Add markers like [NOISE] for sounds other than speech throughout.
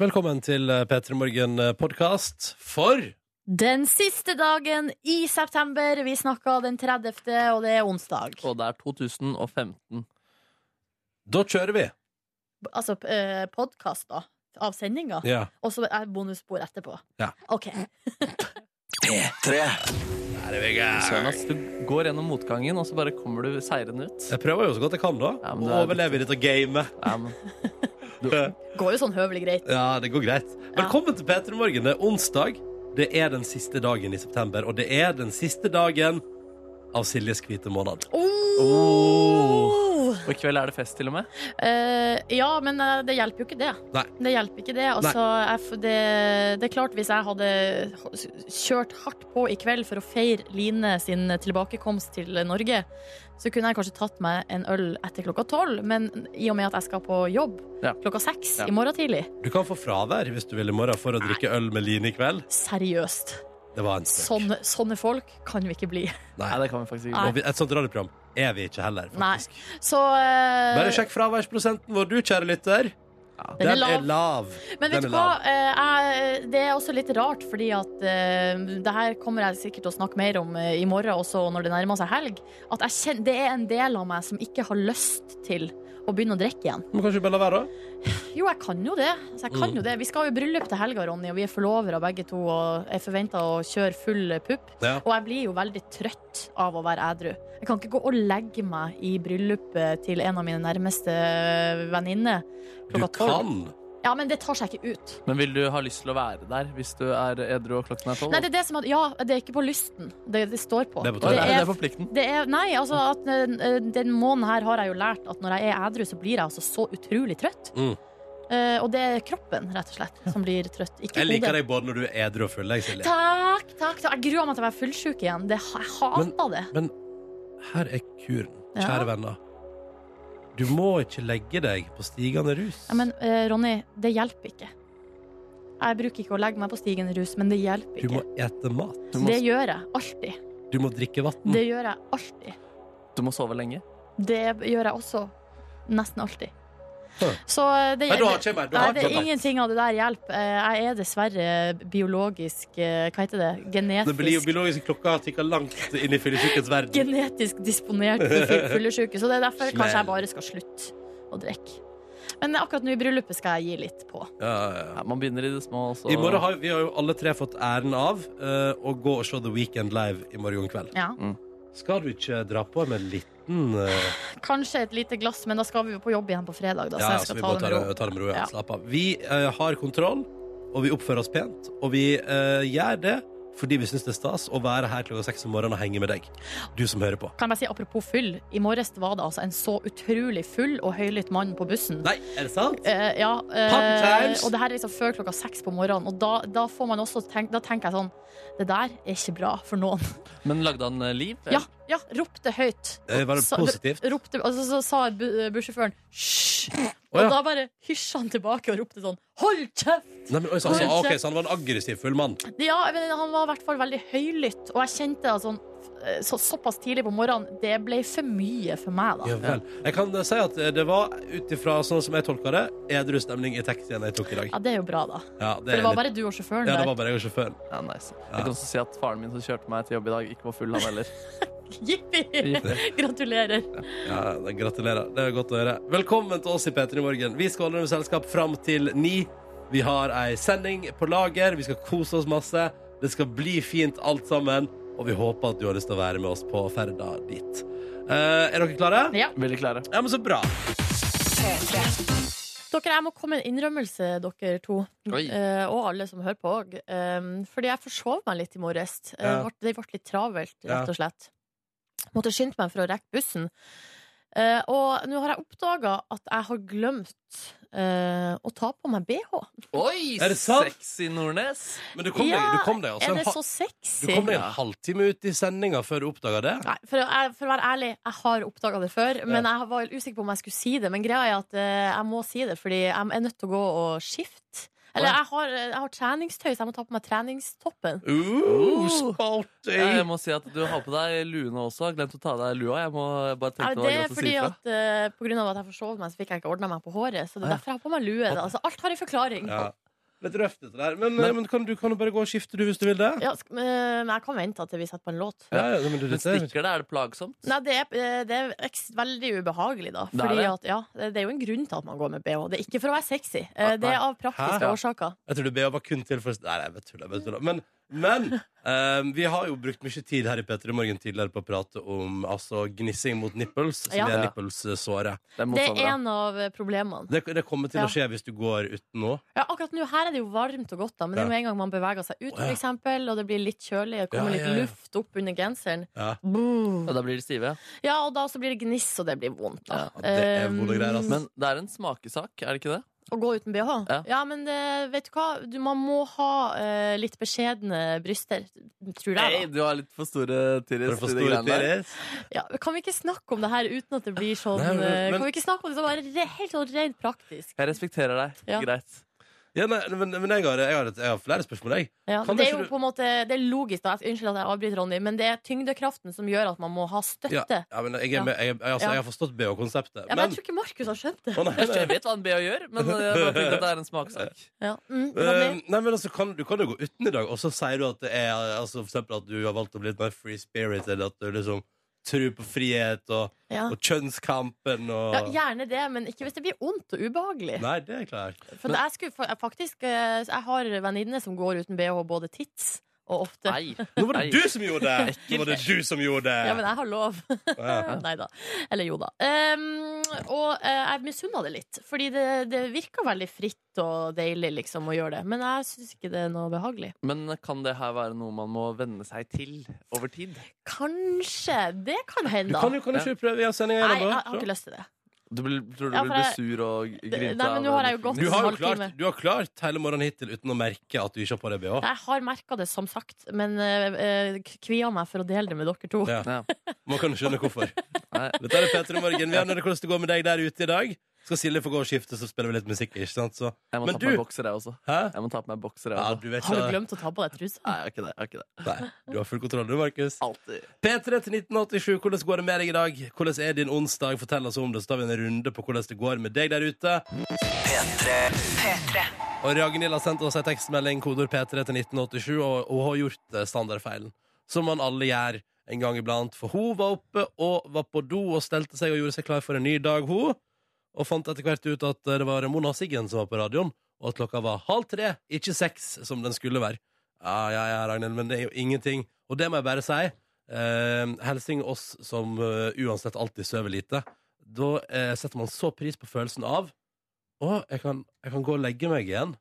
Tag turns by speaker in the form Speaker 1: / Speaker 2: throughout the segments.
Speaker 1: Velkommen til eh, P3 Morgen-podkast for
Speaker 2: Den siste dagen i september. Vi snakka den 30., og det er onsdag.
Speaker 3: Og det er 2015.
Speaker 1: Da kjører vi!
Speaker 2: Altså podkast, da. Av sendinga.
Speaker 1: Ja.
Speaker 2: Og så er bonusspor etterpå.
Speaker 1: Ja.
Speaker 2: OK.
Speaker 3: Søren, ass, du går gjennom motgangen, og så bare kommer du seirende ut.
Speaker 1: Jeg prøver jo så godt jeg kan, da.
Speaker 3: Ja, men
Speaker 1: og
Speaker 3: det er-
Speaker 1: overlever i dette gamet.
Speaker 3: Ja, men
Speaker 2: Går jo sånn høvelig greit.
Speaker 1: [LAUGHS] Ja, det går greit. Velkommen til P3 Morgen. Det er onsdag. Det er den siste dagen i september, og det er den siste dagen av Siljes hvite måned.
Speaker 2: Oh.
Speaker 3: og i kveld er det fest, til og med.
Speaker 2: Eh, ja, men eh, det hjelper jo ikke det.
Speaker 1: Nei.
Speaker 2: Det hjelper ikke det. Altså, jeg, f- det. Det er klart, hvis jeg hadde h- kjørt hardt på i kveld for å feire Line sin tilbakekomst til Norge, så kunne jeg kanskje tatt meg en øl etter klokka tolv, men i og med at jeg skal på jobb
Speaker 3: Ja.
Speaker 2: klokka seks
Speaker 3: Ja.
Speaker 2: i morgen tidlig
Speaker 1: Du kan få fravær hvis du vil i morgen for å drikke øl med Line i kveld.
Speaker 2: Seriøst.
Speaker 1: Det var en spøk.
Speaker 2: Sånne, sånne folk kan vi ikke bli. [LAUGHS]
Speaker 1: Nei.
Speaker 3: Nei, det kan vi faktisk ikke.
Speaker 1: Og vi- et sånt radioprogram er vi ikke heller,
Speaker 2: Nei.
Speaker 1: faktisk.
Speaker 2: Så eh,
Speaker 1: Bare sjekk fraværsprosenten vår, du, kjære lytter.
Speaker 2: Den er lav.
Speaker 1: lav.
Speaker 2: Men vet
Speaker 1: Den
Speaker 2: du
Speaker 1: er lav.
Speaker 2: hva, Eh, jeg, det er også litt rart, fordi at eh, det her kommer jeg sikkert til å snakke mer om eh, i morgen, også når det nærmer seg helg, at jeg kjenner, det er en del av meg som ikke har lyst til å begynne å drikke igjen.
Speaker 1: Men kanskje bare la være, da?
Speaker 2: Jo, jeg kan jo det. Altså, jeg
Speaker 1: Mm.
Speaker 2: kan jo det. Vi skal jo i bryllup til helga, Ronny, og vi er forlovere begge to, og jeg forventer å kjøre full pupp.
Speaker 1: Ja.
Speaker 2: Og jeg blir jo veldig trøtt av å være ædru. Jeg kan ikke gå og legge meg i bryllupet til en av mine nærmeste eh, venninner
Speaker 1: Du
Speaker 2: klokka tolv.
Speaker 1: kan.
Speaker 2: Ja, men det tar seg ikke ut.
Speaker 3: Men vil du ha lyst til å være der hvis du er edru og klokken er tolv?
Speaker 2: Nei, det er det som at, ja, det er ikke på lysten. Det, det står på.
Speaker 1: Det er på
Speaker 3: Å,
Speaker 1: tolv.
Speaker 2: Og
Speaker 3: det er, det er
Speaker 2: det er,
Speaker 3: forplikten.
Speaker 2: det er, nei, altså at eh, den måneden her har jeg jo lært at når jeg er ædru, så blir jeg altså så utrolig trøtt.
Speaker 1: Mm.
Speaker 2: Eh, og det er kroppen, rett og slett, som blir trøtt. Ikke
Speaker 1: Jeg liker
Speaker 2: hodet.
Speaker 1: deg både når du er edru og full. Jeg, Silje.
Speaker 2: Takk, takk. takk. Jeg gruer meg til å være fullsjuk igjen. Det, jeg hater det.
Speaker 1: Her er kuren,
Speaker 2: Ja.
Speaker 1: kjære venner. Du må ikke legge deg på stigende rus.
Speaker 2: Ja, men eh, Ronny, det hjelper ikke. Jeg bruker ikke å legge meg på stigen i rus, men det hjelper
Speaker 1: du må
Speaker 2: ikke.
Speaker 1: ete mat.
Speaker 3: Du må,
Speaker 2: Det gjør jeg alltid.
Speaker 1: Du må drikke vann.
Speaker 2: Det gjør jeg alltid.
Speaker 3: du må sove lenge.
Speaker 2: Det gjør jeg også. Nesten alltid.
Speaker 1: Hæ.
Speaker 2: Så eh, det,
Speaker 1: Nei, du har ikke meg. Du
Speaker 2: Nei,
Speaker 1: har
Speaker 2: det er
Speaker 1: ikke meg.
Speaker 2: ingenting av det der hjelp. Eh, Jeg er dessverre biologisk eh, Hva heter det?
Speaker 1: Den bio-
Speaker 2: Genetisk,
Speaker 1: biologiske klokka tikker langt inn i fyllesykens verden.
Speaker 2: genetisk disponert for full-
Speaker 1: [LAUGHS]
Speaker 2: fyllesyke. Så det er derfor
Speaker 1: Smell.
Speaker 2: kanskje jeg bare skal slutte å drikke. Men akkurat nå i bryllupet skal jeg gi litt på.
Speaker 1: Ja, ja, ja.
Speaker 3: Ja, man begynner i det små, og
Speaker 1: I
Speaker 3: så
Speaker 1: morgen har vi har jo alle tre fått æren av eh, å gå og se The Weekend live i morgen kveld.
Speaker 2: Ja.
Speaker 1: Skal du ikke dra på med en liten eh,
Speaker 2: Kanskje et lite glass, men da skal vi jo på jobb igjen på fredag. Da, så
Speaker 1: Ja,
Speaker 2: jeg
Speaker 1: så
Speaker 2: skal
Speaker 1: vi
Speaker 2: ta
Speaker 1: må
Speaker 2: det med ro.
Speaker 1: ta det med ro. Ja.
Speaker 2: Ja.
Speaker 1: Slapp av. Vi eh, har kontroll, og vi oppfører oss pent. Og vi eh, gjør det fordi vi syns det er stas å være her klokka seks om morgenen og henge med deg. Du som hører på.
Speaker 2: Kan jeg bare si apropos fyll. I morges var det altså en så utrolig full og høylytt mann på bussen.
Speaker 1: Nei, er det sant?
Speaker 2: Eh, ja,
Speaker 1: Party
Speaker 2: eh,
Speaker 1: times!
Speaker 2: og det her er liksom før klokka seks på morgenen. Og da, da, får man også tenk, da tenker jeg sånn Det der er ikke bra for noen.
Speaker 3: Men lagde han eh, liv?
Speaker 2: Ja, ja ropte høyt.
Speaker 1: Eh, var det
Speaker 2: Så-
Speaker 1: positivt?
Speaker 2: Ropte, altså, så sa bu- bussjåføren hysj.
Speaker 1: Å, ja.
Speaker 2: Og da bare hysja han tilbake og ropte sånn hold kjeft!
Speaker 1: Nei, men, oi, så, altså, ok, så han var en aggressiv full mann.
Speaker 2: Ja, men han var i hvert fall veldig høylytt, og jeg kjente at sånn eh, så, Såpass tidlig på morgenen, det ble for mye for meg, da.
Speaker 1: Ja vel. Jeg kan eh, si at eh, det var ut ifra sånn som jeg tolka det, edru stemning i taxien jeg tok i dag.
Speaker 2: Ja, Det er jo bra, da.
Speaker 1: Ja,
Speaker 2: For
Speaker 1: er
Speaker 2: det var
Speaker 1: litt-
Speaker 2: bare du og sjåføren
Speaker 1: ja, det
Speaker 2: der.
Speaker 1: var bare jeg og sjåføren.
Speaker 3: Ja, nice.
Speaker 1: Ja.
Speaker 3: Jeg kan også si at faren min som kjørte meg til jobb i dag, ikke var full, han [LAUGHS] heller.
Speaker 2: [LAUGHS] Jippi! Gratulerer.
Speaker 1: Ja, da Gratulerer. Det er godt å høre. Velkommen til oss i P3 Morgen. Vi skal holde deg med selskap fram til ni. Vi har ei sending på lager. Vi skal kose oss masse. Det skal bli fint, alt sammen. Og vi håper at du har lyst til å være med oss på ferda dit. Eh, er dere klare?
Speaker 2: Ja.
Speaker 3: Veldig klare.
Speaker 1: Ja, men så bra.
Speaker 2: Dere, jeg må komme med en innrømmelse, dere to.
Speaker 3: Oi.
Speaker 2: Eh, og alle som hører på òg. fordi jeg forsov meg litt i morges. Eh,
Speaker 1: Ja.
Speaker 2: vart- Det ble litt travelt,
Speaker 1: Ja.
Speaker 2: rett og slett. Måtte skynde meg for å rekke bussen. Eh, og nå har jeg oppdaga at jeg har glemt eh, å ta på meg BH.
Speaker 3: Oi,
Speaker 1: Er det sant?
Speaker 3: sexy Nordnes!
Speaker 1: Men du kom
Speaker 2: Ja,
Speaker 1: deg, du kom deg, altså,
Speaker 2: Er det
Speaker 1: en,
Speaker 2: så
Speaker 1: ha-
Speaker 2: sexy?
Speaker 1: du kom deg en halvtime ut i sendinga før du oppdaga det.
Speaker 2: Nei, for, å- for å være ærlig, jeg har oppdaga det før. Men jeg var usikker på om jeg skulle si det. Men greia er at eh, jeg må si det, fordi jeg er nødt til å gå og skifte. Eller jeg har, jeg har treningstøy, så jeg må ta på meg treningstoppen.
Speaker 1: Uh,
Speaker 3: Uh.
Speaker 1: sporty!
Speaker 3: Jeg må si at du har på deg luene også. Har Glemt å ta av deg lua. Jeg må bare
Speaker 2: Ja,
Speaker 3: tenke
Speaker 2: det er
Speaker 3: på
Speaker 2: fordi at eh, på grunn av at jeg forsov meg, så fikk jeg ikke ordna meg på håret. Så det er
Speaker 3: Ja.
Speaker 2: derfor jeg har på meg lue. da. Altså, alt har en forklaring.
Speaker 1: Ja. Litt røft, dette der. Men, men kan du kan jo bare gå og skifte du hvis du vil det.
Speaker 2: Ja, sk- men men jeg kan vente til vi setter på en låt.
Speaker 1: Ja, ja, men du,
Speaker 3: Men
Speaker 1: dette er-
Speaker 3: stikker det? Er det plagsomt?
Speaker 2: Nei, det er, eh, det er eks- veldig ubehagelig, da.
Speaker 3: Det er
Speaker 2: Fordi
Speaker 3: det.
Speaker 2: At, ja, det det er jo en grunn til at man går med bh. Det er ikke for å være sexy. Eh, Det
Speaker 3: Nei.
Speaker 2: er av
Speaker 1: Hæ?
Speaker 2: praktiske årsaker.
Speaker 1: Jeg tror det BH var kun til for Nei, nei, jeg bare tuller. jeg bare tuller. Men, men eh, vi har jo brukt mye tid her i Petter i morgen tidligere på å prate om altså, gnissing mot nipples, som
Speaker 2: Ja.
Speaker 1: er nippelsåret.
Speaker 3: Det er
Speaker 2: Det er
Speaker 3: motstandere.
Speaker 2: en av eh, problemene.
Speaker 1: Det, det kommer til
Speaker 2: Ja.
Speaker 1: å skje hvis du går uten nå.
Speaker 2: Ja, akkurat nå her er det jo varmt og godt, da, men det
Speaker 1: Ja.
Speaker 2: er med en gang man beveger seg ut,
Speaker 1: Å, ja.
Speaker 2: for eksempel, og det blir litt kjølig, det kommer
Speaker 1: Ja, ja, ja.
Speaker 2: litt luft opp under genseren.
Speaker 1: Ja.
Speaker 3: Ja, da blir de stive.
Speaker 2: Ja, og da så blir det gniss, og det blir vondt, da.
Speaker 1: Ja, det er
Speaker 2: Um,
Speaker 1: vonde greier, altså.
Speaker 3: Men det er en smakesak, er det ikke det?
Speaker 2: Å gå uten BH? Ja,
Speaker 3: Ja.
Speaker 2: men eh, vet du hva? Du, man må ha eh, litt beskjedne bryster, tror
Speaker 3: Nei,
Speaker 2: jeg. da.
Speaker 3: du har litt for store
Speaker 1: For
Speaker 3: tiris.
Speaker 1: å få
Speaker 3: til de
Speaker 1: store
Speaker 3: greiene der.
Speaker 1: penis.
Speaker 2: Ja, kan vi ikke snakke om det her uten at det blir sånn
Speaker 1: Nei, men-
Speaker 2: eh,
Speaker 1: men-
Speaker 2: Kan vi ikke snakke om det sånn bare re- helt sånn rent praktisk?
Speaker 3: Jeg respekterer deg.
Speaker 2: Ja.
Speaker 3: Greit.
Speaker 1: Ja, nei, men, men jeg, har, jeg, har, et- jeg har flere spørsmål, jeg.
Speaker 2: Ja,
Speaker 1: Kan
Speaker 2: det
Speaker 1: ikke
Speaker 2: er jo
Speaker 1: du-
Speaker 2: på en måte Det er logisk, da. Unnskyld at jeg avbryter, Ronny, men det er tyngdekraften som gjør at man må ha
Speaker 1: Ja,
Speaker 2: støtte.
Speaker 1: ja, men jeg, er med, jeg, jeg, altså, jeg har forstått BH-konseptet.
Speaker 2: Ja, men jeg tror ikke Markus har skjønt det.
Speaker 1: Å, nei, nei.
Speaker 3: Jeg vet hva en BH gjør, men eh, jeg bare tenkte at det er en smakesak.
Speaker 2: [LAUGHS] Ja. Mm,
Speaker 1: Eh,
Speaker 2: Ronny?
Speaker 1: nei, men altså, kan, Du kan jo gå uten i dag, og så sier du at det er altså, for eksempel at du har valgt å bli litt mer free spirit, eller at du liksom tror på frihet og,
Speaker 2: ja.
Speaker 1: og kjønnskampen og
Speaker 2: ja, gjerne det, men ikke hvis det blir vondt og ubehagelig.
Speaker 1: Nei, det er klart.
Speaker 2: For jeg, skulle, fa- faktisk, eh, jeg har venninner som går uten BH både tids og ofte.
Speaker 3: Nei.
Speaker 1: Nå var det
Speaker 3: Nei.
Speaker 1: du som gjorde det! Nå var det du som gjorde det!
Speaker 2: Ja, men jeg har lov. [LAUGHS]
Speaker 1: Ja.
Speaker 2: Nei da. Eller jo da. Ehm, og eh, jeg misunna det litt, fordi det, det virka veldig fritt og deilig liksom å gjøre det. Men jeg syns ikke det er noe behagelig.
Speaker 3: Men kan det her være noe man må venne seg til over tid?
Speaker 2: Kanskje. Det kan
Speaker 1: Du
Speaker 2: hende.
Speaker 1: kan jo kan du ikke prøve igjen sendinga
Speaker 2: Nei, jeg
Speaker 1: igjen,
Speaker 2: har
Speaker 1: da.
Speaker 2: ikke lyst til det.
Speaker 3: Du blir, tror du
Speaker 2: Ja, for
Speaker 3: blir
Speaker 2: jeg-
Speaker 3: sur og
Speaker 2: Nei,
Speaker 3: grinte?
Speaker 2: men
Speaker 3: av
Speaker 2: nå har jeg jo
Speaker 3: det?
Speaker 1: Du
Speaker 2: gått-
Speaker 1: har jo
Speaker 2: Halvtime.
Speaker 1: klart, du har klart hele morgenen hittil uten å merke at du ikke har på deg BH.
Speaker 2: Jeg har merka det, som sagt, men uh, kvia meg for å dele det med dere to.
Speaker 1: Ja.
Speaker 3: [LAUGHS] Ja.
Speaker 1: Man kan skjønne hvorfor.
Speaker 3: Nei.
Speaker 1: Dette er Petter i morgen. Vi aner hvordan det går med deg der ute i dag. Skal Silje få gå og skifte, så spiller vi litt musikk. ikke sant? Så,
Speaker 3: Jeg må
Speaker 1: Men
Speaker 3: ta på
Speaker 1: du-
Speaker 3: meg bokser, jeg også.
Speaker 1: hæ?
Speaker 3: Jeg må ta på meg bokser, jeg
Speaker 1: Ja,
Speaker 3: også.
Speaker 1: du vet
Speaker 2: [LAUGHS] Har du
Speaker 1: ikke
Speaker 2: glemt å ta på deg trusa?
Speaker 1: [LAUGHS]
Speaker 3: Nei, jeg har ikke det. Jeg har ikke det.
Speaker 1: Nei, du har full kontroll du, Markus.
Speaker 3: Alltid.
Speaker 1: P3 til 1987, hvordan går det med deg i dag? Hvordan er din onsdag? Fortell oss om det, så tar vi en runde på hvordan det går med deg der ute. Og Ragnhild har sendt oss en tekstmelding, kodord P3 til 1987, og, og har gjort eh, standardfeilen. Som man alle gjør en gang iblant. For hun var oppe og var på do og stelte seg og gjorde seg klar for en ny dag, hun. Og fant etter hvert ut at eh, det var Mona Siggen som var på radioen, og at klokka var halv tre, ikke seks, som den skulle være. Ja, ja, ja, Ragnhild, men det er jo ingenting. Og det må jeg bare si. Eh, helsing oss som eh, uansett alltid sover lite. Da eh, setter man så pris på følelsen av Å, jeg kan, jeg kan gå og legge meg igjen.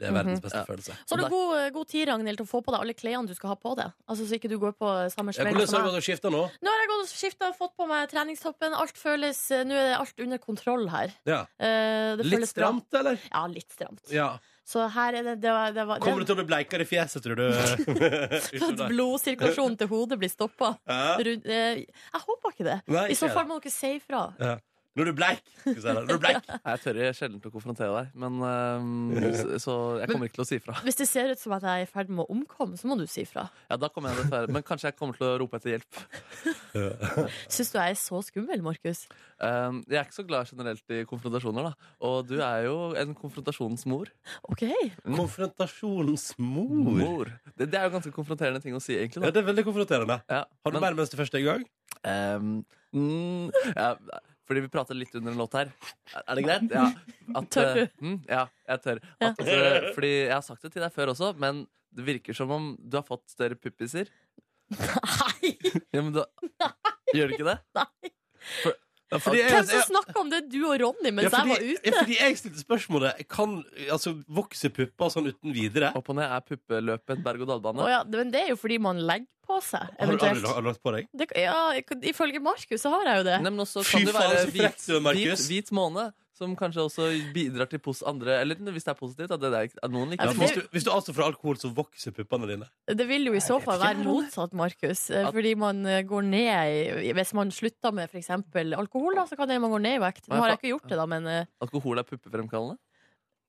Speaker 1: Det er
Speaker 2: Mhm.
Speaker 1: verdens beste
Speaker 3: Ja.
Speaker 1: følelse.
Speaker 2: Så har du god, eh, god tid, Ragnhild, til å få på deg alle klærne du skal ha på deg. Altså, så ikke du går på samme
Speaker 1: Jeg
Speaker 2: smell
Speaker 1: hvordan har
Speaker 2: som
Speaker 1: du
Speaker 2: meg.
Speaker 1: gått og skifta nå?
Speaker 2: Nå har jeg gått og skifta, fått på meg treningstoppen. Alt føles eh, Nå er alt under kontroll her.
Speaker 1: Ja.
Speaker 2: Eh, det
Speaker 1: Litt
Speaker 2: føles bra.
Speaker 1: stramt, eller?
Speaker 2: Ja, litt stramt.
Speaker 1: Ja.
Speaker 2: Så her er det, det, var, det, var,
Speaker 1: Kommer du
Speaker 2: det
Speaker 1: til å bli bleikere i fjeset, tror
Speaker 2: [LAUGHS]
Speaker 1: du?
Speaker 2: at
Speaker 1: Utover der.
Speaker 2: blodsirkulasjonen til hodet blir stoppa.
Speaker 1: Ja.
Speaker 2: Jeg håper ikke det.
Speaker 1: Nei,
Speaker 2: I så
Speaker 1: ikke
Speaker 2: fall må dere si ifra.
Speaker 1: Ja. Når du er bleik. skal vi si det. Når du er bleik.
Speaker 3: Nei, Jeg tør sjelden til å konfrontere deg, men
Speaker 1: [LAUGHS]
Speaker 3: øhm, så- så jeg kommer ikke til å si fra.
Speaker 2: Hvis det ser ut som at jeg er i ferd med å omkomme, så må du si ifra.
Speaker 3: Ja, da kommer jeg dessverre. Men kanskje jeg kommer til å rope etter hjelp.
Speaker 2: Syns du jeg er så skummel, Markus?
Speaker 3: Øhm, Ehm, jeg er ikke så glad generelt i konfrontasjoner, da. Og du er jo en konfrontasjonsmor.
Speaker 2: OK. [LAUGHS]
Speaker 1: Konfrontasjonsmor.
Speaker 3: Det, det er jo ganske konfronterende ting å si,
Speaker 1: Ja,
Speaker 3: egentlig. Da.
Speaker 1: det er veldig konfronterende.
Speaker 3: Ja,
Speaker 1: Har du
Speaker 3: men,
Speaker 1: bare mens det første er i gang?
Speaker 3: øhm, mm, ja, fordi vi prater litt under en låt her. Er- Er det greit? Ja. At,
Speaker 2: Tør du?
Speaker 3: øh, Mm, ja, jeg tør.
Speaker 2: Ja.
Speaker 3: At, øh, fordi jeg har sagt det til deg før også, men det virker som om du har fått større puppiser.
Speaker 2: Nei!
Speaker 3: Ja, men da,
Speaker 2: [LAUGHS]
Speaker 3: Gjør du ikke det?
Speaker 2: nei.
Speaker 1: Ja, fordi jeg-
Speaker 2: Hvem som
Speaker 1: jeg-
Speaker 2: snakka om det? Du og Ronny mens
Speaker 1: Ja, fordi,
Speaker 2: jeg var ute?
Speaker 1: ja, fordi jeg stilte spørsmålet Kan altså, vokse pupper sånn uten videre?
Speaker 3: Opp og ned er puppeløpet en berg-og-dal-bane.
Speaker 2: Å ja, men det er jo fordi man legger på seg,
Speaker 1: Har du, har, du,
Speaker 2: eventuelt.
Speaker 1: har du lagt på deg?
Speaker 2: Det, ja, ifølge Markus så har jeg jo det.
Speaker 3: Nei, men også
Speaker 1: Fy
Speaker 3: kan det
Speaker 1: faen,
Speaker 3: være
Speaker 1: så
Speaker 3: hvit,
Speaker 1: frekt du er,
Speaker 3: hvit,
Speaker 1: Markus.
Speaker 3: hvit måne, som kanskje også bidrar til pos andre Eller hvis det er positivt, at, det er, at noen
Speaker 2: Ja,
Speaker 1: Ja,
Speaker 3: liker
Speaker 2: for
Speaker 3: små
Speaker 1: hvis,
Speaker 2: det-
Speaker 1: du, hvis du avstår fra alkohol, så vokser puppene dine.
Speaker 2: Det vil jo i så fall være motsatt, Markus. eh,
Speaker 3: At-
Speaker 2: Fordi man eh, går ned i Hvis man slutter med f.eks. alkohol, da, så kan det- man gå ned i vekt. Nå har jeg ikke gjort det, da, men eh,
Speaker 3: Alkohol er puppefremkallende.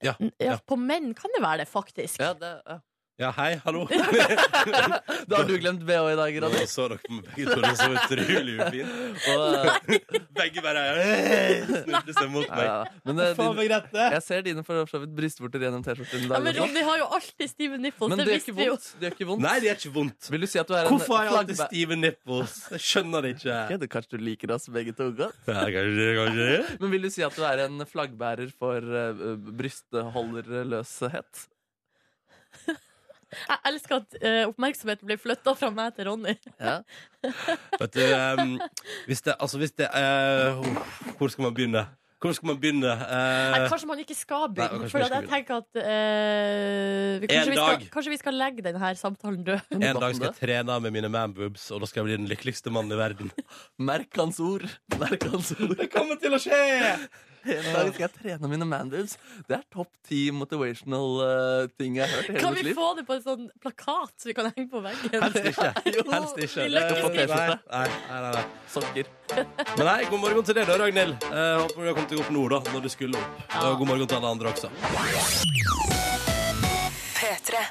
Speaker 1: Ja,
Speaker 2: N-
Speaker 1: ja.
Speaker 2: Ja, på menn kan det være det, faktisk.
Speaker 3: Ja, det, ja.
Speaker 1: Ja, hei, hallo.
Speaker 3: Da har du glemt BH i dag, Ronny.
Speaker 1: Nå så dere med begge to, det så utrolig ufint.
Speaker 3: Og, eh,
Speaker 1: Begge bare «Hey!» snudde seg mot meg.
Speaker 3: ja, men eh,
Speaker 1: Faen
Speaker 3: din,
Speaker 1: meg Grete!
Speaker 3: jeg ser dine for så vidt brystvorter gjennom T-skjorten. i
Speaker 2: Ja,
Speaker 3: dag
Speaker 2: men
Speaker 3: også.
Speaker 2: Ronny har jo alltid stive nipples.
Speaker 3: Men
Speaker 2: Det
Speaker 3: det gjør
Speaker 2: visste
Speaker 3: ikke
Speaker 2: vi jo.
Speaker 3: vondt. Det gjør ikke vondt.
Speaker 1: Nei, det gjør ikke vondt.
Speaker 3: Vil du si at du er en
Speaker 1: Hvorfor har jeg alltid
Speaker 3: flaggbæ-
Speaker 1: stive nipples? Jeg skjønner det ikke.
Speaker 3: Ja, det- Kanskje du liker oss begge to godt?
Speaker 1: Ja, kanskje, kanskje.
Speaker 3: Men vil du si at du er en flaggbærer for eh, brystholderløshet?
Speaker 2: Jeg elsker at eh, oppmerksomheten blir flytta fra meg til Ronny.
Speaker 3: Ja.
Speaker 1: Vet du, ehm, hvis det Altså, hvis det eh, Hvor skal man begynne? Hvor skal man begynne? Eh,
Speaker 2: Nei, kanskje man ikke skal
Speaker 1: Nei,
Speaker 2: begynne.
Speaker 1: kanskje vi
Speaker 2: for at
Speaker 1: skal
Speaker 2: jeg tenker at eh, vi- kanskje,
Speaker 1: En
Speaker 2: vi skal,
Speaker 1: dag.
Speaker 2: kanskje vi skal legge denne samtalen død.
Speaker 1: en dag skal jeg trene med mine manboobs, og da skal jeg bli den lykkeligste mannen i verden.
Speaker 3: Merk hans ord. Merk hans ord.
Speaker 1: Det kommer til å skje!
Speaker 3: [LAUGHS] En dag skal jeg trene mine manboobs. Det er topp ti motivational eh, ting jeg har hørt i hele
Speaker 2: Kan vi
Speaker 3: mitt liv.
Speaker 2: få det på en sånn plakat som vi kan henge på
Speaker 3: [LAUGHS]
Speaker 1: Helst
Speaker 2: veggen?
Speaker 1: ikke.
Speaker 3: Jo,
Speaker 1: Helst ikke.
Speaker 2: vi lykkes
Speaker 1: Eh,
Speaker 3: ikke.
Speaker 1: Nei, nei, nei, nei, nei.
Speaker 3: Sokker.
Speaker 1: Men nei, god morgen til deg da, Ragnhild. Eh, håper du har kommet deg opp nå, da, når du skulle opp.
Speaker 2: Ja.
Speaker 1: Og god morgen til alle andre også.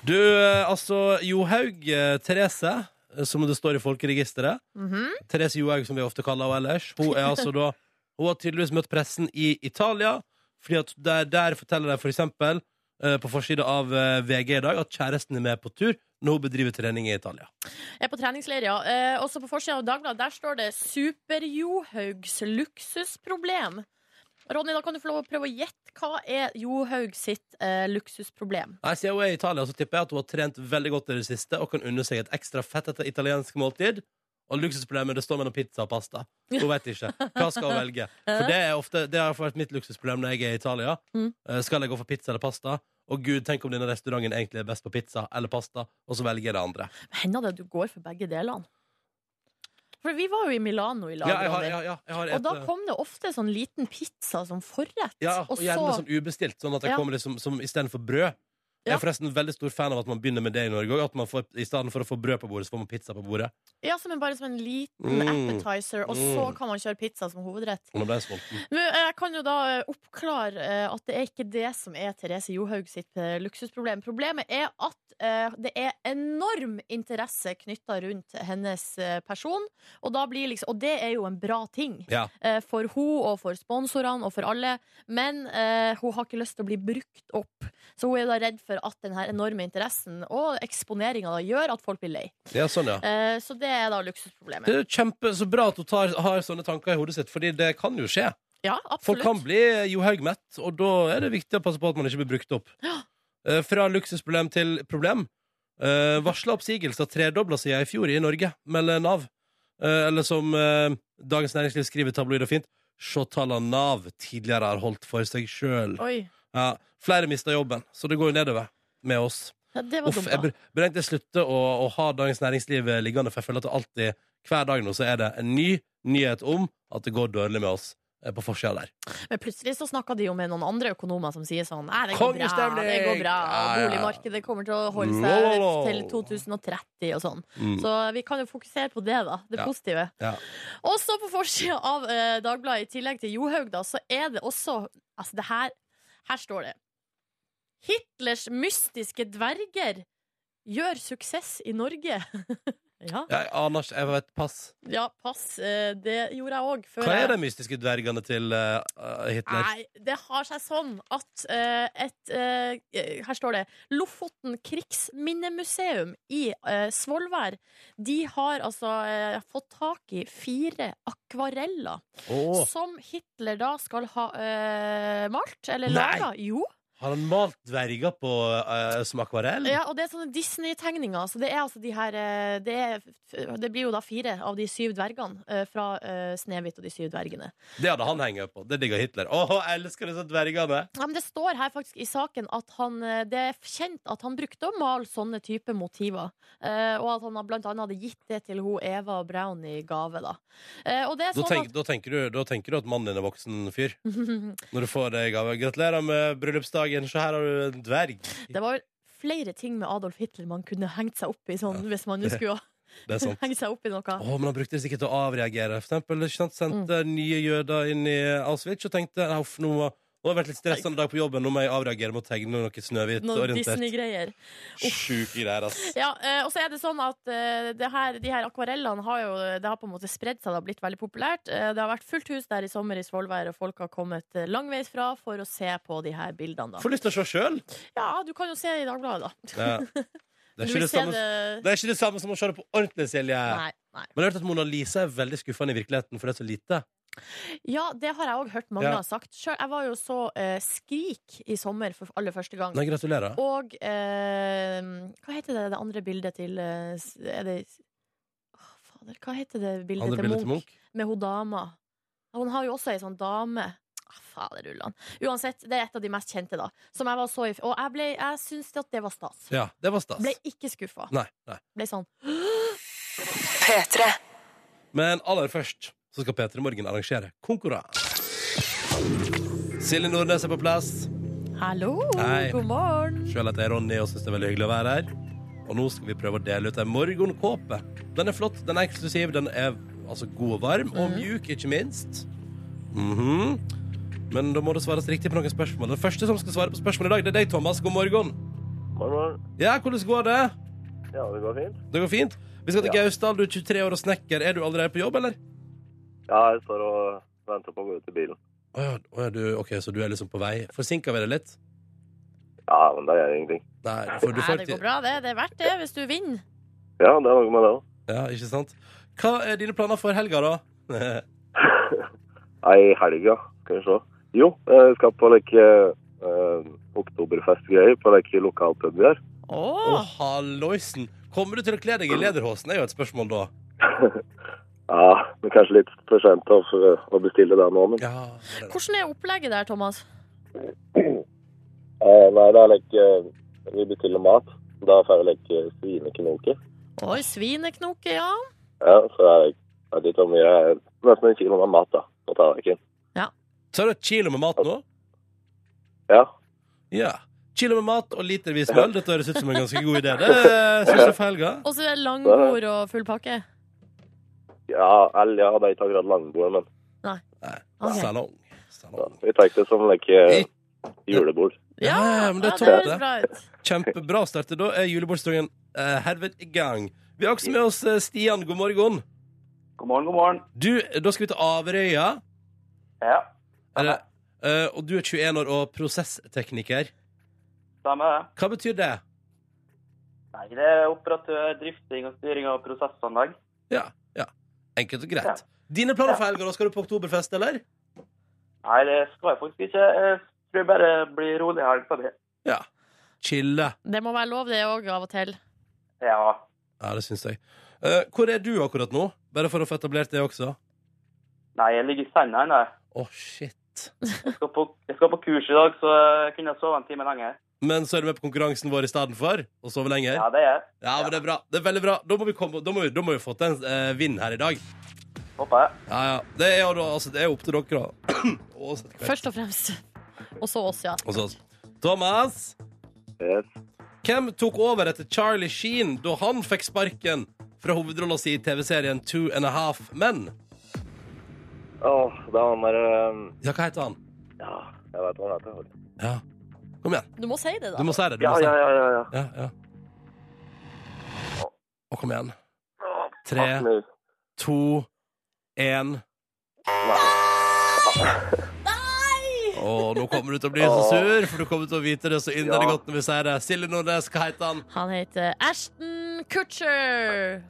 Speaker 1: Du, eh, altså Johaug eh, Therese, eh, som det står i folkeregisteret.
Speaker 2: Mhm.
Speaker 1: Therese Johaug, som vi ofte kaller henne ellers. Hun er altså da Hun har tydeligvis møtt pressen i Italia, fordi at der, der forteller de for eksempel eh, på forsida av eh, VG i dag at kjæresten er med på tur når hun bedriver trening i Italia.
Speaker 2: Er på treningsleir, ja. Eh, også på forsida av Dagbladet der står det 'Super-Johaugs luksusproblem'. Ronny, da kan du få lov å prøve å gjette hva er Johaug sitt eh, luksusproblem.
Speaker 1: Nei, Siden hun er i Italia, så tipper jeg at hun har trent veldig godt i det siste og kan unne seg et ekstra fett etter italiensk måltid. Og luksusproblemet det står mellom pizza og pasta. Hun vet ikke. Hva skal hun velge? For Det er ofte, det har vært mitt luksusproblem når jeg er i Italia.
Speaker 2: Mm.
Speaker 1: Eh, Skal jeg gå for pizza eller pasta? Og gud, tenk om denne restauranten egentlig er best på pizza eller pasta, og så velger jeg det andre.
Speaker 2: Hender det at du går for begge delene? For vi var jo i Milano i lag,
Speaker 1: Ja, jeg har,
Speaker 2: Ronny.
Speaker 1: ja, ja, jeg har
Speaker 2: Og da
Speaker 1: et, eh,
Speaker 2: kom det ofte sånn liten pizza som forrett.
Speaker 1: ja,
Speaker 2: og
Speaker 1: og gjerne
Speaker 2: så
Speaker 1: sånn ubestilt, sånn at jeg
Speaker 2: Ja.
Speaker 1: kommer liksom, som istedenfor brød. Jeg
Speaker 2: Ja.
Speaker 1: er forresten veldig stor fan av at man begynner med det i Norge òg. At man får, i stedet for å få brød på bordet, så får man pizza på bordet.
Speaker 2: Ja, som en, bare som en liten
Speaker 1: Mm.
Speaker 2: appetizer, og så
Speaker 1: Mm.
Speaker 2: kan man kjøre pizza som hovedrett.
Speaker 1: Og nå ble jeg sulten.
Speaker 2: Nå, eh, jeg kan jo da eh, oppklare eh, at det er ikke det som er Therese Johaug sitt eh, luksusproblem. Problemet er at eh, det er enorm interesse knytta rundt hennes eh, person, og, da blir liksom, og det er jo en bra ting.
Speaker 1: Ja.
Speaker 2: eh, For hun og for sponsorene og for alle. Men eh, hun har ikke lyst til å bli brukt opp. Så hun er da redd for at den her enorme interessen og eksponeringa gjør at folk blir lei.
Speaker 1: ja, sånn, ja.
Speaker 2: Eh, så det er da
Speaker 1: Det
Speaker 2: luksusproblemet.
Speaker 1: er jo kjempe, Så bra at hun tar, har sånne tanker i hodet sitt, Fordi det kan jo skje.
Speaker 2: Ja,
Speaker 1: Folk
Speaker 2: absolutt.
Speaker 1: kan bli Johaug-mett, og da er det viktig å passe på at man ikke blir brukt opp. Eh, Fra luksusproblem til problem. Uh, Varsla oppsigelser tredobla siden i fjor i Norge, melder Nav. Eh, eller som eh, Dagens Næringsliv skriver i tabloid og fint, se tallene Nav tidligere har holdt for seg sjøl.
Speaker 2: Oi.
Speaker 1: Ja, flere mista jobben, så det går jo nedover med oss.
Speaker 2: Ja, det var
Speaker 1: Uff,
Speaker 2: dumt,
Speaker 1: jeg
Speaker 2: da.
Speaker 1: bør bør egentlig slutte å, å ha Dagens Næringsliv eh, liggende, for jeg føler at det alltid, hver dag nå, så er det en ny nyhet om at det går dårlig med oss eh, på forsida der.
Speaker 2: Men plutselig så snakka de jo med noen andre økonomer som sier sånn Nei, det går bra,
Speaker 1: Kongestemning!»
Speaker 2: det går bra.
Speaker 1: Ja, ja.
Speaker 2: Boligmarkedet kommer til å holde
Speaker 1: Lo,
Speaker 2: seg
Speaker 1: lo, lo.
Speaker 2: til 2030 og sånn.
Speaker 1: Mm.
Speaker 2: Så vi kan jo fokusere på det, da. Det
Speaker 1: Ja.
Speaker 2: positive.
Speaker 1: Ja.
Speaker 2: Også på forsida av eh, Dagbladet, i tillegg til Johaug, da, så er det også Altså, det her Her står det Hitlers mystiske dverger gjør suksess i Norge. [LAUGHS] ja.
Speaker 1: Jeg aner ikke. Jeg vet pass.
Speaker 2: ja, pass. eh, det gjorde jeg òg.
Speaker 1: Hva er de mystiske dvergene til eh, Hitler?
Speaker 2: Nei, det har seg sånn at eh, et eh, Her står det Lofoten krigsminnemuseum i eh, Svolvær. De har altså eh, fått tak i fire akvareller
Speaker 1: Åh,
Speaker 2: som Hitler da skal ha eh, malt eller
Speaker 1: Nei!
Speaker 2: laga. Jo.
Speaker 1: har han malt dverger på, eh, som akvarell?
Speaker 2: Ja, og det er sånne Disney-tegninger. Så det er altså de her eh, det, er, det blir jo da fire av de syv dvergene eh, fra eh, Snehvit og de syv dvergene.
Speaker 1: Det hadde han hengt på. Det digger Hitler. Åh, jeg elsker disse dvergene!
Speaker 2: Ja, men det står her faktisk i saken at han, eh, det er kjent at han brukte å male sånne type motiver. Eh, og at han blant annet hadde gitt det til hun Eva Brown i gave. Da. Eh, og det er
Speaker 1: Da,
Speaker 2: sånn
Speaker 1: tenk, da, tenker du, da tenker du at mannen din er voksen
Speaker 2: [LAUGHS]
Speaker 1: fyr. Når du får det i gave. Gratulerer med bryllupsdagen, så her har du en dverg.
Speaker 2: at det var flere ting med Adolf Hitler man kunne hengt seg opp i, sånn, hvis man
Speaker 1: [LAUGHS]
Speaker 2: nå skulle
Speaker 1: Det er sånn sant.
Speaker 2: henge seg opp i noe.
Speaker 1: Åh, men han brukte det sikkert
Speaker 2: Mm.
Speaker 1: til å avreagere. For eksempel ikke sant, sendte nye jøder inn i Auschwitz og tenkte "Nei, uff, nå må, Og det har vært litt stressende dag på jobben. Nå må jeg avreagere med å tegne noe
Speaker 2: Noe
Speaker 1: Snøhvit-orientert.
Speaker 2: Disney-greier.
Speaker 1: Sjuke greier, ass.
Speaker 2: Ja, eh, og så er det sånn at eh, det her, de her akvarellene har jo Det har på en måte spredd seg, det har blitt veldig populært. Eh, Det har vært fullt hus der i sommer i Svolvær, og folk har kommet eh, langveis fra for å se på de her bildene. Da.
Speaker 1: Får lyst til å se
Speaker 2: [LAUGHS]
Speaker 1: sjøl.
Speaker 2: Ja, du kan jo se det i Dagbladet, da.
Speaker 1: Ja. Det, er
Speaker 2: Du
Speaker 1: ikke
Speaker 2: vil
Speaker 1: det,
Speaker 2: se
Speaker 1: samme, det...
Speaker 2: det
Speaker 1: er ikke det samme som å se det på ordentlig, Silje.
Speaker 2: Nei. nei.
Speaker 1: Men jeg har hørt at Mona Lisa er veldig skuffende i virkeligheten, for det er så lite.
Speaker 2: Ja, det har jeg òg hørt mange
Speaker 1: Ja.
Speaker 2: har sagt. Selv, jeg var jo så eh, Skrik i sommer for aller første gang.
Speaker 1: Nei, gratulerer.
Speaker 2: Og eh, hva heter det, det andre bildet til eh, s- Er det Åh, Fader, hva heter det bildet
Speaker 1: Andre
Speaker 2: til
Speaker 1: bilder
Speaker 2: Munch?
Speaker 1: til Munch.
Speaker 2: Med hun dama. Hun har jo også ei sånn dame. Ah, Fader ullan. Uansett, det er et av de mest kjente, da. Som jeg var så i Og jeg, ble, jeg syns at det var stas.
Speaker 1: Ja, det var stas.
Speaker 2: Ble ikke skuffa.
Speaker 1: Nei, nei.
Speaker 2: Ble sånn
Speaker 1: Men aller først så skal P3 Morgen arrangere konkurranse. Silje Nordnes er på plass.
Speaker 2: Hallo,
Speaker 1: Nei.
Speaker 2: god morgen.
Speaker 1: Sjøl heter jeg Ronny og syns det er veldig hyggelig å være her. Og nå skal vi prøve å dele ut ei morgenkåpe. Den er flott, den er eksklusiv, den er altså god og varm, og
Speaker 2: Mhm.
Speaker 1: mjuk, ikke minst. Mhm. Men da må det svares riktig på noen spørsmål. Den første som skal svare på spørsmål i dag, det er deg, Thomas. God morgen.
Speaker 4: Morgen, morgen.
Speaker 1: Ja, hvordan går det?
Speaker 4: Ja, det går fint.
Speaker 1: Det går fint? Vi skal til
Speaker 4: Ja.
Speaker 1: Gausdal, du er 23 år og snekker. Er du allerede på jobb, eller?
Speaker 4: Ja, jeg står og venter på å gå ut i bilen.
Speaker 1: Å ja, å ja, du, ok, så du er liksom på vei. Forsinka vi det litt?
Speaker 4: Ja, men det gjør ingenting.
Speaker 1: Nei, for du
Speaker 2: Nei,
Speaker 1: får
Speaker 2: det
Speaker 1: til
Speaker 2: går bra, det. Det er verdt det hvis du vinner.
Speaker 4: Ja, det er noe med det òg.
Speaker 1: Ja, ikke sant? Hva er dine planer for helga, da? [LAUGHS]
Speaker 4: Nei, i helga, skal vi se. Jo, jeg skal på like eh, oktoberfestgreier på like lokalpub vi har.
Speaker 1: Å,
Speaker 2: Åh,
Speaker 1: halloisen! Kommer du til å kle deg i lederhosen? Det er jo et spørsmål, da.
Speaker 4: Ja, men kanskje litt for sent å, for å bestille det nå, men
Speaker 1: Ja, det er det.
Speaker 2: Hvordan er opplegget der, Thomas?
Speaker 4: Eh, Nei, det er like eh, Vi bestiller mat. Da får jeg like svineknoker.
Speaker 2: Oi, svineknoke, ja.
Speaker 4: Ja, så er jeg jeg vet ikke hvor mye det er. Nesten en kilo med mat, da. På tallerkenen.
Speaker 1: Så har du et kilo med mat nå?
Speaker 4: Ja.
Speaker 1: Ja. Kilo med mat og litervis med øl. Dette høres ut som en ganske god idé. Det syns jeg for helga.
Speaker 2: Og så er det langbord og full pakke.
Speaker 4: Ja, eller ja, det er ikke akkurat langbord, men
Speaker 1: Nei,
Speaker 2: Ok.
Speaker 1: Salong.
Speaker 4: Ja,
Speaker 1: Salong.
Speaker 4: vi tar det som like julebord.
Speaker 1: Ja, men det er
Speaker 2: ja,
Speaker 1: topp,
Speaker 2: høres
Speaker 1: det.
Speaker 2: bra ut.
Speaker 1: Kjempebra å starte. Da er julebordsdagen eh, herved i gang. Vi har også med oss eh, Stian. God morgen.
Speaker 5: God morgen, god morgen.
Speaker 1: Du, da skal vi til Averøya.
Speaker 5: Ja,
Speaker 1: Er det- Eh, og du er 21 år og prosesstekniker.
Speaker 5: stemmer det.
Speaker 1: Hva betyr det?
Speaker 5: Nei, det er operatør, drifting og styring av prosessanlegg.
Speaker 1: Ja, ja. Enkelt og greit. Dine planer for helga, da skal du på oktoberfest, eller?
Speaker 5: Nei, det skal jeg faktisk ikke. Jeg tror jeg bare blir rolig i helga. det.
Speaker 1: Ja. Chille.
Speaker 2: Det må være lov, det òg, av og til.
Speaker 5: Ja.
Speaker 1: Ja, det syns jeg. Eh, hvor er du akkurat nå? Bare for å få etablert det også.
Speaker 5: Nei, jeg ligger i senga ennå.
Speaker 1: Å, shit.
Speaker 5: Jeg, skal på- jeg skal på kurs i dag, så jeg kunne sove en time lenger.
Speaker 1: Men så er du med på konkurransen vår i stedet for, og sover lenger?
Speaker 5: Ja, det er jeg.
Speaker 1: Ja, men det er bra. Det er veldig bra. Da må vi, komme, da må vi, da må vi få til en eh, vinn her i dag.
Speaker 5: Håper jeg.
Speaker 1: Ja, ja. Det er jo da, altså, det er opp til [CLEARS THROAT] dere, da. Å, sette kveld.
Speaker 2: Først og fremst. Og så oss, ja.
Speaker 1: Og så oss. Thomas?
Speaker 4: Yes.
Speaker 1: Hvem tok over etter Charlie Sheen da han fikk sparken fra hovedrolla si i TV-serien Two and a Half Men?
Speaker 4: Åh, det var han der ehm,
Speaker 1: Ja, hva heter han?
Speaker 4: Ja, jeg vet hva han heter.
Speaker 1: Ja. Kom igjen.
Speaker 2: Du må si det,
Speaker 1: Du
Speaker 2: da.
Speaker 1: må si det. Du
Speaker 4: Ja,
Speaker 1: må si
Speaker 4: ja,
Speaker 1: det.
Speaker 4: ja. ja, ja.
Speaker 1: Ja, ja. Og kom igjen. Tre,
Speaker 4: Fuck me.
Speaker 1: to, én. Og nå kommer du til å bli så sur, for du kommer til å vite det så inderlig
Speaker 4: Ja.
Speaker 1: godt når vi sier det. Silje Nordnes, hva heter han?
Speaker 2: Han heter Ashton Kutcher.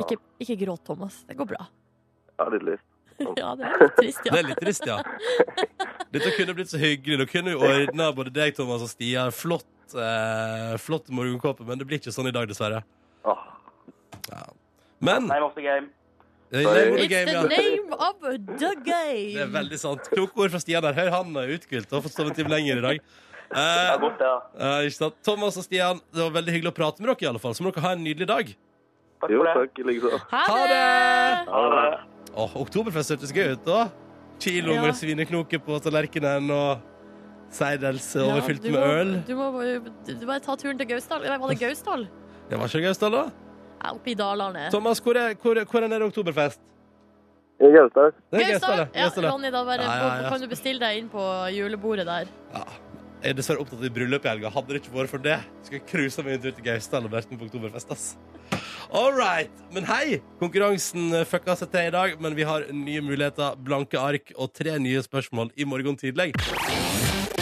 Speaker 2: Ikke, ikke gråt, Thomas. Det går bra.
Speaker 4: Jeg har litt lyst.
Speaker 2: Ja, det er litt trist,
Speaker 1: Det
Speaker 2: ja.
Speaker 1: er litt trist, ja. Dette kunne blitt så hyggelig. Nå kunne vi ordna både deg, Thomas, og Stia en flott, eh, flott morgenkåpe, men det blir ikke sånn i dag, dessverre.
Speaker 4: Åh,
Speaker 1: Ja. Men eh,
Speaker 5: Name of the game.
Speaker 1: det er
Speaker 4: Sorry.
Speaker 1: Molly
Speaker 2: It's
Speaker 1: game,
Speaker 2: the
Speaker 1: ja.
Speaker 2: name of the
Speaker 1: Det er
Speaker 2: game.
Speaker 1: veldig sant. Kloke ord fra Stia der. Hør, han er utgult og har fått sovet litt lenger i dag.
Speaker 5: Det
Speaker 1: Eh,
Speaker 5: er godt, ja.
Speaker 1: eh, ikke sant? Thomas og Stian, det var veldig hyggelig å prate med dere. i alle fall Så må dere ha en nydelig dag.
Speaker 5: Takk
Speaker 4: Jo,
Speaker 5: for det.
Speaker 4: takk, liksom.
Speaker 2: Ha
Speaker 1: Ha det!
Speaker 2: det!
Speaker 4: Ha det.
Speaker 1: Åh, Oktoberfest hørtes gøy ut, da. Kilo
Speaker 2: Ja.
Speaker 1: med svineknoke på tallerkenen og seidels overfylt
Speaker 2: Ja, du
Speaker 1: med
Speaker 2: må-
Speaker 1: øl.
Speaker 2: Du må du bare ta turen til Gausdal. Nei, Var det Gausdal?
Speaker 1: Det var ikke Gausdal, da?
Speaker 2: Ja, Oppe i Dalane.
Speaker 1: Thomas, hvor er, hvor, hvor er nede oktoberfest?
Speaker 4: I Gausdal.
Speaker 1: Det er Gausdal,
Speaker 2: Ja, Ronny, da bare,
Speaker 1: Ja, ja, ja.
Speaker 2: kan du bestille deg inn på julebordet der.
Speaker 1: Ja. Jeg er dessverre opptatt av bryllup i helga. Hadde det ikke vært for det, skulle jeg cruisa meg ut til Gausdal og vært med på Oktoberfest. ass. All right. Men hei, konkurransen fucka seg til i dag, men vi har nye muligheter, blanke ark og tre nye spørsmål i morgen tidlig.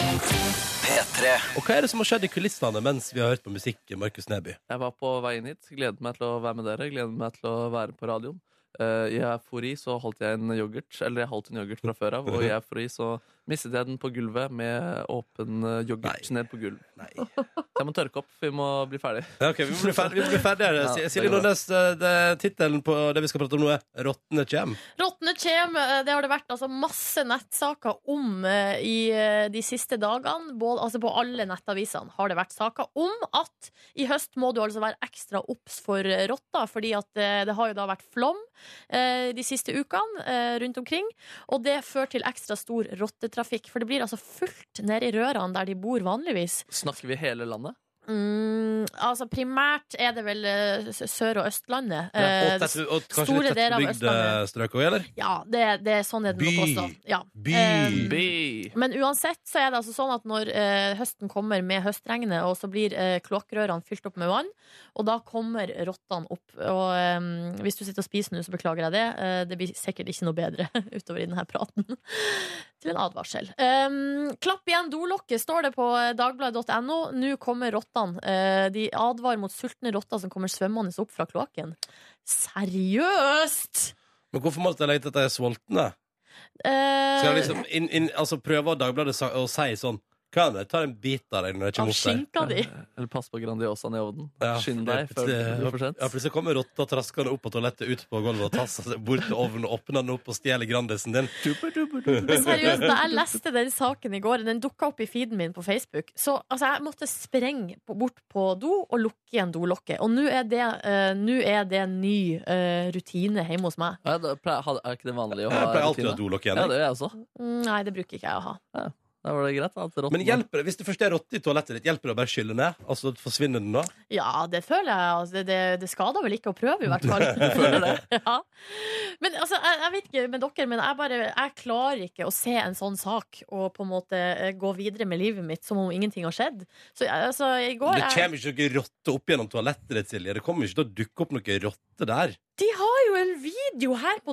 Speaker 3: P3.
Speaker 1: Og hva er det som har skjedd i kulissene mens vi har hørt på musikk, Markus Neby?
Speaker 3: Jeg var på vei inn hit. Gledet meg til å være med dere. Gledet meg til å være på radioen. Eh, I eufori så holdt jeg en yoghurt Eller jeg holdt en yoghurt fra før av, og i eufori så mistet jeg den på gulvet med åpen eh, yoghurt ned på gulv.
Speaker 1: Nei.
Speaker 3: [LAUGHS] Så jeg må tørke opp. Vi må bli ferdig.
Speaker 1: Ja, ok, Vi må bli ferdig. Vi blir ferdigere.
Speaker 3: Ja,
Speaker 1: Si-
Speaker 3: det
Speaker 1: Silje
Speaker 3: går bra.
Speaker 1: Nordnes, eh, det- tittelen på det vi skal prate om nå, er 'Rottene kjem'.
Speaker 2: Rottene kjem, eh, det har det vært altså, masse nettsaker om eh, i eh, de siste dagene. Både, altså, på alle nettavisene har det vært saker om at i høst må du altså være ekstra obs for eh, rotter, fordi at eh, det har jo da vært flom eh, de siste ukene eh, rundt omkring. Og det fører til ekstra stor rottetrafikk, for det blir altså fullt nede i rørene der de bor vanligvis.
Speaker 3: Snakker vi hele landet?
Speaker 2: Mm, altså primært er det vel eh, s- Sør- og Østlandet.
Speaker 1: Og,
Speaker 2: Eh,
Speaker 1: tett, og kanskje
Speaker 2: store
Speaker 1: litt
Speaker 2: deler av
Speaker 1: tettbygde strøk òg, eller?
Speaker 2: ja, det, det, sånn er det nok
Speaker 1: By.
Speaker 2: også. Ja.
Speaker 1: By.
Speaker 2: Eh,
Speaker 3: Bi!
Speaker 2: Men uansett så er det altså sånn at når eh, høsten kommer med høstregnet, og så blir eh, kloakkrørene fylt opp med vann, og da kommer rottene opp. Og eh, hvis du sitter og spiser nå, så beklager jeg det. Eh, det blir sikkert ikke noe bedre [LAUGHS] utover i denne praten. Til en advarsel. Eh, klapp igjen dolokket, står det på eh, dagbladet.no. Nå kommer rottene. Eh, de advarer mot sultne rotter som kommer svømmende opp fra kloakken. Seriøst!
Speaker 1: Men hvorfor måtte jeg legge til at jeg er sulten? da?
Speaker 2: Eh,
Speaker 1: Skal jeg liksom inn, inn, altså prøve Dagbladet sa- å si sånn Kan jeg ta en bit av deg når jeg
Speaker 2: av
Speaker 1: kommer opp der?
Speaker 2: skinka di.
Speaker 3: Eller pass på Grandiosaen i ovnen.
Speaker 1: Ja, for
Speaker 3: Skynd
Speaker 1: det-
Speaker 3: deg før det blir for sent.
Speaker 1: Ja, plutselig kommer rotta traskende opp på toalettet, ut på gulvet og tasser seg bort til ovnen og åpner den opp og stjeler Grandisen din.
Speaker 2: Men seriøst, da jeg leste den saken i går, den dukka opp i feeden min på Facebook, så altså, jeg måtte sprenge på- bort på do og lukke igjen dolokket. Og nå er det, eh, nå er det en ny eh, rutine hjemme hos meg.
Speaker 3: Ja, da pleier, ha- er ikke det vanlig å
Speaker 1: Jeg
Speaker 3: ha
Speaker 1: pleier alltid å ha
Speaker 3: rutine?
Speaker 1: dolokk
Speaker 3: Ja,
Speaker 1: igjen. jeg.
Speaker 3: det gjør jeg også.
Speaker 2: Mm, Nei, det bruker ikke jeg å ha.
Speaker 3: Da var det greit at rotten
Speaker 1: Men hjelper det, hvis det først er rotte i toalettet ditt, hjelper det å bare skylle ned? Altså forsvinner den da?
Speaker 2: Ja, det føler jeg. Altså, det, det, det skader vel ikke å prøve, i hvert
Speaker 1: [LAUGHS]
Speaker 2: fall. [LAUGHS] ja. Men altså, jeg, jeg vet ikke med dere, men jeg, bare, jeg klarer ikke å se en sånn sak og på en måte eh, gå videre med livet mitt som om ingenting har skjedd. Så jeg- altså, i
Speaker 1: Det
Speaker 2: går jeg-
Speaker 1: kommer ikke noen rotte opp gjennom toalettet ditt, Silje. Det kommer ikke til å dukke opp noen rotte der.
Speaker 2: De har jo en video her på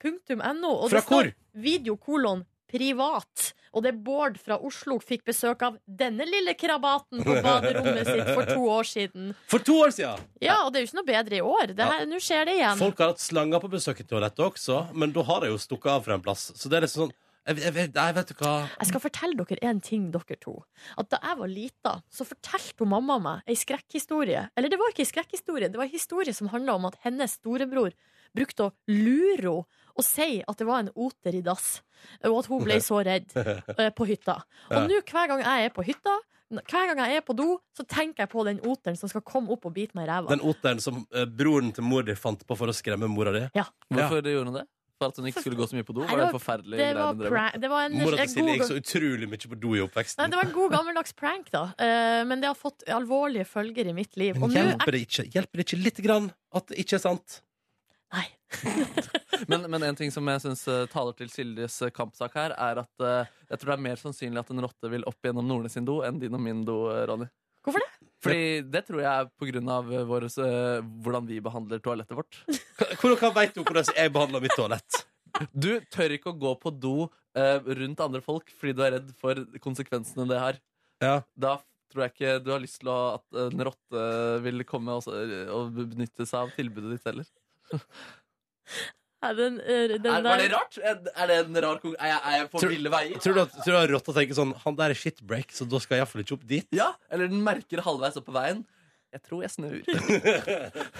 Speaker 2: dagbladet.no. og
Speaker 1: Fra
Speaker 2: det står
Speaker 1: hvor?
Speaker 2: Videokolon privat. Og det er Bård fra Oslo fikk besøk av denne lille krabaten
Speaker 1: [LAUGHS]
Speaker 2: på baderommet sitt for to år siden.
Speaker 1: For to år siden!
Speaker 2: Ja, og det er jo ikke noe bedre i år. Det her- Nå skjer det igjen.
Speaker 1: Folk har hatt slanger på besøk i toalettet også, men da har de jo stukket av fra en plass. Så det er liksom sånn jeg, jeg, vet- jeg vet ikke hva
Speaker 2: Jeg skal fortelle dere en ting, dere to. At da jeg var lita, så fortalte hun mamma meg ei skrekkhistorie. Eller det var ikke ei skrekkhistorie, det var ei historie som handla om at hennes storebror brukte å lure henne og si at det var en oter i dass, og at
Speaker 1: [LAUGHS]
Speaker 2: hun ble så redd eh, på hytta. Og nå hver gang jeg er på hytta, n- hver gang jeg er på do, så tenker jeg på den oteren som skal komme opp og bite meg i ræva.
Speaker 1: Den oteren som eh, broren til mor di fant på for å skremme mora di.
Speaker 3: Hvorfor gjorde hun det? For at hun ikke skulle gå så mye på do?
Speaker 2: Nei,
Speaker 3: Var
Speaker 2: det
Speaker 3: det
Speaker 2: var-
Speaker 3: forferdelig
Speaker 2: Det var,
Speaker 3: hun drev med?
Speaker 2: pra- det var en,
Speaker 1: Mora
Speaker 2: en
Speaker 1: til Silje
Speaker 2: god
Speaker 1: gikk så utrolig mye på do i
Speaker 2: Nei,
Speaker 1: oppveksten.
Speaker 2: det var en god gammeldags prank, da. Eh, men det har fått alvorlige følger i mitt liv. Og
Speaker 1: Men
Speaker 2: nå er
Speaker 1: hjelper det ikke Hjelper det ikke lite grann at det ikke er sant?
Speaker 2: Nei.
Speaker 3: Men, men en ting som jeg syns taler til Siljes eh, kampsak her, er at eh, jeg tror det er mer sannsynlig at en rotte vil opp gjennom Nordnes sin do enn din og min do, eh, Ronny.
Speaker 2: Hvorfor
Speaker 3: det? Fordi det tror jeg er på grunn av eh, vår, eh, hvordan vi behandler toalettet vårt.
Speaker 1: Hva- Hvordan veit du hvordan jeg behandler mitt toalett?
Speaker 3: Du tør ikke å gå på do eh, rundt andre folk fordi du er redd for konsekvensene det har.
Speaker 1: Ja.
Speaker 3: Da tror jeg ikke du har lyst til å, at en rotte vil komme og, og benytte seg av tilbudet ditt heller.
Speaker 2: Nei, den, eh, den
Speaker 3: Er, var det
Speaker 2: der-
Speaker 3: rart? Er, er det en rar kon- Er jeg, er jeg på
Speaker 1: Tror-
Speaker 3: ville veier?
Speaker 1: Tror du at, tror du at rotta tenker sånn Han der er shitbreak, så da skal jeg iallfall ikke opp dit?
Speaker 3: Ja, Eller den merker halvveis opp på veien. Jeg tror jeg snur. [LAUGHS]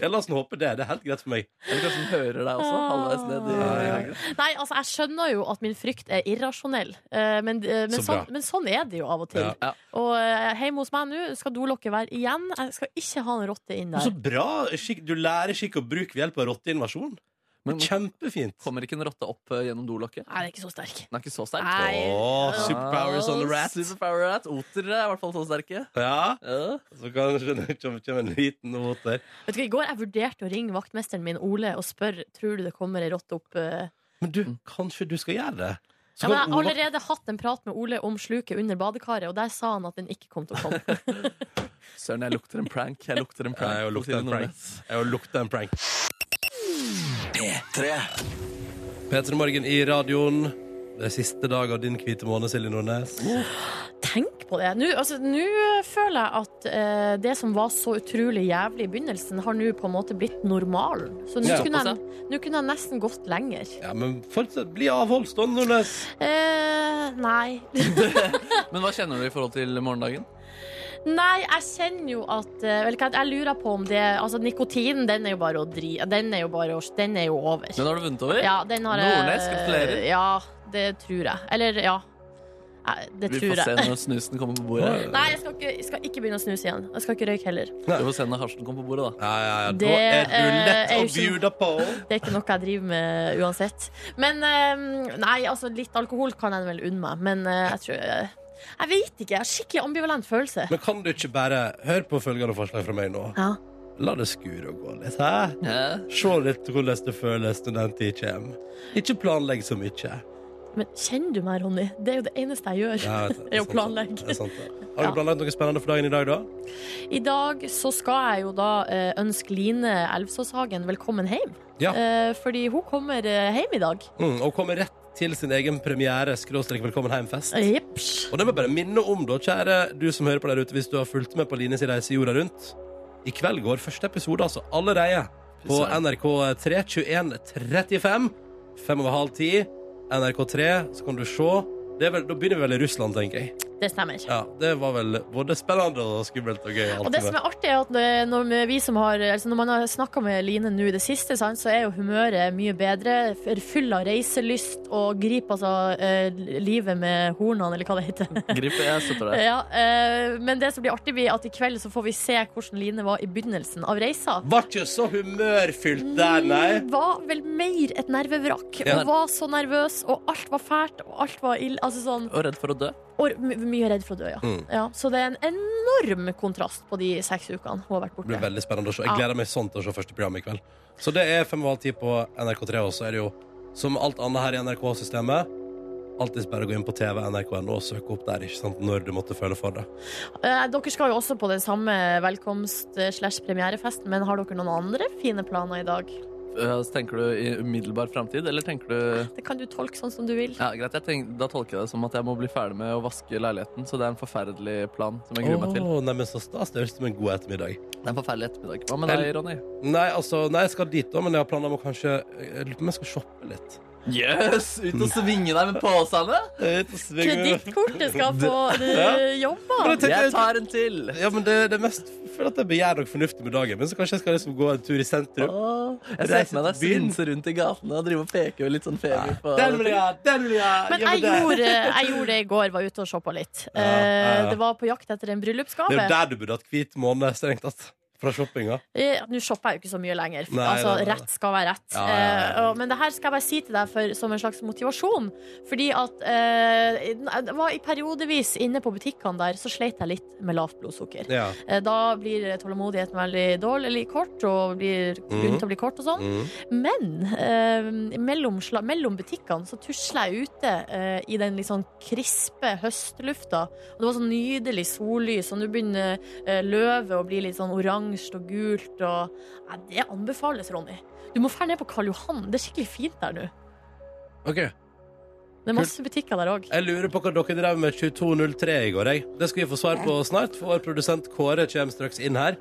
Speaker 1: Ja, la oss nå håpe det. Det er helt greit for meg.
Speaker 3: Eller kanskje den hører deg også. halvveis ned i
Speaker 2: Ah. Nei, altså, jeg skjønner jo at min frykt er irrasjonell, eh, men, eh, men,
Speaker 1: Så bra.
Speaker 2: sånn, men sånn er det jo av og til.
Speaker 1: Ja.
Speaker 3: Ja.
Speaker 2: Og eh, hjemme hos meg nå skal dolokket være igjen. Jeg skal ikke ha en rotte inn
Speaker 1: Men
Speaker 2: der.
Speaker 1: Så bra! Skikk, du lærer skikk og bruk ved hjelp av rotteinvasjon.
Speaker 3: Men
Speaker 1: Kjempefint.
Speaker 3: kommer ikke en rotte opp eh, gjennom dolokket?
Speaker 2: Nei, den er ikke så sterk.
Speaker 3: Den er ikke så sterk.
Speaker 2: Nei. Ah.
Speaker 1: Åh, superpowers on the rat.
Speaker 3: Superpower rat. Otere er i hvert fall så sterke.
Speaker 1: Ja,
Speaker 3: Ja.
Speaker 1: så kanskje det kommer kommer en liten mot der.
Speaker 2: Vet du hva, I går jeg vurderte å ringe vaktmesteren min Ole og spørre Tror du det kommer ei rotte opp. eh?
Speaker 1: Men du, kanskje du skal gjøre det? Så
Speaker 2: Ja, men jeg
Speaker 1: kan
Speaker 2: har
Speaker 1: Ola-
Speaker 2: allerede hatt en prat med Ole om sluket under badekaret, og der sa han at den ikke kom til å komme.
Speaker 3: Søren, jeg lukter en prank. Jeg lukter en
Speaker 1: Nei,
Speaker 3: prank.
Speaker 1: jeg lukter en prank. Jeg har lukta en prank.
Speaker 2: E
Speaker 1: P3 Morgen i radioen. Det er siste dag av din hvite måned, Silje Nordnes.
Speaker 2: Tenk på det. Nå altså, nå føler jeg at eh, det som var så utrolig jævlig i begynnelsen, har nå på en måte blitt normalen. Så nå
Speaker 1: Ja.
Speaker 2: kunne, jeg, nå kunne jeg nesten gått lenger.
Speaker 1: Ja, men fortsett, bli avholdsstående, Nordnes.
Speaker 2: Eh, nei.
Speaker 3: Men hva kjenner du i forhold til morgendagen?
Speaker 2: Nei, jeg kjenner jo at eh, Vel, hva- jeg lurer på om det Altså, nikotinen, den er jo bare å dri... Den er jo bare å Den er jo over.
Speaker 3: Den har du vunnet over?
Speaker 2: Ja, den har jeg
Speaker 3: Nordnes, gratulerer.
Speaker 2: Ja, det tror jeg. Eller, ja. Jeg- Det
Speaker 3: Vi
Speaker 2: tror
Speaker 3: får se
Speaker 2: jeg.
Speaker 3: når snusen kommer på bordet.
Speaker 2: Nei, jeg skal ikke, jeg skal ikke begynne å snuse igjen. Jeg skal ikke røyke heller.
Speaker 3: Vi får se når hasjen kommer på bordet, da.
Speaker 1: Ja, ja, ja. Da
Speaker 2: Det,
Speaker 1: er du
Speaker 2: eh,
Speaker 1: lett
Speaker 2: er
Speaker 1: å
Speaker 2: jo ikke
Speaker 1: bjuda på.
Speaker 2: Det er ikke noe jeg driver med uansett. Men eh, nei, altså, litt alkohol kan jeg vel unne meg. Men eh, jeg tror eh, Jeg vet ikke. Jeg har skikkelig ambivalent følelse.
Speaker 1: Men kan du ikke bare Hør på følgende forslag fra meg nå.
Speaker 2: Ja.
Speaker 1: La det skure og gå litt, hæ? Se litt hvordan det føles når den tid kommer. Ikke planlegg så mye.
Speaker 2: Men kjenner du meg, Ronny? Det er jo det eneste jeg gjør.
Speaker 1: Ja, jeg vet det.
Speaker 2: [LAUGHS] Det er jo
Speaker 1: sant, det.
Speaker 2: planlegg.
Speaker 1: Det er sant, det. Har
Speaker 2: Ja.
Speaker 1: du planlagt noe spennende for dagen i dag, da?
Speaker 2: I dag så skal jeg jo da eh, ønske Line Elvsåshagen velkommen hjem.
Speaker 1: Ja.
Speaker 2: Eh, fordi hun kommer eh, hjem i dag.
Speaker 1: Mm, og kommer rett til sin egen premiere, skråstrek velkommen heimfest.
Speaker 2: Jips.
Speaker 1: Og det må jeg bare minne om, da, kjære du som hører på der ute, hvis du har fulgt med på Lines reise jorda rundt. I kveld går første episode, altså, allerede på
Speaker 3: Fy søren.
Speaker 1: NRK3 21.35. Fem over halv ti. NRK3, så kan du se. Det er vel, da begynner vi vel i Russland, tenker jeg.
Speaker 2: Det stemmer.
Speaker 1: Ja, Det var vel både spennende og skummelt og gøy. alt
Speaker 2: Og det
Speaker 1: med.
Speaker 2: som er artig, er at det- når, vi- vi som har, altså når man har snakka med Line nå i det siste, sant, så er jo humøret mye bedre. f- Full av reiselyst og griper altså eh, livet med hornene, eller hva det
Speaker 1: [LAUGHS]
Speaker 2: heter.
Speaker 3: Grip, jeg støtter deg.
Speaker 2: ja, eh, men det som blir artig, blir at i kveld så får vi se hvordan Line var i begynnelsen av reisa.
Speaker 1: Var ikke så humørfylt der, nei.
Speaker 2: Var vel mer et nervevrak.
Speaker 1: Ja.
Speaker 2: Og var så nervøs, og alt var fælt, og alt var ille. Altså sånn,
Speaker 3: Og redd for å dø.
Speaker 2: og my mye redd for å dø, ja.
Speaker 1: Mm.
Speaker 2: ja. Så det er en enorm kontrast på de seks ukene hun har vært
Speaker 1: Det blir
Speaker 2: borte.
Speaker 1: veldig spennende å se. Jeg gleder meg sånn til å se første program i kveld. Så det er fem og halv ti på NRK3, og så er det jo som alt annet her i NRK-systemet. Alltid bare gå inn på TV, NRK.no og søke opp der, ikke sant, når du måtte føle for det.
Speaker 2: Eh, dere skal jo også på den samme velkomst-slash-premierefesten, men har dere noen andre fine planer i dag?
Speaker 3: Eh, så tenker du i umiddelbar framtid, eller tenker du
Speaker 2: Det kan du tolke sånn som du vil.
Speaker 3: ja, greit, jeg tenk, Da tolker jeg det som at jeg må bli ferdig med å vaske leiligheten. Så det er en forferdelig plan som jeg gruer meg til.
Speaker 1: Åh, nei, men så stas. Det høres ut som en god ettermiddag.
Speaker 3: Det er en forferdelig ettermiddag. Hva med deg, Ronny?
Speaker 1: Nei, altså, nei, jeg skal dit da, men jeg har planer om å kanskje Jeg lurer på om jeg skal shoppe litt.
Speaker 3: Yes! Ut og svinge deg med påsene!
Speaker 2: Kredittkortet skal få
Speaker 1: [LAUGHS] Ja.
Speaker 2: uh, jobba!
Speaker 1: Men jeg
Speaker 3: [LAUGHS] Jeg
Speaker 1: tenkte,
Speaker 3: tar en til!
Speaker 1: ja, men det, det er mest for at jeg begjær noe fornuftig med dagen, men så kanskje jeg skal liksom gå en tur i sentrum.
Speaker 3: Åh, jeg ser
Speaker 1: Reise
Speaker 3: for meg deg
Speaker 1: til byen.
Speaker 3: svinse rundt i gatene og drive og peke litt sånn feber på
Speaker 1: Den vil jeg ha! Den vil jeg ha!
Speaker 2: Men
Speaker 1: Gjør
Speaker 2: jeg
Speaker 1: meg det.
Speaker 2: gjorde, jeg gjorde det i går, var ute og shoppa litt.
Speaker 1: Ja, ja, ja.
Speaker 2: Eh, Det var på jakt etter
Speaker 1: Det er
Speaker 2: en
Speaker 1: jo
Speaker 2: bryllupsgave.
Speaker 1: der du burde hatt hvit måned, strengt tatt. Fra shoppinga.
Speaker 2: Eh, Nå shopper jeg jo ikke så mye lenger.
Speaker 1: Nei,
Speaker 2: altså,
Speaker 1: nei, nei.
Speaker 2: Rett skal være rett.
Speaker 1: Ja, ja, ja, ja.
Speaker 2: Eh, og- Men det her skal jeg bare si til deg for, som en slags motivasjon. Fordi at eh, jeg var i periodevis inne på butikkene der, så sleit jeg litt med lavt blodsukker.
Speaker 1: Ja.
Speaker 2: Eh, Da blir tålmodigheten veldig dårlig eller kort, og blir begynt å bli kort og sånn. Men eh, mellom, sla- mellom butikkene så tusler jeg ute eh, i den litt sånn krispe høstlufta. Og det var sånn nydelig sollys, og nå begynner eh, løvet å bli litt sånn oransje og gult. Og... Nei, det anbefales, Ronny. Du må dra ned på Karl Johan. Det er skikkelig fint der nå.
Speaker 1: Ok,
Speaker 2: Det er masse butikker der òg.
Speaker 1: Jeg lurer på hva dere drev med 22.03 i går. Jeg. Det skal vi få svar på snart, for vår produsent Kåre kommer straks inn her.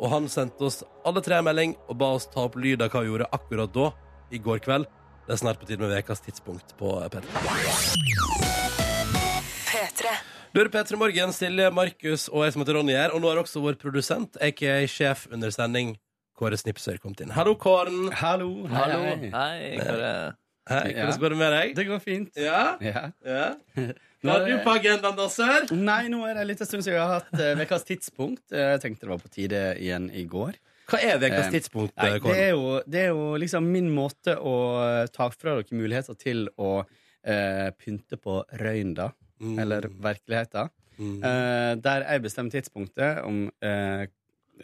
Speaker 1: Og han sendte oss alle tre en melding og ba oss ta opp lyd av hva vi gjorde akkurat da. I går kveld. Det er snart på tide med ukas tidspunkt på P3. Du er P3 Morgen, Silje, Markus og jeg som heter Ronny her. Og nå har også vår produsent, aka sjef under sending, Kåre Snipsøy, kommet inn. Hallo, Kåren.
Speaker 6: Hallo. hei,
Speaker 3: Hallo.
Speaker 6: hei.
Speaker 3: Hei, Kåre.
Speaker 1: Hei,
Speaker 6: Ja.
Speaker 1: Hvordan går det med deg?
Speaker 6: Det går fint.
Speaker 1: Ja?
Speaker 6: Ja.
Speaker 1: [LAUGHS] ja.
Speaker 6: Nå
Speaker 1: Hva har
Speaker 6: er
Speaker 1: du
Speaker 6: det-
Speaker 1: på agendaen, da, sør?
Speaker 6: Eh, Nei, nå er det litt en stund siden jeg har hatt uh, ukas tidspunkt. Eh, Jeg tenkte det var på tide igjen i går.
Speaker 1: Hva er ukas
Speaker 6: Eh,
Speaker 1: tidspunkt?
Speaker 6: Nei,
Speaker 1: eh,
Speaker 6: det,
Speaker 1: Kåren?
Speaker 6: er jo, det er jo liksom min måte å eh, ta fra dere muligheter til å eh, pynte på røynda,
Speaker 1: Mm,
Speaker 6: eller virkeligheten.
Speaker 1: mm.
Speaker 6: Eh, der jeg bestemmer tidspunktet om eh,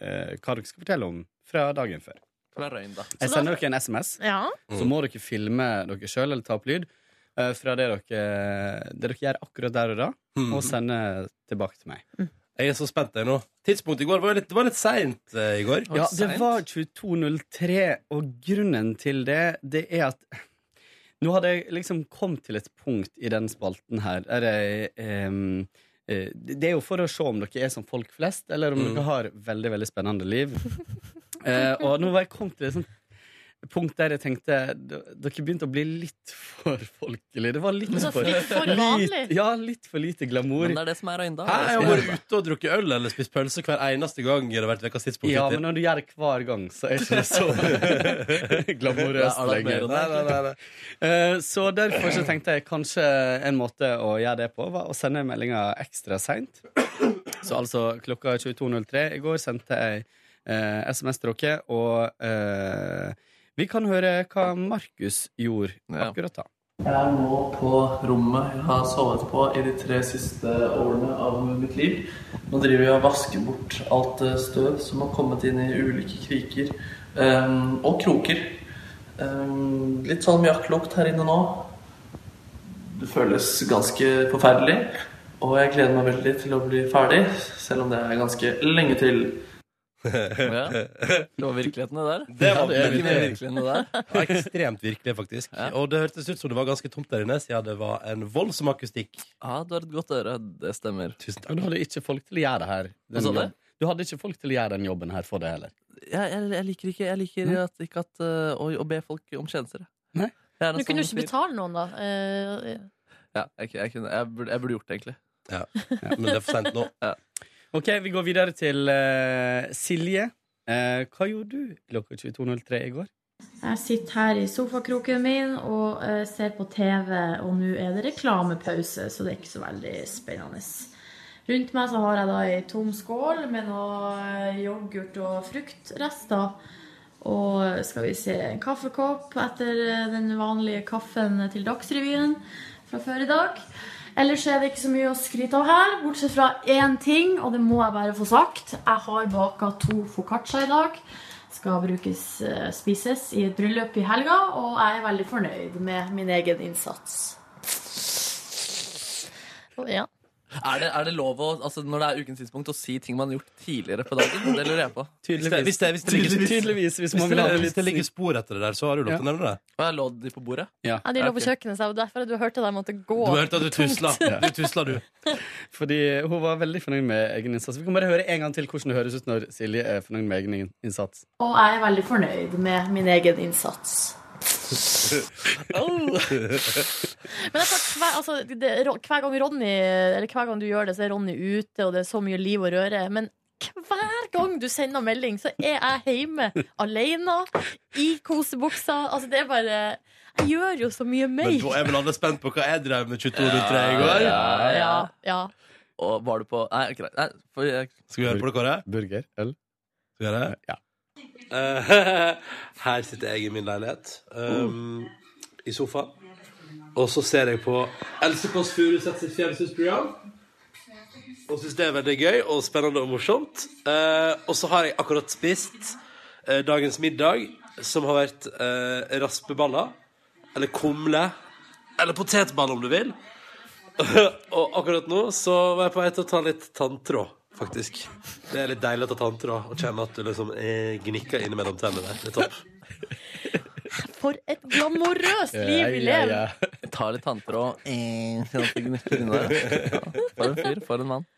Speaker 6: eh, hva dere skal fortelle om fra dagen før.
Speaker 3: Fra røyn, da.
Speaker 6: Jeg
Speaker 2: Så da-
Speaker 6: sender dere en SMS,
Speaker 2: Ja.
Speaker 1: Mm.
Speaker 6: så må dere filme dere sjøl eller ta opp lyd eh, fra det dere, det dere gjør akkurat der og da,
Speaker 1: Mm.
Speaker 6: og sende tilbake til meg.
Speaker 1: Jeg er så spent jeg nå. Tidspunktet i går var jo litt, det var litt seint eh, i går.
Speaker 3: Oi,
Speaker 6: Ja, det
Speaker 3: sent.
Speaker 6: var 22.03, og grunnen til det, det er at Nå hadde jeg liksom kommet til et punkt i den spalten her der jeg ehm, eh, Det er jo for å se om dere er som folk flest, eller om
Speaker 1: Mm.
Speaker 6: dere har veldig, veldig spennende liv. Eh, og nå var jeg kommet til et sånt punkt der jeg tenkte d- Dere begynte å bli litt for folkelige. Det var litt [LAUGHS]
Speaker 2: Så
Speaker 6: for,
Speaker 2: litt for vanlig.
Speaker 6: Litt, ja, litt for lite glamour.
Speaker 3: Men det er det som er røyn, da.
Speaker 1: Hæ, jeg har vært ute og drukket øl eller spist pølse hver eneste gang det har vært ukas tidspunkt.
Speaker 6: Ja,
Speaker 1: hittil.
Speaker 6: men når du gjør det hver gang, så er ikke det
Speaker 3: [LAUGHS]
Speaker 6: så glamorøst
Speaker 3: Det er
Speaker 6: lenger.
Speaker 3: alarmerende.
Speaker 6: Nei, nei, nei, nei. Eh, Så derfor så tenkte jeg kanskje en måte å gjøre det på, var å sende meldinga ekstra seint. Så altså klokka 22.03 i går sendte jeg eh, SMS til dere, og eh, vi kan høre hva Markus gjorde
Speaker 3: Ja.
Speaker 6: akkurat da.
Speaker 7: Jeg er nå på rommet jeg har sovet på i de tre siste årene av mitt liv. Nå driver jeg og vasker bort alt eh, støv som har kommet inn i ulike kriker ehm, og kroker. Ehm, litt sånn mjakklukt her inne nå. Det føles ganske forferdelig. Og jeg gleder meg veldig til å bli ferdig, selv om det er ganske lenge til.
Speaker 3: Ja. Det var virkeligheten, det der.
Speaker 1: Det var
Speaker 3: det er ikke mer
Speaker 1: virkelig.
Speaker 3: virkelig enn det der.
Speaker 1: Det var ekstremt virkelig, faktisk.
Speaker 3: Ja.
Speaker 1: Og det hørtes ut som det var ganske tomt der inne, siden det var en voldsom akustikk.
Speaker 3: Ja, du har et godt øre. Det stemmer.
Speaker 1: Tusen takk.
Speaker 6: Og du hadde ikke folk til å gjøre det her.
Speaker 3: Hva sa du?
Speaker 6: jobben. Du hadde ikke folk til å gjøre den jobben her for deg heller.
Speaker 3: Jeg, jeg, jeg liker ikke, jeg liker at, ikke at, eh, å, å be folk om tjenester. jeg.
Speaker 6: Nei.
Speaker 3: Jeg er en
Speaker 2: Du kunne jo
Speaker 3: sånn
Speaker 2: ikke
Speaker 3: fyr.
Speaker 2: betale noen, da. Eh,
Speaker 3: Ja, jeg, jeg, kunne, jeg, burde, jeg burde gjort det, egentlig.
Speaker 1: Men det er for sent nå.
Speaker 6: Ok, vi går videre til eh, Silje. Eh, hva gjorde du klokka 22.03 i går?
Speaker 2: Jeg sitter her i sofakroken min og eh, ser på TV, og nå er det reklamepause, så det er ikke så veldig spennende. Rundt meg så har jeg da ei tom skål med noe eh, yoghurt og fruktrester. Og skal vi se en kaffekopp etter eh, den vanlige kaffen til Dagsrevyen fra før i dag. Ellers er det ikke så mye å skryte av her, bortsett fra én ting, og det må jeg bare få sagt. Jeg har baka to foccaccia i dag. Skal brukes, eh, spises i et bryllup i helga, og jeg er veldig fornøyd med min egen innsats. Ja.
Speaker 3: Er det, er det lov å, altså, når det er ukens tidspunkt, å si ting man har gjort tidligere på dagen? Det lurer jeg på.
Speaker 1: Hvis det, hvis det, hvis det, ligger,
Speaker 6: [LAUGHS] Tydeligvis, tydeligvis hvis man
Speaker 1: hvis
Speaker 6: vil ha
Speaker 1: det,
Speaker 6: det
Speaker 1: hvis
Speaker 6: litt
Speaker 1: det ligger spor etter det der, så har du lov til å nevne det.
Speaker 3: Og jeg lå de på bordet.
Speaker 2: De
Speaker 3: lå på
Speaker 2: kjøkkenet, så derfor du hørte at jeg måtte gå.
Speaker 1: Du har hørt at du tusla. Du tusla, du.
Speaker 6: Fordi hun var veldig fornøyd med egen innsats. Vi kan bare høre en gang til hvordan det høres ut når Silje er fornøyd med egen innsats.
Speaker 2: Og jeg er veldig fornøyd med min egen innsats. Men jeg tror hver, altså, det, hver gang Ronny Eller hver gang du gjør det, så er Ronny ute, og det er så mye liv og røre. Men hver gang du sender melding, så er jeg hjemme alene i kosebuksa. Altså, det er bare Jeg gjør jo så mye
Speaker 1: Men da
Speaker 2: mer.
Speaker 1: er vel alle spent på hva jeg drev med 22.03 i går?
Speaker 3: Ja,
Speaker 2: Ja,
Speaker 3: ja.
Speaker 2: ja.
Speaker 3: Og var du på Nei, greit. Nei, for jeg,
Speaker 1: Skal vi høre på det, Kåre?
Speaker 6: Burger, øl.
Speaker 1: Skal vi gjøre det?
Speaker 6: Ja.
Speaker 1: Eh, [LAUGHS] her sitter jeg i min leilighet um, i sofaen. Og så ser jeg på Else Kåss Furuseth sitt fjernsynsprogram. Og syns det er veldig gøy og spennende og morsomt. Eh, og så har jeg akkurat spist eh, dagens middag, som har vært eh, raspeballer. Eller kumle. Eller potetball, om du vil. [LAUGHS] og akkurat nå så var jeg på vei til å ta litt tanntråd, faktisk. Det er litt deilig å ta tanntråd og kjenne at du liksom eh, gnikker innimellom tennene. Det er topp.
Speaker 2: For et glamorøst liv vi
Speaker 6: Eh, Ja, ja,
Speaker 2: lever.
Speaker 6: ja.
Speaker 3: tar litt tanntråd eh, sånn at det gnikker inni der. ja, For en fyr. For en mann.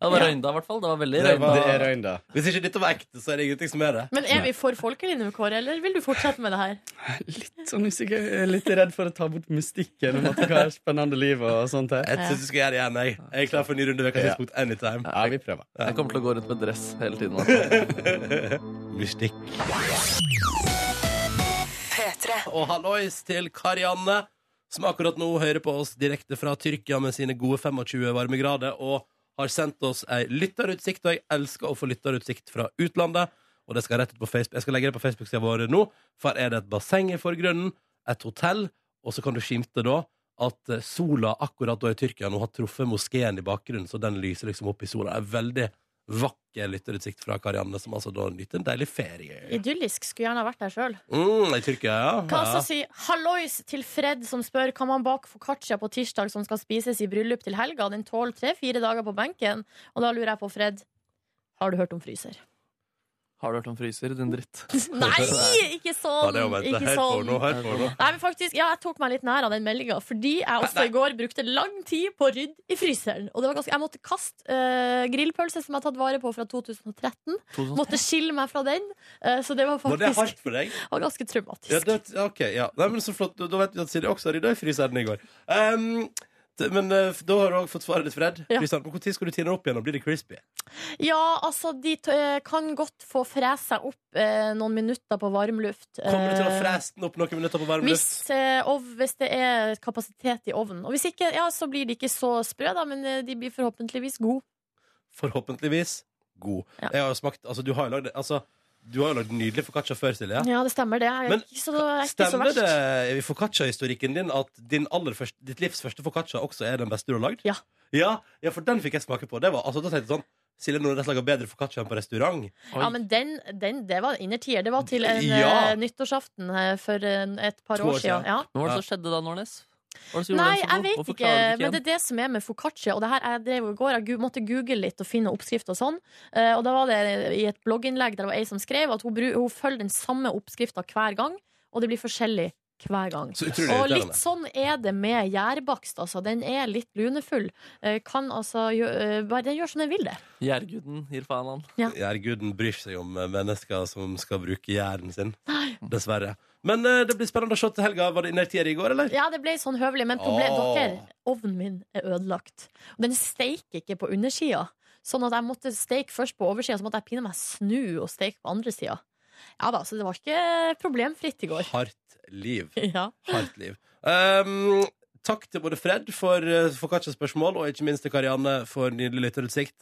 Speaker 3: Ja, det var røynda, i hvert fall. Det var veldig
Speaker 1: [LAUGHS] Det var-
Speaker 3: røynda.
Speaker 6: Det er røynda.
Speaker 1: [LAUGHS] Hvis ikke dette var ekte, så er det ingenting som er det.
Speaker 2: Men er vi for folkelige nå, Kåre, eller vil du fortsette med det her?
Speaker 6: Litt sånn usikker. Jeg er litt redd for å ta bort mystikken om at det er spennende liv og sånt her.
Speaker 1: Jeg syns du skal gjøre det igjen. Jeg Jeg er klar for en ny runde ved tidspunkt anytime.
Speaker 6: Ja, vi prøver.
Speaker 3: Jeg kommer til å gå rundt med dress hele tiden. Altså.
Speaker 1: Mystikk. Og hallois til Karianne, som akkurat nå hører på oss direkte fra Tyrkia med sine gode 25 varmegrader, og har sendt oss ei lytterutsikt, og jeg elsker å få lytterutsikt fra utlandet. Og det skal rett ut på Facebook. Jeg skal legge det på Facebook-sida vår nå. For her er det et basseng i forgrunnen, et hotell, og så kan du skimte da at eh, sola akkurat da i Tyrkia nå har truffet moskeen i bakgrunnen, så den lyser liksom opp i sola. Det er veldig vakker lytterutsikt fra Karianne, som altså da nyter en deilig ferie.
Speaker 2: Idyllisk. Skulle gjerne ha vært der sjøl.
Speaker 1: Mm, I Tyrkia, ja.
Speaker 2: Kan også
Speaker 1: ja.
Speaker 2: si hallois til Fred, som spør kan man bake foccaccia på tirsdag som skal spises i bryllup til helga. Den tåler tre-fire dager på benken. Og da lurer jeg på, Fred, har du hørt om
Speaker 1: [LAUGHS]
Speaker 2: fryser?
Speaker 3: Har du hørt om fryser, din dritt?
Speaker 2: Nei, ikke
Speaker 1: Ja,
Speaker 2: sånn!
Speaker 1: det er jo vent,
Speaker 2: Ikke
Speaker 1: Hør på nå,
Speaker 2: sånn.
Speaker 1: hør på nå.
Speaker 2: Nei, men faktisk, ja, Jeg tok meg litt nær av den meldinga, fordi jeg også i går brukte lang tid på å rydde i fryseren. Og det var ganske, Jeg måtte kaste eh, grillpølse som jeg har tatt vare på fra 2013.
Speaker 3: sånn-
Speaker 2: Måtte skille meg fra den. eh, så det var
Speaker 1: Var det
Speaker 2: faktisk
Speaker 1: hardt for deg?
Speaker 2: var ganske traumatisk.
Speaker 1: Ja, det, ok, ja. Nei, men så flott. Da- Da vet vi at Silje også har rydda i fryseren i går. Ehm, t- men eh, da har du også fått svaret ditt, Fred.
Speaker 2: Ja.
Speaker 1: Fryseren. Men Når skal du tine det opp igjen og blir det crispy?
Speaker 2: Ja, altså, de t eh, kan godt få frese seg opp eh, noen minutter på varmluft. eh,
Speaker 1: Kommer du til å frese den opp noen minutter på varm
Speaker 2: Hvis,
Speaker 1: luft?
Speaker 2: eh, ov, hvis det er kapasitet i ovnen. Og hvis ikke, ja, så blir de ikke så sprø, da, men eh, de blir forhåpentligvis gode.
Speaker 1: Forhåpentligvis god.
Speaker 2: Ja.
Speaker 1: Jeg har jo smakt Altså, du har jo lagd altså, du har jo lagd nydelig foccaccia før, Silje.
Speaker 2: Ja, det stemmer, det. Jeg er
Speaker 1: Men
Speaker 2: ikke så, jeg er ikke så
Speaker 1: Stemmer
Speaker 2: verst.
Speaker 1: det eh, i foccaccia-historikken din at din aller første, ditt livs første foccaccia også er den beste du har lagd?
Speaker 2: Ja.
Speaker 1: ja. Ja, for den fikk jeg smake på. Det var, altså, da tenkte jeg sånn Silje Nordnes lager bedre foccaccia enn på restaurant.
Speaker 3: Oi.
Speaker 2: Ja, men den, den, det var innertier. Det var til en
Speaker 1: Ja.
Speaker 2: eh, nyttårsaften eh, for en, et par
Speaker 1: To år
Speaker 2: år siden.
Speaker 1: siden.
Speaker 2: Ja.
Speaker 3: Men hva var det som skjedde da, Nordnes? Hva var det som gjorde
Speaker 2: Nei,
Speaker 3: den så
Speaker 2: jeg
Speaker 3: god?
Speaker 2: vet
Speaker 3: Hvorfor
Speaker 2: ikke,
Speaker 3: klarer den
Speaker 2: men det
Speaker 3: igjen?
Speaker 2: er det som er med foccaccia. Og det her, jeg drev jo i går, jeg gu- måtte google litt og finne oppskrift og sånn. Eh, og da var det i et blogginnlegg der det var ei som skrev at hun, bru- hun følger den samme oppskrifta hver gang, og det blir forskjellig hver gang.
Speaker 1: Så utrolig
Speaker 2: Og
Speaker 1: irriterende.
Speaker 2: litt sånn er det med gjærbakst, altså. Den er litt lunefull. Eh, kan altså gjø eh, bare, Den gjør som den vil, det.
Speaker 3: Gjærguden gir faen han.
Speaker 1: Gjærguden bryr seg om eh, mennesker som skal bruke gjæren sin. Dessverre. Men eh, det blir spennende å se til helga. Var det innertier i går, eller?
Speaker 2: Ja, det ble sånn høvelig, men problem,
Speaker 1: Åh.
Speaker 2: dere, ovnen min er ødelagt. Og den steiker ikke på undersida. Sånn at jeg måtte steike først på oversida, så måtte jeg pinne meg snu og steike på andre sida. Ja da, så det var ikke problemfritt i går. [LAUGHS]
Speaker 1: Hardt liv.
Speaker 2: Ja.
Speaker 1: Hardt liv. Um, takk til både Fred for eh, foccaccia-spørsmål, og ikke minst til Karianne for nydelig lytterutsikt.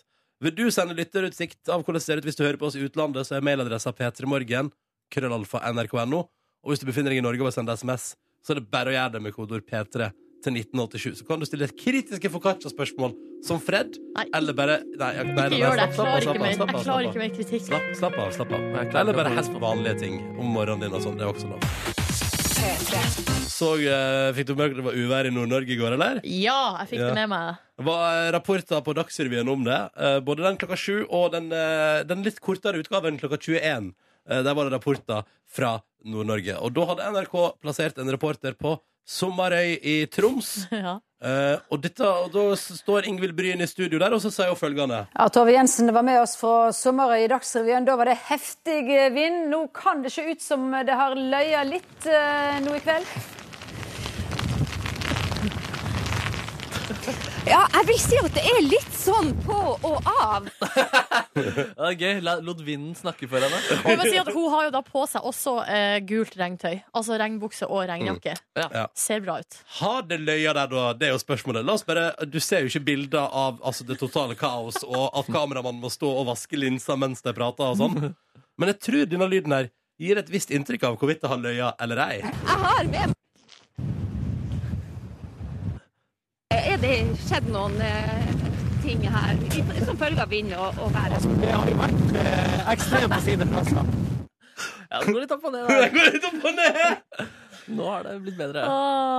Speaker 1: Vil du sende lytterutsikt av hvordan det ser ut hvis du hører på oss i utlandet, så er mailadressa p3morgen, krøllalfa nrk.no. Og hvis du befinner deg i Norge og vil sende SMS, så er det bare å gjøre det med kodeord P3 til 1987. Så kan du stille kritiske foccaccia-spørsmål som Fred,
Speaker 2: Nei,
Speaker 1: eller bare Nei, jeg- nei, nei,
Speaker 2: ikke
Speaker 1: nei,
Speaker 2: gjør
Speaker 1: slapp-
Speaker 2: det. Jeg
Speaker 1: slapp av,
Speaker 2: klarer
Speaker 1: slapp av,
Speaker 2: ikke
Speaker 1: slapp av,
Speaker 2: mer, jeg klarer
Speaker 1: slapp av.
Speaker 2: ikke mer kritikk.
Speaker 1: Slapp, slapp av, slapp av.
Speaker 3: Jeg klarer
Speaker 1: Eller bare
Speaker 3: ikke å
Speaker 1: helt
Speaker 3: holde-
Speaker 1: vanlige ting om morgenen din og sånn. Det er også lov. Så eh, Fikk du med dere det var uvær i Nord-Norge i går, eller?
Speaker 2: Ja, jeg fikk
Speaker 1: Ja.
Speaker 2: det med meg. [LAUGHS]
Speaker 1: Det var eh, rapporter på Dagsrevyen om det. eh, Både den klokka sju og den, eh, den litt kortere utgaven klokka 21. Eh, Der var det rapporter fra Nord-Norge. Og da hadde NRK plassert en reporter på Sommarøy i Troms.
Speaker 2: Ja.
Speaker 1: Eh, og, dette, og da s- står Ingvild Bryn i studio der, og så sier hun følgende.
Speaker 8: Ja, Tove Jensen var med oss fra Sommerøy i Dagsrevyen. Da var det heftig
Speaker 9: eh,
Speaker 8: eh, vind. Nå kan det se ut som det har løya litt eh, nå i kveld.
Speaker 9: Ja, jeg vil si at det er litt sånn på og av.
Speaker 3: Ja, det er gøy. La- Lot vinden snakke for henne.
Speaker 2: Og jeg må si at Hun har jo da på seg også eh, gult regntøy. Altså regnbukse og regnjakke.
Speaker 1: Ja.
Speaker 2: Ser bra ut.
Speaker 1: Har det løya der, da? Det er jo spørsmålet. La oss bare, Du ser jo ikke bilder av altså, det totale kaos, og at kameramannen må stå og vaske linsa mens de prater og sånn. Men jeg tror denne lyden her gir et visst inntrykk av hvorvidt det har løya eller ei.
Speaker 9: Jeg har med Er det skjedd noen eh, ting her i- som følge av vind og, og været?
Speaker 3: Ja, det går litt opp og
Speaker 1: [LAUGHS]
Speaker 3: ned. da.
Speaker 1: Gå litt opp og ned!
Speaker 3: Nå har det blitt bedre.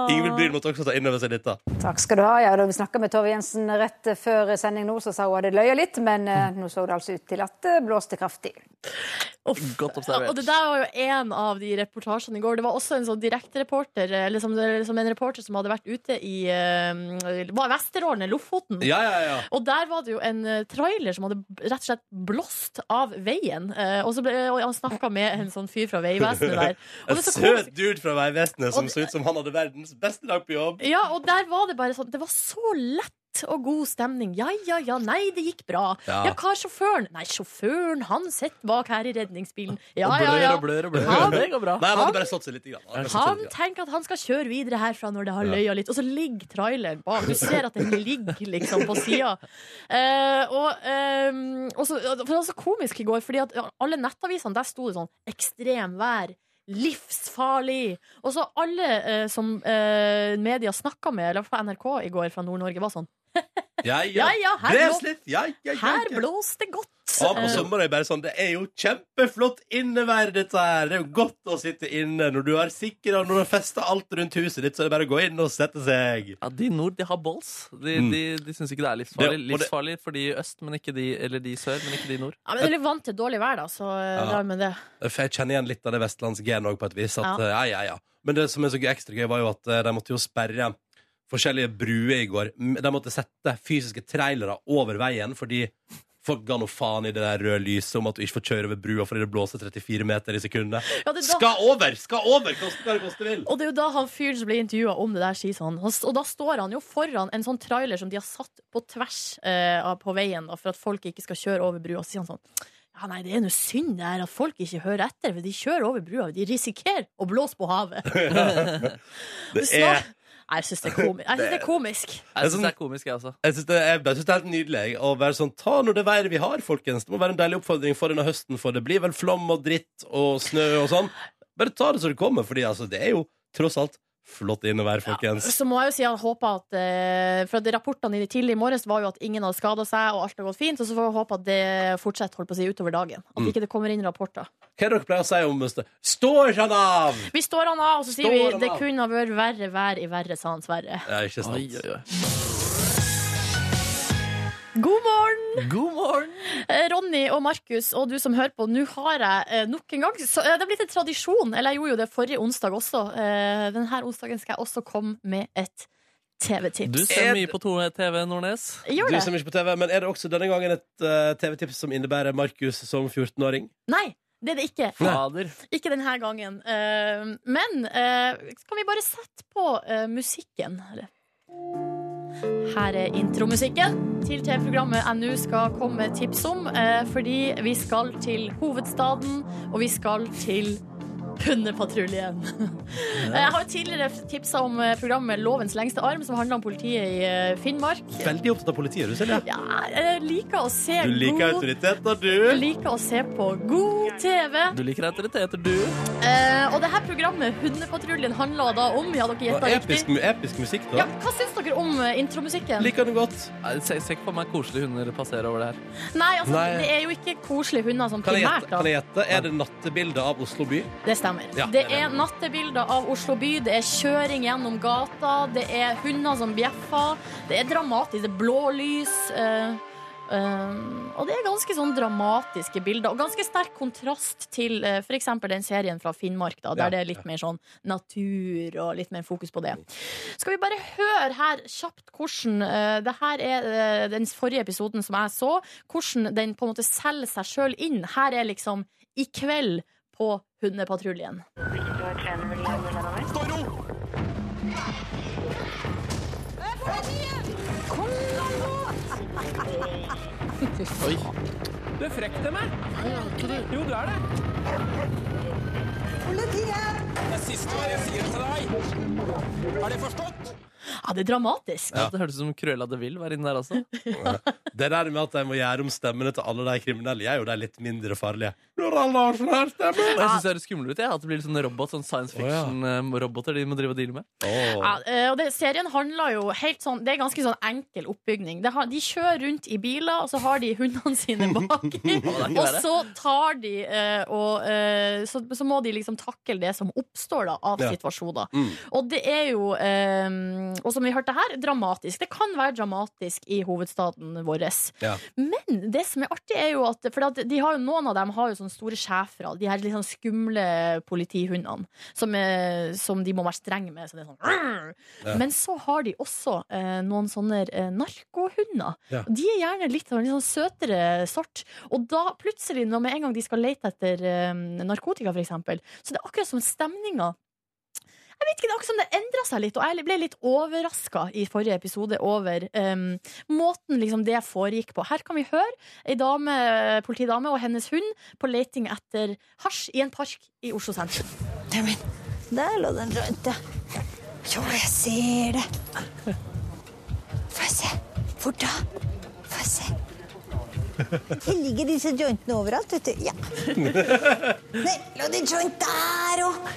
Speaker 1: Ingvild Bryn måtte også ta inn over seg dette.
Speaker 8: Takk skal du ha. Ja, da vi snakka med Tove Jensen rett før sending nå, så sa hun at det løya litt, men eh, nå så det altså ut til at det blåste kraftig.
Speaker 3: Godt
Speaker 2: Ja, og det
Speaker 3: observert.
Speaker 2: der var jo en av de reportasjene i går. Det var også en sånn direktereporter, eller som, eller som en reporter som hadde vært ute i eh, var Vesterålen, eller Lofoten.
Speaker 1: Ja, ja, ja.
Speaker 2: Og der var det jo en eh, trailer som hadde rett og slett blåst av veien. Eh, og så ble, og han snakka med en sånn fyr fra Vegvesenet
Speaker 1: [LAUGHS]
Speaker 2: der. Og
Speaker 1: En
Speaker 2: det er så komisk.
Speaker 1: søt dude fra Vegvesenet som
Speaker 2: Og det-
Speaker 1: så ut som han hadde verdens beste dag på jobb.
Speaker 2: Ja, og der var det bare sånn Det var så lett Litt og god stemning. Ja, ja, ja. Nei, det gikk bra.
Speaker 1: Ja.
Speaker 2: Ja, hva er sjåføren? Nei, sjåføren, han sitter bak her i redningsbilen. Ja,
Speaker 3: Og
Speaker 2: ja,
Speaker 3: blør
Speaker 2: ja.
Speaker 3: og blør og blør.
Speaker 2: Han-
Speaker 3: [LAUGHS] det går bra.
Speaker 1: Nei, han
Speaker 2: Han-
Speaker 1: hadde bare slått seg litt. Grann. Han hadde bare
Speaker 2: Han
Speaker 1: slått seg litt
Speaker 2: tenker at han skal kjøre videre herfra når det har løya litt, og så ligger traileren bak. Du ser at den ligger liksom på sida. og, eh, og så, for det var så komisk i går, fordi at alle nettavisene der sto det sånn ekstremvær. Livsfarlig! Og så alle eh, som eh, media snakka med, eller på NRK i går fra Nord-Norge, var sånn
Speaker 1: grann. Ja, ja.
Speaker 2: Ja, ja, her,
Speaker 1: Bles
Speaker 2: blå,
Speaker 1: litt. Ja, ja, ja,
Speaker 2: her
Speaker 1: ja.
Speaker 2: blåser det godt!
Speaker 1: Ja, på
Speaker 2: Eh,
Speaker 1: sommeren er det bare sånn Det er jo kjempeflott innevær, dette her. Det er jo godt å sitte inne når du har sikra, når du har festa alt rundt huset ditt, så er det bare å gå inn og sette seg.
Speaker 3: Ja, de i nord de har balls. De,
Speaker 1: Mm.
Speaker 3: de, de syns ikke det er livsfarlig.
Speaker 1: Det- og det-
Speaker 3: livsfarlig for de i øst, men ikke de, eller de i sør, men ikke de i nord.
Speaker 2: ja, men du er litt vant til dårlig vær, da, så eh,
Speaker 1: Ja.
Speaker 2: drar vi med det.
Speaker 1: For jeg kjenner igjen litt av det vestlandsgenet òg, på et vis. At, eh, ja. Ja, ja. Men det som er så gøy- ekstra gøy, var jo at eh, de måtte jo sperre forskjellige bruer i går. M- De måtte sette fysiske trailere over veien fordi folk ga noe faen i det der røde lyset om at du ikke får kjøre over brua fordi det blåser 34 meter i sekundet.
Speaker 2: Ja, det er da-
Speaker 1: Skal over! Skal over! Koste hva det koste vil!
Speaker 2: Og det er jo da han fyren som ble intervjua om det der, sier sånn. Han s- Og da står han jo foran en sånn trailer som de har satt på tvers eh, av- på veien da, for at folk ikke skal kjøre over brua. Så sier han sånn ja, nei, det er noe synd det her at folk ikke hører etter, for de kjører over brua. De risikerer å blåse på havet.
Speaker 1: [LAUGHS]
Speaker 2: [LAUGHS]
Speaker 1: Det
Speaker 2: Så-
Speaker 1: er
Speaker 2: Nei, jeg syns det, er komi- jeg synes det er komisk.
Speaker 3: Jeg
Speaker 1: sånn-
Speaker 3: syns det er komisk, jeg altså. også.
Speaker 1: Jeg synes det, er- jeg synes det er helt nydelig jeg, å være sånn Ta nå det været vi har, folkens. Det må være en deilig oppfordring for denne høsten, for det blir vel flom og dritt og snø og sånn. Bare ta det så det kommer, Fordi altså, det er jo tross alt flott innevær, folkens.
Speaker 2: Så må jeg jo si at jeg håper at eh, For at rapportene i- tidlig i morges var jo at ingen hadde skada seg, og alt har gått fint. Og så får vi håpe at det fortsetter holdt på å si, utover dagen. At ikke det kommer inn rapporter.
Speaker 1: Hva er det dere pleier å si om eh, snø? Står han av!
Speaker 2: Vi står han av, og så sier
Speaker 1: Står
Speaker 2: vi
Speaker 1: han
Speaker 2: det
Speaker 1: av.
Speaker 2: kunne ha vært verre vær i verre, sa han Sverre.
Speaker 1: Ja, ikke sant.
Speaker 3: Oi, oi, oi.
Speaker 2: God morgen,
Speaker 3: God morgen!
Speaker 2: eh, Ronny og Markus og du som hører på. Nå har jeg eh, nok en gang så, eh, Det er blitt en tradisjon, eller jeg gjorde jo det forrige onsdag også. Eh, Denne onsdagen skal jeg også komme med et
Speaker 3: Du
Speaker 2: TV-tips.
Speaker 3: ser mye på to- TV, Nordnes.
Speaker 2: Gjør
Speaker 1: Du
Speaker 2: det?
Speaker 1: som ikke på TV, men er det også denne gangen et eh, TV-tips som innebærer Markus som 14-åring?
Speaker 2: Nei, det er det ikke.
Speaker 3: Fader.
Speaker 2: Ikke denne gangen. Eh, Men eh, kan vi bare sette på eh, musikken? Her? Her er intromusikken til TV-programmet jeg nå skal komme med tips om. eh, Fordi vi skal til hovedstaden, og vi skal til Hundepatruljen. [LAUGHS] Jeg har jo tidligere tipsa om eh, programmet Lovens lengste arm, som handler om politiet i eh, Finnmark.
Speaker 1: Veldig opptatt av politiet, du, Silje.
Speaker 2: Ja, jeg liker å se
Speaker 1: Du liker
Speaker 2: god
Speaker 1: autoriteter,
Speaker 2: jeg
Speaker 1: du.
Speaker 2: liker å se på god TV.
Speaker 3: Du liker autoriteter, du.
Speaker 2: Eh, og det her programmet, Hundepatruljen, handla da om Ja, dere
Speaker 1: Og
Speaker 2: gjetta
Speaker 1: episk,
Speaker 2: riktig.
Speaker 1: mu- episk musikk,
Speaker 2: Ja,
Speaker 1: da.
Speaker 2: hva syns dere om eh, intromusikken?
Speaker 1: Liker den godt.
Speaker 3: Nei, Se se ikke på meg koselige hunder passere over det her.
Speaker 2: Nei, altså,
Speaker 1: Nei.
Speaker 2: det er jo ikke koselige hunder sånn
Speaker 1: Kan jeg gjette?
Speaker 2: primært,
Speaker 1: Kan
Speaker 2: da.
Speaker 1: jeg gjette? Er det nattebildet av Oslo by?
Speaker 2: Det stemmer.
Speaker 1: Ja,
Speaker 2: det
Speaker 1: det er
Speaker 2: er nattebilder av Oslo by, det er kjøring gjennom gata, det er hunder som bjeffer, det er dramatisk, det er blålys. eh, eh, og det er ganske sånn dramatiske bilder, og ganske sterk kontrast til eh, for f.eks. den serien fra Finnmark, da, der
Speaker 1: Ja,
Speaker 2: det er litt mer sånn natur og litt mer fokus på det. Skal vi bare høre her kjapt hvordan eh, Det her er eh, den forrige episoden som jeg så. Hvordan den på en måte selger seg sjøl inn. Her er liksom I kveld på Hundepatruljen. Ja, det er dramatisk.
Speaker 3: Ja. Det hørtes ut som Cruella de Vil var inne der også.
Speaker 1: Det der med at de må gjøre om stemmene til alle de kriminelle, gjør jo de litt mindre farlige. Når alle har sånn her stemme
Speaker 3: Og jeg syns det høres skummelt ut. Jeg. At det blir litt sånn robot, sånn science
Speaker 1: Å, ja.
Speaker 3: fiction-roboter de må drive og deale med.
Speaker 2: Ja, eh, og det, serien handler jo helt sånn Det er ganske sånn enkel oppbygning. Det har, de kjører rundt i biler, og så har de hundene sine baki.
Speaker 1: [LAUGHS]
Speaker 2: og så tar de eh, og eh, så, så må de liksom takle det som oppstår da, av
Speaker 1: Ja.
Speaker 2: situasjoner.
Speaker 1: Mm.
Speaker 2: Og det er jo, eh, og som vi hørte her, dramatisk. Det kan være dramatisk i hovedstaden vår.
Speaker 1: Ja.
Speaker 2: Men det som er artig, er jo at, for at de har jo, noen av dem har jo sånne store schæfere. De her litt sånn skumle politihundene som, eh, som de må være strenge med. Så det er sånn «Rrr!»
Speaker 1: Ja.
Speaker 2: Men så har de også eh, noen sånne eh, narkohunder.
Speaker 1: Ja.
Speaker 2: Og De er gjerne litt, av en litt sånn søtere sort. Og da plutselig, når med en ehm, gang de skal lete etter eh, narkotika, for eksempel, så det er akkurat som stemninga Jeg vet ikke, det er akkurat som det endra seg litt, og jeg ble litt overraska i forrige episode over em, måten liksom det foregikk på. Her kan vi høre ei dame, politidame og hennes hund på leting etter hasj i en park i Oslo sentrum.
Speaker 10: Der lå den rundt, ja. Jo, jeg ser det. Få se. Hvor da? Få se. Det ligger disse jointene overalt, vet du. Ja. Nei, lå det joint der òg?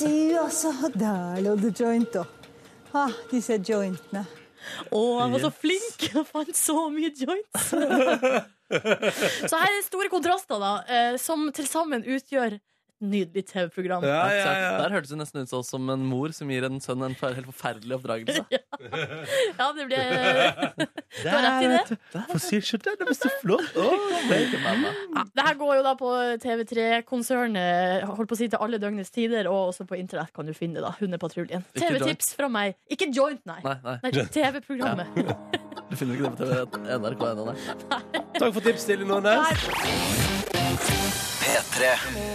Speaker 10: Du også. Og Der lå det joint òg. Ah, disse jointene.
Speaker 2: Å, jeg var så flink! Jeg fant så mye joints. [LAUGHS] så her er det store kontraster, da, eh, som til sammen utgjør et nydelig TV-program.
Speaker 1: Ja,
Speaker 3: Takk,
Speaker 1: ja,
Speaker 3: takk.
Speaker 1: ja.
Speaker 3: Der hørtes det nesten ut sånn som en mor som gir en sønn en helt forferdelig oppdragelse.
Speaker 2: Ja, det
Speaker 1: [LAUGHS]
Speaker 2: ble Du har rett i det.
Speaker 1: Hvorfor sier ikke det? Det blir så flott.
Speaker 2: Ja, det her går jo da på TV3-konsernet, holdt på å si til alle døgnets tider, og også på internett kan du finne det, da. Hundepatruljen.
Speaker 3: Ikke joint.
Speaker 2: TV-tips fra meg. Ikke joint, nei.
Speaker 3: Nei, nei,
Speaker 2: Nei, TV-programmet.
Speaker 3: du finner ikke det på TV NRK ennå, nei.
Speaker 1: Takk for tips, Silje Nordnes.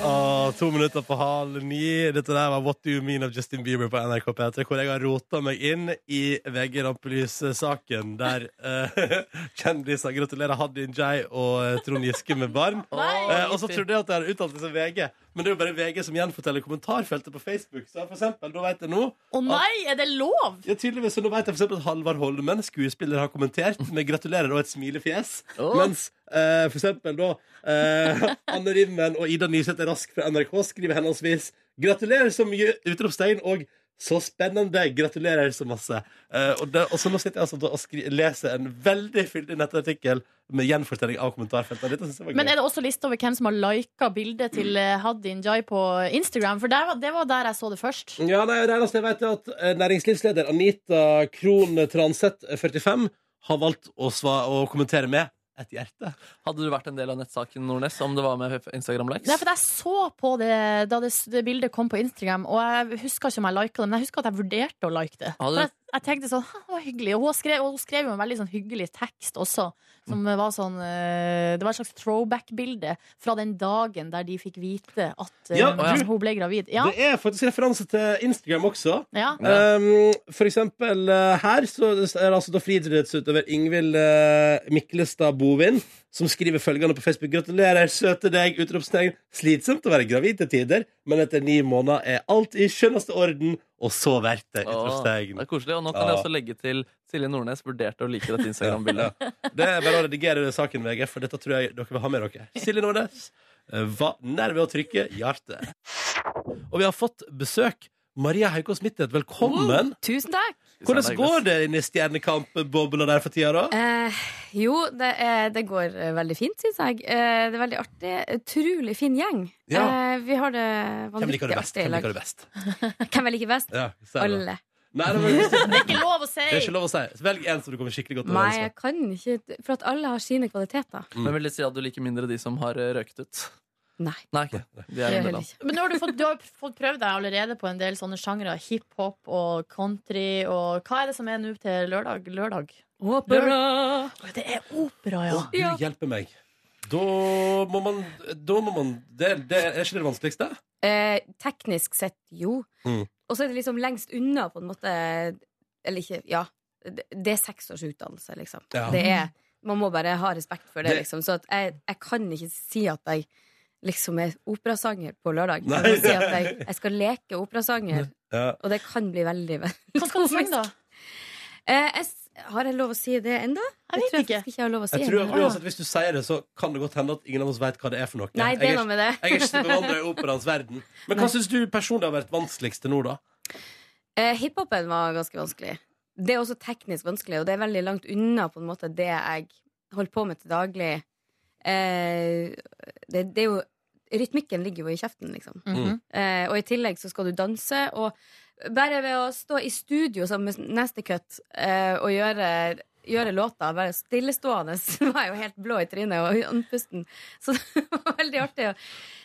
Speaker 1: Ah, to minutter på halv ni. Dette der var What Do You Mean av Justin Bieber på NRK P3, hvor jeg har rota meg inn i VG Rampelys-saken, der eh, [LAUGHS] kjendiser gratulerer Haddin Jai og eh, Trond Giske med barn. Eh, og så trodde jeg at jeg hadde uttalt det som VG, men det er jo bare VG som gjenforteller kommentarfeltet på Facebook. Så for eksempel, da vet jeg nå
Speaker 2: Å nei, er det lov?
Speaker 1: ja, tydeligvis, så nå vet jeg for eksempel at Halvard Holmen, skuespiller, har kommentert med 'gratulerer' og et smilefjes. Mens eh, for eksempel da eh, Anne Rimmen og Ida Nysæter Rask fra NRK skriver henholdsvis 'Gratulerer så mye!' utropstegn og 'Så spennende! Gratulerer så masse!' Eh, og, det, og så nå sitter jeg altså da og skri, leser en veldig fyldig nettartikkel med gjenfortelling av kommentarfeltet. Dette synes jeg var
Speaker 2: Men
Speaker 1: gøy.
Speaker 2: er det også liste over hvem som har lika bildet til eh, Haddin Jai på Instagram? For der, var- det var der jeg så det først.
Speaker 1: Ja, nei, det eneste jeg vet er at eh, næringslivsleder Anita Krohn Transet, 45, har valgt å, sva- å kommentere med et hjerte.
Speaker 3: Hadde du vært en del av nettsaken Nordnes om det var med Instagram-likes?
Speaker 2: Nei, for jeg så på det da det, det bildet kom på Instagram, og jeg husker ikke om jeg lika det, men jeg husker at jeg vurderte å like det.
Speaker 3: Ja,
Speaker 2: For
Speaker 3: det-
Speaker 2: jeg, jeg tenkte sånn, «Hæ, det var hyggelig. Og hun skrev, og hun skrev jo en veldig sånn hyggelig tekst også, som
Speaker 1: Mm.
Speaker 2: var sånn eh, Det var et slags throwback-bilde fra den dagen der de fikk vite at eh,
Speaker 1: Ja, du-
Speaker 2: hun ble gravid. Ja,
Speaker 1: Det er faktisk referanse til Instagram også.
Speaker 2: ja.
Speaker 1: Um, for eksempel eh, her så er det altså da friidrettsutøver Ingvild eh, Miklestad Bovin som skriver følgende på Facebook. Gratulerer, søte deg! Utropstegn. Slitsomt å være gravid til tider, men etter ni måneder er alt i skjønneste orden, og så verdt det!
Speaker 3: Åh,
Speaker 1: Utropstegn.
Speaker 3: det er koselig, og Nå kan jeg
Speaker 1: Ja.
Speaker 3: også legge til Silje Nordnes vurderte å like dette Instagram-bildet.
Speaker 1: Det er bare å redigere saken, VG, for dette tror jeg dere vil ha med dere. Silje Nordnes eh, var nær ved å trykke hjerte. Og vi har fått besøk. Maria Haukås Midtvedt, velkommen.
Speaker 11: Tusen takk.
Speaker 1: Hvordan går det inne i Stjernekamp-bobla der for tida, da?
Speaker 11: Eh, jo, det, er, det går eh, veldig fint, syns jeg. Eh, det er veldig artig. Utrolig fin gjeng.
Speaker 1: Ja.
Speaker 11: Eh, vi har det
Speaker 1: Hvem
Speaker 11: vanvittig
Speaker 1: liker du best?
Speaker 11: artig i
Speaker 1: Hvem
Speaker 11: lag.
Speaker 1: liker du best?
Speaker 11: Hvem jeg liker best?
Speaker 1: Ja, si det.
Speaker 11: Alle.
Speaker 1: Nei, det, var, det
Speaker 2: Det er ikke lov å si!
Speaker 1: er ikke lov å si.
Speaker 11: [LAUGHS]
Speaker 1: Velg en som du kommer skikkelig godt
Speaker 11: Nei,
Speaker 1: overens
Speaker 11: jeg kan ikke For at alle har sine kvaliteter.
Speaker 3: Men vil det si at du liker mindre de som har eh, røykt ut?
Speaker 11: Nei.
Speaker 3: Nei, ikke. de er
Speaker 11: Det gjør
Speaker 3: en
Speaker 11: jeg
Speaker 3: del
Speaker 11: heller
Speaker 3: av.
Speaker 11: ikke.
Speaker 2: Men nå har du fått, du har fått prøvd deg allerede på en del sånne sjangre. Hiphop og country og Hva er det som er nå til lørdag? Lørdag?
Speaker 11: Opera!
Speaker 2: Det er opera, ja.
Speaker 1: med. Å, Gud hjelpe meg. Da må man, da må man det, det er ikke det vanskeligste?
Speaker 11: Eh, teknisk sett, jo.
Speaker 1: Mm.
Speaker 11: Og så er det liksom lengst unna, på en måte Eller ikke Ja. Det, det er seks års utdannelse, liksom.
Speaker 1: Ja.
Speaker 11: Det er, man må bare ha respekt for det,
Speaker 1: Det-
Speaker 11: liksom. Så at jeg, jeg kan ikke si at jeg liksom er operasanger på lørdag.
Speaker 1: Nei.
Speaker 11: Jeg kan si at jeg, jeg skal
Speaker 1: [LAUGHS]
Speaker 11: leke operasanger,
Speaker 1: Ja.
Speaker 11: og det kan bli veldig ve-
Speaker 2: Hva skal du synge, da?
Speaker 11: eh, jeg, s- Har jeg lov å si det ennå?
Speaker 2: Jeg vet
Speaker 11: tror jeg
Speaker 2: ikke.
Speaker 11: faktisk ikke jeg har lov å si
Speaker 1: Jeg tror at
Speaker 11: ennå.
Speaker 1: uansett Hvis du sier det, så kan det godt hende at ingen av oss vet hva det er for noe.
Speaker 11: Ah. Nei, det
Speaker 1: Jeg
Speaker 11: er
Speaker 1: er
Speaker 11: noe med det.
Speaker 1: Jeg er ikke så bevandra i operaens verden. Men hva syns du personlig har vært vanskeligst til nå, da?
Speaker 11: Eh, Hiphopen var ganske vanskelig. Det er også teknisk vanskelig, og det er veldig langt unna på en måte det jeg holder på med til daglig. Eh, det, det er jo Rytmikken ligger jo i kjeften, liksom.
Speaker 2: Mhm.
Speaker 11: Eh, og i tillegg så skal du danse, og bare ved å stå i studio sammen med neste cut eh, og gjøre Gjøre låta bare stillestående. [LAUGHS] Så var jeg jo helt blå i trynet og andpusten. [LAUGHS] Så det var veldig artig å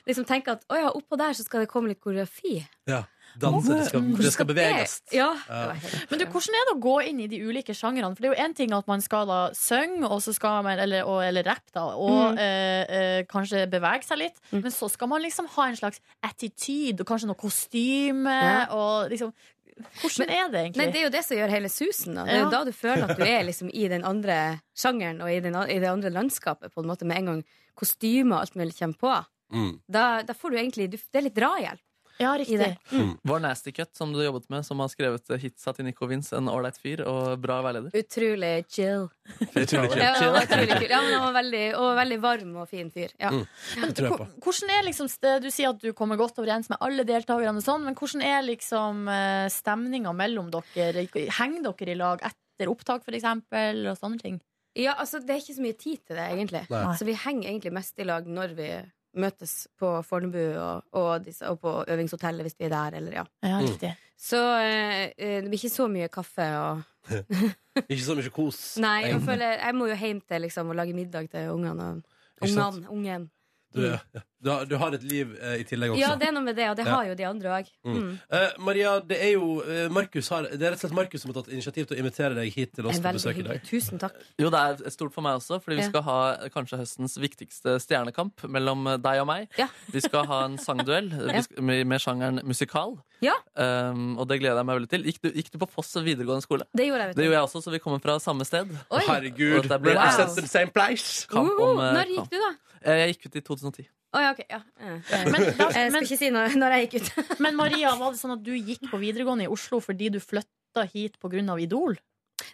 Speaker 11: liksom tenke at å ja, oppå der så skal det komme litt koreografi.
Speaker 1: Ja. Danse, det skal, det skal beveges.
Speaker 2: Ja.
Speaker 1: Ja.
Speaker 2: Men du, hvordan er det å gå inn i de ulike sjangrene? For det er jo én ting at man skal da synge, og så skal man, eller, og, eller rappe, da, og
Speaker 11: Mm.
Speaker 2: eh, eh, kanskje bevege seg litt. Men så skal man liksom ha en slags attityd, og kanskje noe kostyme,
Speaker 11: Ja.
Speaker 2: og liksom Hvordan er det egentlig?
Speaker 11: Nei, det er jo det som gjør hele susen. Da. Det er
Speaker 2: Ja.
Speaker 11: jo da du føler at du er liksom i den andre sjangeren og i, den, an- i det andre landskapet, på en måte, med en gang kostymer og alt mulig kommer på.
Speaker 1: Mm.
Speaker 11: Da, da får du egentlig du, Det er litt drahjelp.
Speaker 2: Ja,
Speaker 11: riktig. I det.
Speaker 3: Var Nasty Cut, som du jobbet med, som har skrevet eh, hitsa til Nico Vince, en ålreit fyr og bra veileder.
Speaker 11: Utrolig chill.
Speaker 3: Utrolig
Speaker 11: Ja, han var utrolig kul. Ja, men han var veldig, og veldig varm og fin fyr. Ja.
Speaker 3: Mm.
Speaker 2: Men
Speaker 3: Det tror jeg
Speaker 2: ko- hvordan er liksom, st- Du sier at du kommer godt overens med alle deltakerne, og sånn, men hvordan er liksom eh, stemninga mellom dere? Henger dere i lag etter opptak, for eksempel, og sånne ting?
Speaker 11: Ja, altså Det er ikke så mye tid til det, egentlig.
Speaker 2: Nei.
Speaker 11: Så vi henger egentlig mest i lag når vi møtes på Fornebu og, og, disse, og på øvingshotellet hvis vi er der, eller ja.
Speaker 2: Ja,
Speaker 1: Mm.
Speaker 2: riktig.
Speaker 11: Så eh, eh, det blir ikke så mye kaffe og
Speaker 1: Ikke så mye kos.
Speaker 11: Nei, jeg, føler, jeg må jo hjem til liksom, å lage middag til ungene. og-
Speaker 1: Ikke sant?
Speaker 11: Ungene, ungen. Mm.
Speaker 1: Du, du, har- du har et liv eh, i tillegg også.
Speaker 11: Ja, det er noe med det, og det
Speaker 1: Ja.
Speaker 11: har jo de andre òg.
Speaker 1: Mm.
Speaker 11: Mm.
Speaker 1: Eh, Maria, det er jo eh, Markus har, Det er rett og slett Markus som har tatt initiativ til å invitere deg hit til oss
Speaker 11: Det er
Speaker 1: på
Speaker 11: veldig
Speaker 1: besøk i dag.
Speaker 11: hyggelig. Tusen takk.
Speaker 3: Jo, det er stort for meg også, fordi vi
Speaker 11: Ja.
Speaker 3: skal ha eh, kanskje høstens viktigste stjernekamp mellom eh, deg og meg. Vi skal ha en sangduell eh,
Speaker 11: [LAUGHS] Ja.
Speaker 3: vi skal- med, med sjangeren musikal,
Speaker 11: Ja,
Speaker 3: um, og det gleder jeg meg veldig til. Gikk du, gikk du på Foss videregående skole?
Speaker 11: det gjorde jeg. vet du.
Speaker 3: Det gjorde jeg også, så vi kommer fra samme sted.
Speaker 11: Oi.
Speaker 1: Herregud,
Speaker 3: Og det blir
Speaker 1: represent the same place.
Speaker 3: kamp om,
Speaker 11: Uhu,
Speaker 3: eh,
Speaker 11: Når gikk
Speaker 3: kamp.
Speaker 11: du, da?
Speaker 3: Eh, Jeg gikk ut i 2010.
Speaker 11: Å ja, ok. Ja. Eh, eh,
Speaker 2: Men da-
Speaker 11: jeg skal
Speaker 2: men-
Speaker 11: ikke si når, når jeg gikk ut.
Speaker 2: Men Maria, var det sånn at du gikk på videregående i Oslo fordi du flytta hit pga. Idol?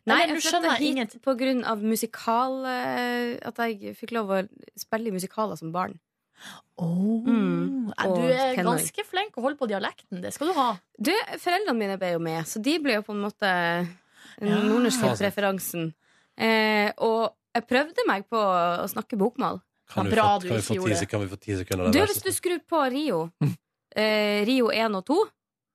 Speaker 11: Nei,
Speaker 2: Eller,
Speaker 11: jeg
Speaker 2: du skjønner
Speaker 11: flytta hit
Speaker 2: ingen-
Speaker 11: på grunn av musikal eh, At jeg fikk lov å spille i musikaler som barn. Mm.
Speaker 2: Nei,
Speaker 11: Og
Speaker 2: Du er
Speaker 11: tenåring.
Speaker 2: ganske flink å holde på dialekten. Det skal du ha.
Speaker 11: Du, Foreldrene mine ble jo med, så de ble jo på en måte
Speaker 2: Ja.
Speaker 11: nordnorskreferansen. Eh, og jeg prøvde meg på å snakke bokmål.
Speaker 1: Kan,
Speaker 11: Ja,
Speaker 1: vi få,
Speaker 11: bra du
Speaker 1: kan, vi
Speaker 11: ikke
Speaker 1: få
Speaker 11: gjorde
Speaker 1: ti,
Speaker 11: det.
Speaker 1: sek- kan vi få ti sekunder? av
Speaker 11: Du,
Speaker 1: det?
Speaker 11: hvis du skrur
Speaker 1: [LAUGHS]
Speaker 11: på Rio eh, Rio 1 og 2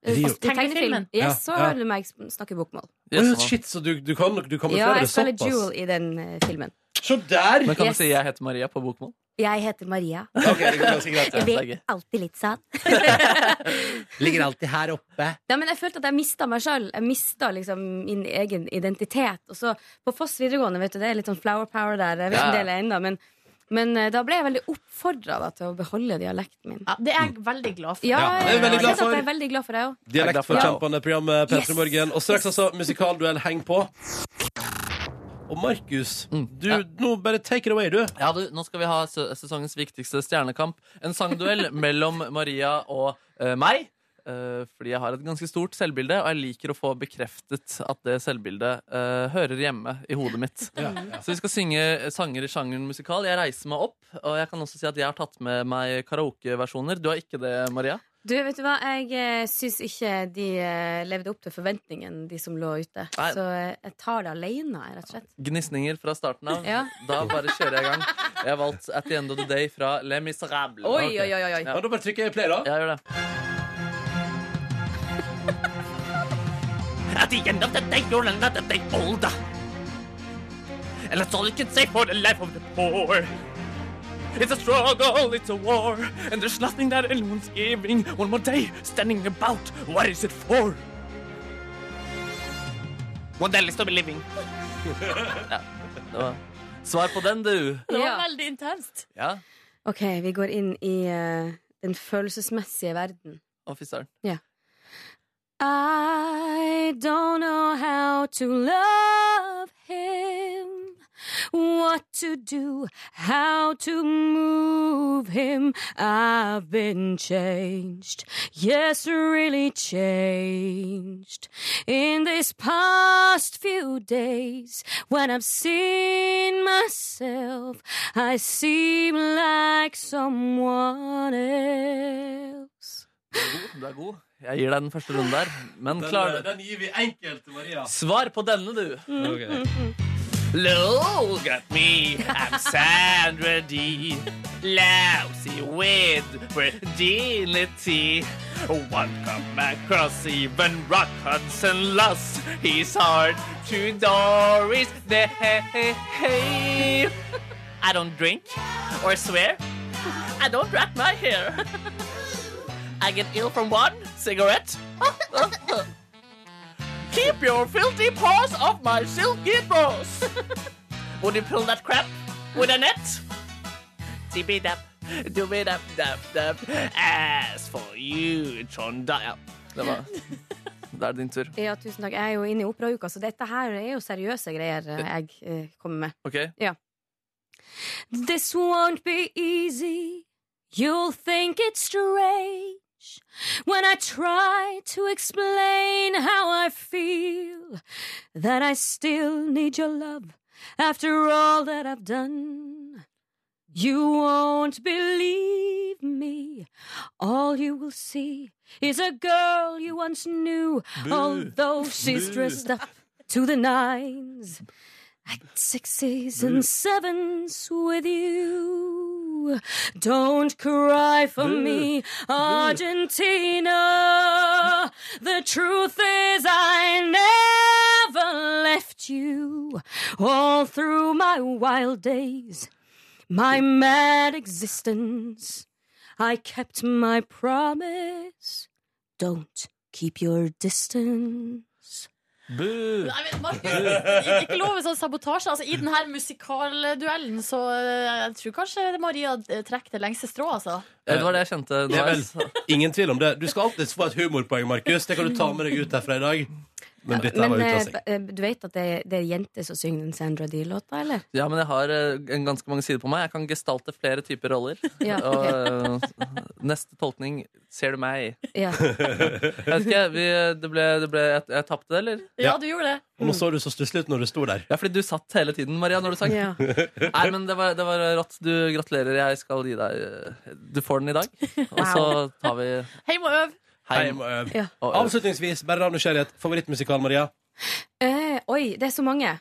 Speaker 11: eh,
Speaker 1: Rio.
Speaker 11: altså, Tegnefilmen.
Speaker 1: Ja,
Speaker 11: Yes, så
Speaker 1: ja.
Speaker 11: hører du meg sp- snakke bokmål.
Speaker 1: Oi, shit, så du, du kan, du kan
Speaker 11: Ja,
Speaker 1: beføre
Speaker 11: jeg
Speaker 1: det
Speaker 11: spiller Jewel
Speaker 1: såpass?
Speaker 11: i den eh, filmen.
Speaker 1: Se der!
Speaker 3: Men kan
Speaker 11: Yes.
Speaker 3: du si 'jeg heter Maria' på bokmål?
Speaker 11: Jeg heter Maria.
Speaker 1: Ok, det går ganske greit, ja.
Speaker 11: Jeg
Speaker 3: Det er
Speaker 11: blir
Speaker 3: gøy.
Speaker 11: alltid litt sånn. sann.
Speaker 1: [LAUGHS] Ligger alltid her oppe.
Speaker 11: Ja, men jeg følte at jeg mista meg sjøl. Jeg mista liksom min egen identitet. Og så på Foss videregående, vet du, det er litt sånn flower power der. Jeg vet ikke om
Speaker 2: Ja.
Speaker 11: det er ennå, men, men eh, da ble jeg veldig oppfordra til å beholde dialekten min.
Speaker 2: Ja, det er jeg veldig glad for.
Speaker 11: Ja,
Speaker 1: Ja, det er jeg
Speaker 11: jeg
Speaker 1: veldig glad
Speaker 11: vet at
Speaker 1: for.
Speaker 11: jeg er veldig glad for det òg.
Speaker 1: Dialektforkjempende program P3 Morgen. Og straks altså musikalduell Heng på. Og Markus, du, nå bare take it away, du.
Speaker 3: Ja, du, nå skal vi ha se- sesongens viktigste stjernekamp. En sangduell mellom Maria og eh, meg. Eh, fordi jeg har et ganske stort selvbilde, og jeg liker å få bekreftet at det selvbildet eh, hører hjemme i hodet mitt.
Speaker 1: Ja,
Speaker 3: Så vi skal synge eh, sanger i sjangeren musikal. Jeg reiser meg opp, og jeg kan også si at jeg har tatt med meg karaokeversjoner. Du har ikke det, Maria?
Speaker 11: Du, vet du hva? Jeg eh, syns ikke de eh, levde opp til forventningene, de som lå ute.
Speaker 3: Nei.
Speaker 11: Så eh, jeg tar det alene, rett og slett.
Speaker 3: Gnisninger fra starten av.
Speaker 11: Ja.
Speaker 3: Da bare kjører jeg i gang. Jeg har valgt At the End of the Day fra Les Miserables.
Speaker 11: Oi, oi, oi, oi, oi.
Speaker 1: Ja, da bare trykker jeg play, da.
Speaker 3: Jeg gjør det.
Speaker 12: [LAUGHS] At the end of the day, you're another day older. And that's all you can say for the life of the poor. It's a struggle, it's a war, and there's nothing that anyone's giving. One more day, standing about, what is it for? One day, still be living.
Speaker 3: Ja. det var- Svar på den, du.
Speaker 2: Det var
Speaker 11: Ja.
Speaker 2: veldig intenst.
Speaker 3: Ja.
Speaker 11: OK, vi går inn i eh, den følelsesmessige verden.
Speaker 3: Å, fy søren.
Speaker 11: Ja. I don't know how to love him. What to do, how to move him. I've been changed. Yes, really changed. In these past few days, when I've seen myself, I seem like someone else.
Speaker 3: Du er god. Jeg gir deg den første runden der. Men
Speaker 1: Den,
Speaker 3: klar
Speaker 1: eh, den gir vi enkelt til Maria.
Speaker 3: Svar på denne, du.
Speaker 12: Look at me, I'm Sandra D. Lousy with virginity. One come across even rock Hudson lost his heart to Doris Day. I don't drink [LAUGHS] or swear. I don't wrap my hair. I get ill from one, cigarette? [LAUGHS] Keep your filthy paws off my silky [LAUGHS] paws. Would you pull that crap with a net? Tippy dap, dooby dap, dap, dap. As for you, Trondheim.
Speaker 3: Det, [LAUGHS] var, det er din tur.
Speaker 11: Ja, tusen takk. Jeg er jo inne i operauka, så dette her er jo seriøse greier eh, jeg eh, kommer med.
Speaker 3: OK?
Speaker 11: Ja. This won't be easy. You'll think it's strange when I try to explain how I feel. That I still need your love after all that I've done. You won't believe me. All you will see is a girl you once knew,
Speaker 10: Boo.
Speaker 11: although she's
Speaker 10: Boo.
Speaker 11: dressed up to the nines. At sixes and sevens with you. Don't cry for
Speaker 10: Boo.
Speaker 11: me, Argentina. The truth is, I never left you all through my wild days, my mad existence. I kept my promise. Don't keep your distance.
Speaker 3: Boo!
Speaker 2: Nei, men Markus, det er ikke lov med sånn sabotasje. Altså, I denne musikalduellen så eh, jeg tror kanskje Maria eh, trekker det lengste strået, altså.
Speaker 3: Ja, Det var det jeg kjente.
Speaker 1: Det er vel ingen tvil om det. Du skal alltid få et humorpoeng, Markus. Det kan du ta med deg ut derfra i dag. Men dette
Speaker 11: Men
Speaker 1: var
Speaker 11: eh,
Speaker 1: utklassing.
Speaker 11: b- eh, du vet at det, det er jenter som synger den Sandra D-låta, eller?
Speaker 3: Ja, men jeg har eh, en ganske mange sider på meg. Jeg kan gestalte flere typer [LAUGHS] roller.
Speaker 11: Ja,
Speaker 3: Og eh, neste tolkning ser du meg.
Speaker 11: Ja.
Speaker 3: jeg vet ikke, vi, eh, det ble, det ble Jeg, jeg tapte det, eller?
Speaker 2: Ja, du gjorde det.
Speaker 11: eh,
Speaker 1: Og
Speaker 11: mm.
Speaker 1: nå så du så stusslig ut når du sto der.
Speaker 3: Ja, fordi du satt hele tiden, Maria, når du sang.
Speaker 2: Ja.
Speaker 3: Nei, men det var, det var rått. Du gratulerer. Jeg skal gi deg eh, Du
Speaker 2: [LAUGHS]
Speaker 3: får den i dag. Og så tar vi
Speaker 2: Hei, må øve.
Speaker 1: Heim og øv.
Speaker 11: Ja.
Speaker 3: Og øv.
Speaker 1: eh, Avslutningsvis, bare av nysgjerrighet, favorittmusikal, Maria?
Speaker 11: Eh, oi, det er så mange.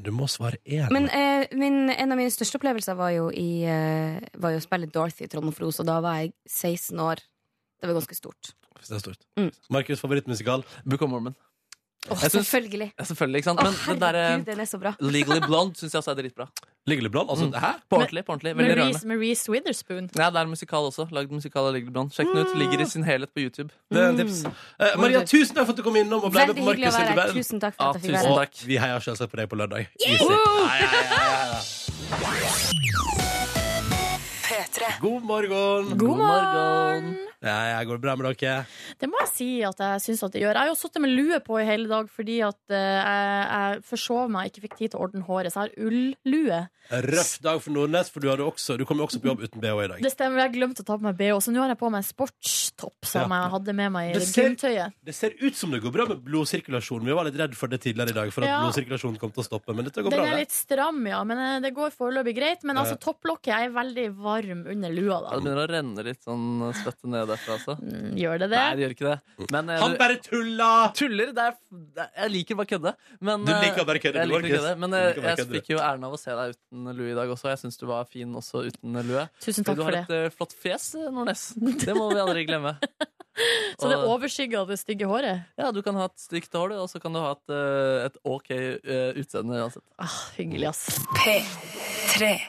Speaker 1: Du må svare én.
Speaker 11: Men eh, min, en av mine største opplevelser var jo, i, eh, var jo å spille Dorothy i Trond og Fros, og da var jeg 16 år. Det var ganske stort.
Speaker 1: Hvis det er stort.
Speaker 11: Mm.
Speaker 1: Markus' favorittmusikal?
Speaker 3: Book of Mormon. Jeg
Speaker 11: Åh,
Speaker 3: syns-
Speaker 11: selvfølgelig.
Speaker 3: Ja, selvfølgelig, ikke sant?
Speaker 11: Å,
Speaker 3: Men den der, eh,
Speaker 11: herregud, den er så bra.
Speaker 3: Legally Blonde syns jeg også er dritbra.
Speaker 1: Legally Blonde? Altså,
Speaker 11: Mm.
Speaker 1: hæ?
Speaker 3: På ordentlig. på ordentlig, Veldig
Speaker 2: Maurice,
Speaker 3: rørende.
Speaker 2: Maurice Witherspoon.
Speaker 3: Ja, det er en musikal også. Lagd musikal av Legally Blonde. Sjekk den
Speaker 2: Mm.
Speaker 3: ut. Ligger i sin helhet på YouTube.
Speaker 1: Det er en tips. Eh, Maria, tusen takk for at du kom innom og ble med
Speaker 11: Mm. Veldig
Speaker 1: på
Speaker 11: hyggelig å
Speaker 1: Markus'
Speaker 11: være her.
Speaker 1: verden.
Speaker 11: Tusen takk for at jeg fikk
Speaker 1: Ja,
Speaker 11: være
Speaker 1: tusen
Speaker 11: her.
Speaker 1: takk. Vi heier selvsagt på deg på lørdag.
Speaker 11: Yeah!
Speaker 1: Easy.
Speaker 11: Woo!
Speaker 1: Ja, ja, ja, ja, ja. God morgen.
Speaker 2: God morgen.
Speaker 1: Ja, ja, går det bra med dere?
Speaker 2: Det må jeg si at jeg syns at det gjør. Jeg har jo sittet med lue på i hele dag fordi at eh, jeg, jeg forsov meg, ikke fikk tid til å ordne håret, så jeg har ulllue.
Speaker 1: Røff dag for Nordnes, for du, hadde også, du kom jo også på jobb uten BH i dag.
Speaker 2: Det stemmer, jeg glemte å ta på meg BH, så nå har jeg på meg en sportstopp som
Speaker 1: Ja.
Speaker 2: jeg hadde med meg i
Speaker 1: Det ser-
Speaker 2: gymtøyet.
Speaker 1: Det ser ut som det går bra med blodsirkulasjonen. Vi var litt redd for det tidligere i dag, for at
Speaker 2: Ja.
Speaker 1: blodsirkulasjonen kom til å stoppe. Men dette går
Speaker 2: Den
Speaker 1: bra.
Speaker 2: er
Speaker 1: det.
Speaker 2: litt stram, ja, men eh, det går foreløpig greit. Men
Speaker 1: Ja.
Speaker 2: altså, topplokket jeg er veldig varm under lua,
Speaker 3: Ja, det
Speaker 2: da. Mm,
Speaker 3: begynner å renne litt sånn svette ned derfra. Altså.
Speaker 2: Gjør det det?
Speaker 3: Nei, det gjør ikke det. Men, eh,
Speaker 2: Han
Speaker 1: bare tulla!
Speaker 3: Tuller, det er, det er- jeg liker bare kødde. Men,
Speaker 1: Du
Speaker 3: eh,
Speaker 1: liker bare kødde,
Speaker 3: jeg
Speaker 1: du,
Speaker 3: liker
Speaker 1: Markus.
Speaker 3: kødde, Men
Speaker 1: Du
Speaker 3: eh,
Speaker 1: liker bare
Speaker 3: jeg
Speaker 1: kødde, du.
Speaker 3: fikk jo æren av å se deg uten lue i dag også. Jeg syns du var fin også uten lue.
Speaker 2: Tusen takk
Speaker 3: du
Speaker 2: for
Speaker 3: har
Speaker 2: det.
Speaker 3: et eh, flott fjes, eh, Nordnes. Det må vi aldri glemme.
Speaker 2: [LAUGHS] Så det
Speaker 3: Og-
Speaker 2: overskygger det stygge håret.
Speaker 3: Ja, du kan ha et stygt hår, du, og så kan du ha et, eh, et OK eh, utseende uansett.
Speaker 2: Ah, hyggelig, ass.
Speaker 13: P3.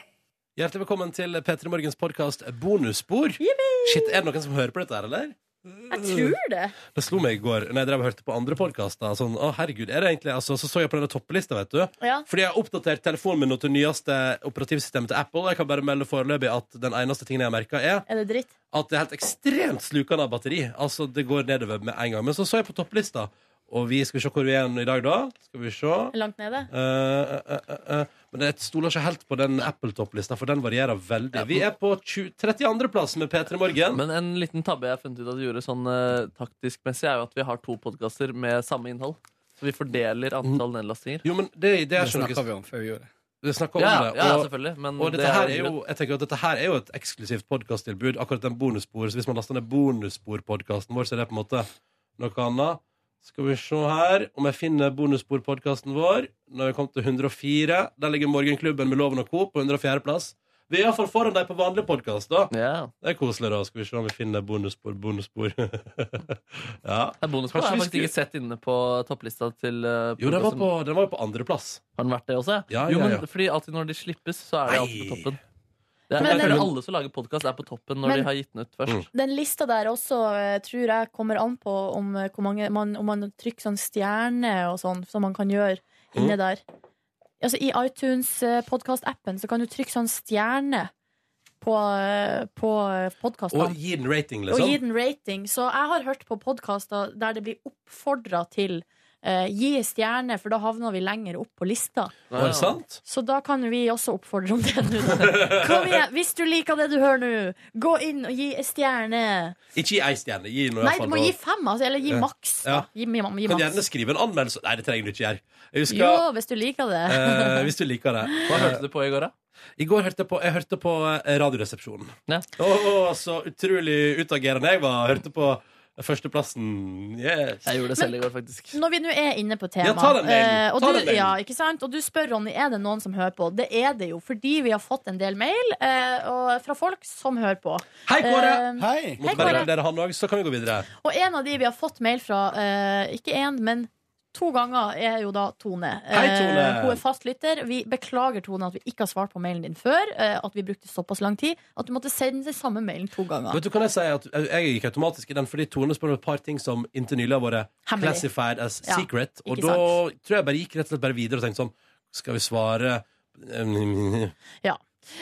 Speaker 1: Hjertelig velkommen til P3 Morgens podkast Bonusspor. Shit, Er det noen som hører på dette her, eller? Mm.
Speaker 2: Jeg tror det.
Speaker 1: Det slo meg i går når jeg drev og hørte på andre podkaster. Sånn, å, herregud, er det egentlig altså, Så så jeg på denne topplista, vet du.
Speaker 2: Ja.
Speaker 1: Fordi jeg har oppdatert telefonen min nå til nyeste operativsystemet til Apple. og Jeg kan bare melde foreløpig at den eneste tingen jeg har merka, er
Speaker 2: Er det dritt?
Speaker 1: at det er helt ekstremt slukende av batteri. Altså, det går nedover med en gang. Men så så jeg på topplista, og vi skal vi se hvor vi er i dag, da. Skal vi se.
Speaker 2: Langt nede?
Speaker 1: Eh, eh, eh, eh. Men jeg stoler ikke helt på den Apple-topplista, for den varierer veldig. Vi er på 20, 32. plass med P3 Morgen.
Speaker 3: Men en liten tabbe jeg har funnet ut at du gjorde sånn eh, taktisk messig, er jo at vi har to podkaster med samme innhold. Så vi fordeler
Speaker 1: Mm.
Speaker 3: antall nedlastinger.
Speaker 1: Jo, men det, det, er
Speaker 6: Det
Speaker 1: ikke noe-
Speaker 6: snakka vi om før vi gjorde det.
Speaker 1: Vi snakket om
Speaker 3: Ja,
Speaker 1: det.
Speaker 3: ja, selvfølgelig, men
Speaker 1: og dette,
Speaker 3: Mm, det er
Speaker 1: her
Speaker 3: jo
Speaker 1: er jo, jeg tenker at dette her er jo et eksklusivt podkasttilbud. Akkurat den bonusspor. Så hvis man laster ned bonussporpodkasten vår, så er det på en måte noe annet. Skal vi se her om jeg finner bonussporpodkasten vår. Når vi kom til 104. Der ligger Morgenklubben med Loven og Co. på 104. plass. Vi er iallfall foran deg på vanlig podkast, da. Det er koselig, da. Skal vi se om vi finner bonusspor, bonusspor. [LAUGHS] ja.
Speaker 3: Bonusspor
Speaker 1: Kanskje vi
Speaker 3: har jeg faktisk ikke
Speaker 1: skulle-
Speaker 3: sett inne på topplista til eh,
Speaker 1: Jo, den var
Speaker 3: podcasten.
Speaker 1: på, den var jo på andreplass.
Speaker 3: Har den vært det også?
Speaker 1: Ja,
Speaker 3: jo,
Speaker 1: ja,
Speaker 3: men
Speaker 1: ja.
Speaker 3: fordi alltid når de slippes, så er det alltid på toppen. Det er,
Speaker 2: Men
Speaker 3: jeg føler
Speaker 2: den-
Speaker 3: alle som lager podkast, er på toppen når
Speaker 2: Men-
Speaker 3: de har gitt den ut
Speaker 1: Mm.
Speaker 3: først.
Speaker 2: Den lista der også eh, tror jeg kommer an på om, eh, hvor mange man, om man trykker sånn stjerne og sånn, som man kan gjøre inne
Speaker 3: Mm.
Speaker 2: der. Altså I iTunes eh, podcast-appen så kan du trykke sånn stjerne på, eh, på eh, podcastene.
Speaker 1: Og gi den rating,
Speaker 2: Og gi
Speaker 1: liksom.
Speaker 2: den rating. Så jeg har hørt på podkaster der det blir oppfordra til eh, gi stjerne, for da havner vi lenger opp på lista.
Speaker 1: Ja. Er det sant?
Speaker 2: Så da kan vi også oppfordre om det nå. da. Kom igjen, hvis du liker det du hører nå, gå inn og gi en stjerne.
Speaker 1: Ikke gi ei stjerne. Gi den i hvert
Speaker 2: Nei,
Speaker 1: fall
Speaker 2: du må
Speaker 1: noe-
Speaker 2: gi fem, altså. Eller gi
Speaker 1: Ja.
Speaker 2: maks.
Speaker 1: Ja.
Speaker 2: Gi, gi, gi
Speaker 1: Kan gjerne
Speaker 2: maks.
Speaker 1: skrive en anmeldelse. Nei, det trenger du ikke gjøre. Jeg husker,
Speaker 2: Jo, hvis du liker det.
Speaker 1: eh, hvis du liker det.
Speaker 3: Hva hørte du på i går, da?
Speaker 1: I går hørte jeg på, jeg hørte på eh, Radioresepsjonen. Å, å, så utrolig utagerende jeg var. Hørte på førsteplassen. Yes.
Speaker 3: Jeg gjorde det selv i går, faktisk.
Speaker 2: Når vi nå er inne på
Speaker 1: Ja,
Speaker 2: temaet
Speaker 1: ta den mailen.
Speaker 2: og,
Speaker 1: Ta
Speaker 2: du,
Speaker 1: den mailen.
Speaker 2: ja, ikke sant? og du spør, Ronny, er det noen som hører på? Det er det jo, fordi vi har fått en del mail eh, og, fra folk som hører på.
Speaker 1: Hei, Kåre!
Speaker 2: Eh,
Speaker 1: Måtte
Speaker 2: Hei,
Speaker 1: bare
Speaker 2: Kåre.
Speaker 1: vurdere han også, så kan vi gå videre.
Speaker 2: Og en av de vi har fått mail fra, eh, ikke én, men to ganger, er jo da Tone.
Speaker 1: Hei, Tone.
Speaker 2: Eh, hun er fastlytter. Vi beklager, Tone, at vi ikke har svart på mailen din før. eh, at vi brukte såpass lang tid. At du måtte sende den samme mailen to ganger.
Speaker 1: Vet du, kan Jeg si at eh, jeg gikk automatisk i den fordi Tone spør om et par ting som inntil nylig har vært
Speaker 2: Hemmelig.
Speaker 1: classified as
Speaker 2: Ja,
Speaker 1: secret. Og
Speaker 2: ikke
Speaker 1: da tror jeg bare gikk rett og slett bare videre og tenkte sånn Skal vi svare um,
Speaker 2: Ja.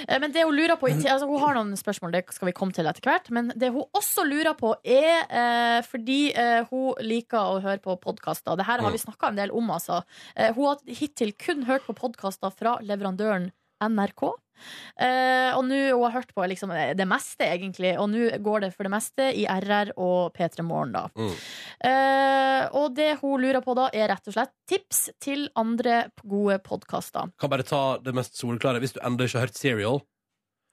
Speaker 2: Eh, Men det hun lurer på i ti- altså Hun har noen spørsmål, det skal vi komme til etter hvert. Men det hun også lurer på, er eh, fordi eh, hun liker å høre på podkaster. Det her har vi snakka en del om, altså. Eh, hun har hittil kun hørt på podkaster fra leverandøren NRK. Eh, og nå hun har hørt på liksom, det meste, egentlig. Og nå går det for det meste i RR og P3 Morgen, da. Eh, og det hun lurer på da, er rett og slett tips til andre gode podkaster.
Speaker 1: Kan bare ta det mest soleklare. Hvis du ennå ikke har hørt Serial,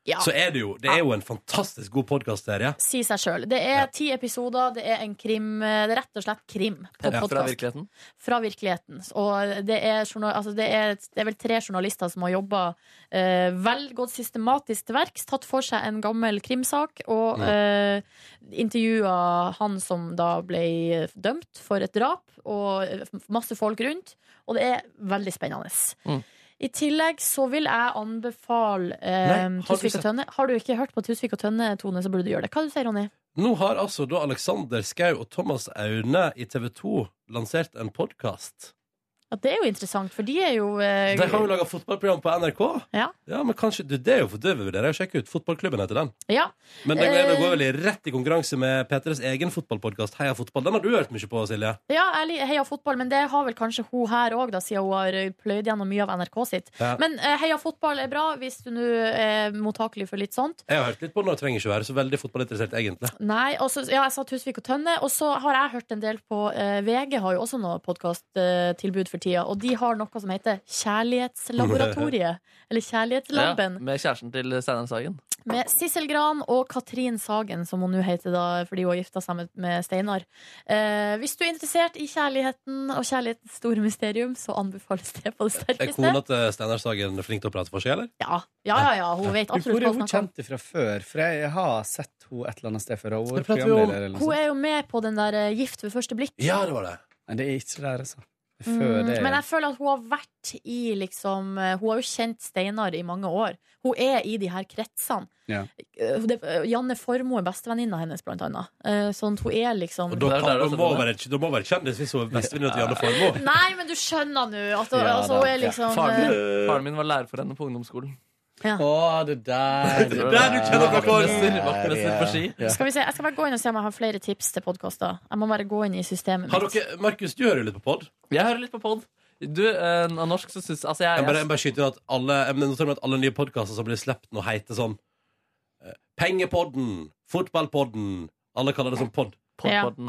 Speaker 2: Ja.
Speaker 1: så er det jo Det er jo en fantastisk god podkastserie.
Speaker 2: Si seg sjøl. Det er ti episoder, det er en krim eh, Det er rett og slett krim på
Speaker 1: Ja.
Speaker 2: podcast.
Speaker 1: Fra virkeligheten?
Speaker 2: Fra virkeligheten. Og det er, journal, altså det er, det er vel tre journalister som har jobba eh, vel gått systematisk til verks, tatt for seg en gammel krimsak og
Speaker 11: Mm.
Speaker 2: eh, intervjua han som da ble eh, dømt for et drap, og eh, masse folk rundt. Og det er veldig spennende.
Speaker 1: Mm.
Speaker 2: I tillegg så vil jeg anbefale eh,
Speaker 1: Nei, har du
Speaker 2: Tusvik
Speaker 1: sett-
Speaker 2: og Tønne. Har du ikke hørt på Tusvik og Tønne, Tone, så burde du gjøre det. Hva du sier du, Ronny?
Speaker 1: Nå har altså da Alexander Skau og Thomas Aune i TV 2 lansert en podkast.
Speaker 2: Ja, det er jo interessant, for de er jo eh,
Speaker 1: De har jo laga fotballprogram på NRK.
Speaker 2: Ja.
Speaker 1: Ja, men kanskje, du, Det er jo for døve vurderinger. Sjekk ut Fotballklubben heter den.
Speaker 2: ja.
Speaker 1: Men den gleder
Speaker 2: Eh,
Speaker 1: går vel i rett i konkurranse med P3s egen fotballpodkast Heia fotball. Den har du hørt mye på, Silje.
Speaker 2: Ja, jeg li- heia fotball, men det har vel kanskje hun her òg, siden hun har eh, pløyd gjennom mye av NRK sitt.
Speaker 1: Ja.
Speaker 2: Men eh, heia fotball er bra hvis du nå er mottakelig for litt sånt.
Speaker 1: Jeg har hørt litt på den og trenger ikke være så veldig fotballinteressert, egentlig.
Speaker 2: Nei, og så- ja, jeg sa Tusvik og Tønne, og så har jeg hørt en del på eh, VG har jo også noe podkasttilbud for tida, og de har noe som heter Kjærlighetslaboratoriet. eller Kjærlighetslaben.
Speaker 3: Ja, med kjæresten til Steinar Sagen.
Speaker 2: Med Sissel Gran og Katrin Sagen, som hun nå heter da, fordi hun har gifta seg med- med Steinar. Eh, hvis du er interessert i kjærligheten og kjærlighetens store mysterium, så anbefales det på det
Speaker 1: Er kona
Speaker 2: sterkeste.
Speaker 1: til Steinar Sagen flink til å prate for seg, eller?
Speaker 2: Ja, ja, ja, ja hun vet
Speaker 6: Hvor
Speaker 2: absolutt
Speaker 6: er
Speaker 2: hva
Speaker 6: hun
Speaker 2: hun snakker om.
Speaker 6: kjent fra før? For jeg har sett henne et eller annet sted før. Hun er
Speaker 1: prater vi om.
Speaker 6: programleder eller
Speaker 2: Hun
Speaker 6: noe sånt.
Speaker 2: er jo med på den der eh, Gift ved første blikk.
Speaker 1: Ja, det var det.
Speaker 6: Nei, det er ikke der, altså. Det er Før
Speaker 2: Mm,
Speaker 6: det.
Speaker 2: men jeg føler at hun har vært i liksom eh, Hun har jo kjent Steinar i mange år. Hun er i de her kretsene.
Speaker 6: Ja.
Speaker 2: Eh, Det, eh, Janne Formoe er bestevenninna hennes, blant annet. Eh, Sånn at hun er liksom
Speaker 1: Og da, kan, da, må hun være, da må hun være kjendis hvis hun er bestevenninna til Janne Formoe.
Speaker 2: Nei, men du skjønner nå at
Speaker 3: Ja,
Speaker 2: altså, hun er liksom
Speaker 3: Faren min,
Speaker 2: eh,
Speaker 3: faren min var lærer for henne på ungdomsskolen.
Speaker 2: Ja.
Speaker 6: Å, det der
Speaker 3: Det
Speaker 6: det
Speaker 3: er der du kjenner
Speaker 6: der,
Speaker 3: vaktmester,
Speaker 6: det der,
Speaker 3: vaktmester
Speaker 6: ja.
Speaker 3: på ski.
Speaker 6: Ja.
Speaker 2: eh, Skal vi se, Jeg skal bare gå inn og se om jeg har flere tips til podkaster. Jeg må bare gå inn i systemet
Speaker 1: Har
Speaker 2: mitt.
Speaker 1: dere, Markus, du hører jo litt på pod?
Speaker 3: Jeg hører litt på pod. Du, eh, av norsk så syns Altså, jeg,
Speaker 1: Jeg bare, jeg bare skyter inn at alle, jeg noterer meg at alle nye podkaster som blir sluppet nå, heter sånn eh, Pengepodden, Fotballpodden Alle kaller det sånn pod.
Speaker 2: Ja.
Speaker 3: Mm.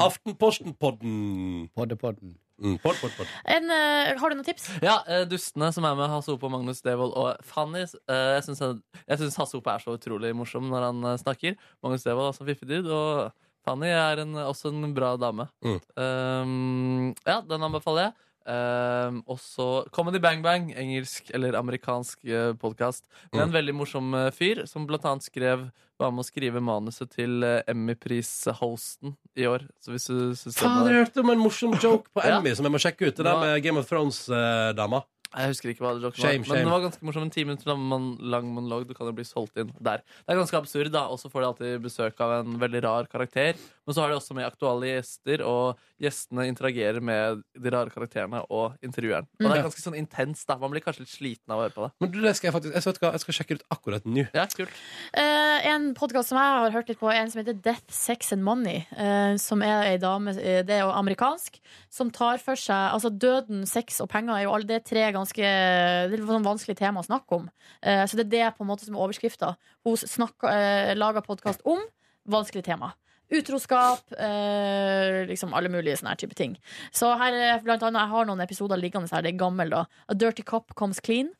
Speaker 1: Aftenpostenpodden.
Speaker 6: Poddepodden.
Speaker 1: Mm, pod, pod, pod.
Speaker 2: En, eh, har du noen tips?
Speaker 3: Ja, eh, Dustene som er med Hasse Hope og Magnus Devold og Fanny. eh, Jeg syns han- jeg syns Hasse Hope er så utrolig morsom når han eh, snakker. Magnus Devold er også en fiffig dude. Og Fanny er en, også en bra dame.
Speaker 1: Mm.
Speaker 3: Um, ja, den anbefaler jeg. Um, også Comedy Bang Bang, engelsk eller amerikansk uh, podkast. Med en veldig morsom eh, fyr som blant annet skrev var med å skrive manuset til eh, Emmy-pris-hosten i år. Så hvis du syns den
Speaker 1: Fader,
Speaker 3: er-
Speaker 1: jeg hørte om en morsom joke på
Speaker 3: Ja.
Speaker 1: eh, Emmy som jeg må sjekke ut. Det der med Game of Thrones-dama.
Speaker 3: Jeg husker ikke hva det var,
Speaker 1: Shame,
Speaker 3: men
Speaker 1: shame.
Speaker 3: det var ganske morsom. En time minutter lang mon- lang monolog. Du kan jo bli solgt inn der. Det er ganske absurd, da. Og så får de alltid besøk av en veldig rar karakter. Men så har de også med aktuelle gjester, og gjestene interagerer med de rare karakterene og intervjueren. Og det
Speaker 1: Mm.
Speaker 3: er ganske sånn intenst, da. Man blir kanskje litt sliten av å høre på det.
Speaker 1: Men du, det skal jeg faktisk Jeg, vet hva, jeg skal sjekke ut akkurat nå.
Speaker 3: Ja, kult.
Speaker 2: Eh, en podkast som jeg har hørt litt på, er en som heter Death, Sex and Money. eh, som er ei dame eh, Det er jo amerikansk. Som tar for seg Altså, døden, sex og penger er jo alle Det er tre ganske Det er sånn vanskelig tema å snakke om. Eh, så det er det på en måte som er overskrifta. Hun snakker, eh, lager podkast om vanskelig tema. Utroskap, eh, liksom alle mulige sånne her type ting. Så her er blant annet, jeg har noen episoder liggende her, det er gammel da. A Dirty Cop Comes Clean.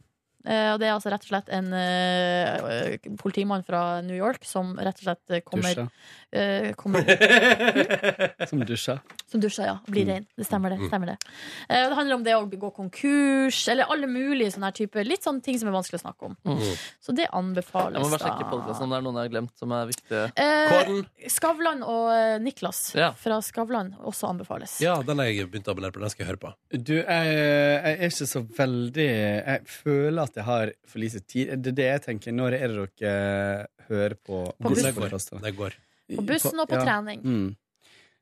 Speaker 2: Eh, og det er altså rett og slett en eh, politimann fra New York som rett og slett eh, kommer,
Speaker 6: Dusja.
Speaker 2: eh, kommer
Speaker 6: Som dusja.
Speaker 2: Som dusja, ja. og Blir
Speaker 6: Mm.
Speaker 2: rein. Det stemmer, det.
Speaker 6: Mm.
Speaker 2: stemmer det. Eh, og det handler om det å gå konkurs, eller alle mulige sånne her typer litt sånne ting som er vanskelig å snakke om.
Speaker 3: Mm.
Speaker 2: Så det
Speaker 3: Jeg må
Speaker 2: anbefales,
Speaker 3: bare sjekke podkasten om det er noen jeg har glemt som er viktige.
Speaker 2: Eh, Skavlan og eh, Niklas
Speaker 1: Ja.
Speaker 2: fra Skavlan også anbefales.
Speaker 1: Ja, den har jeg begynt å abonnere på. Den skal jeg høre på.
Speaker 6: Du, jeg, jeg er ikke så veldig Jeg føler at jeg har for lite tid. Det er det jeg tenker. Når er det dere hører på
Speaker 2: På
Speaker 6: disse
Speaker 2: bussen.
Speaker 6: podcastene?
Speaker 2: På bussen og på trening.
Speaker 6: Mm.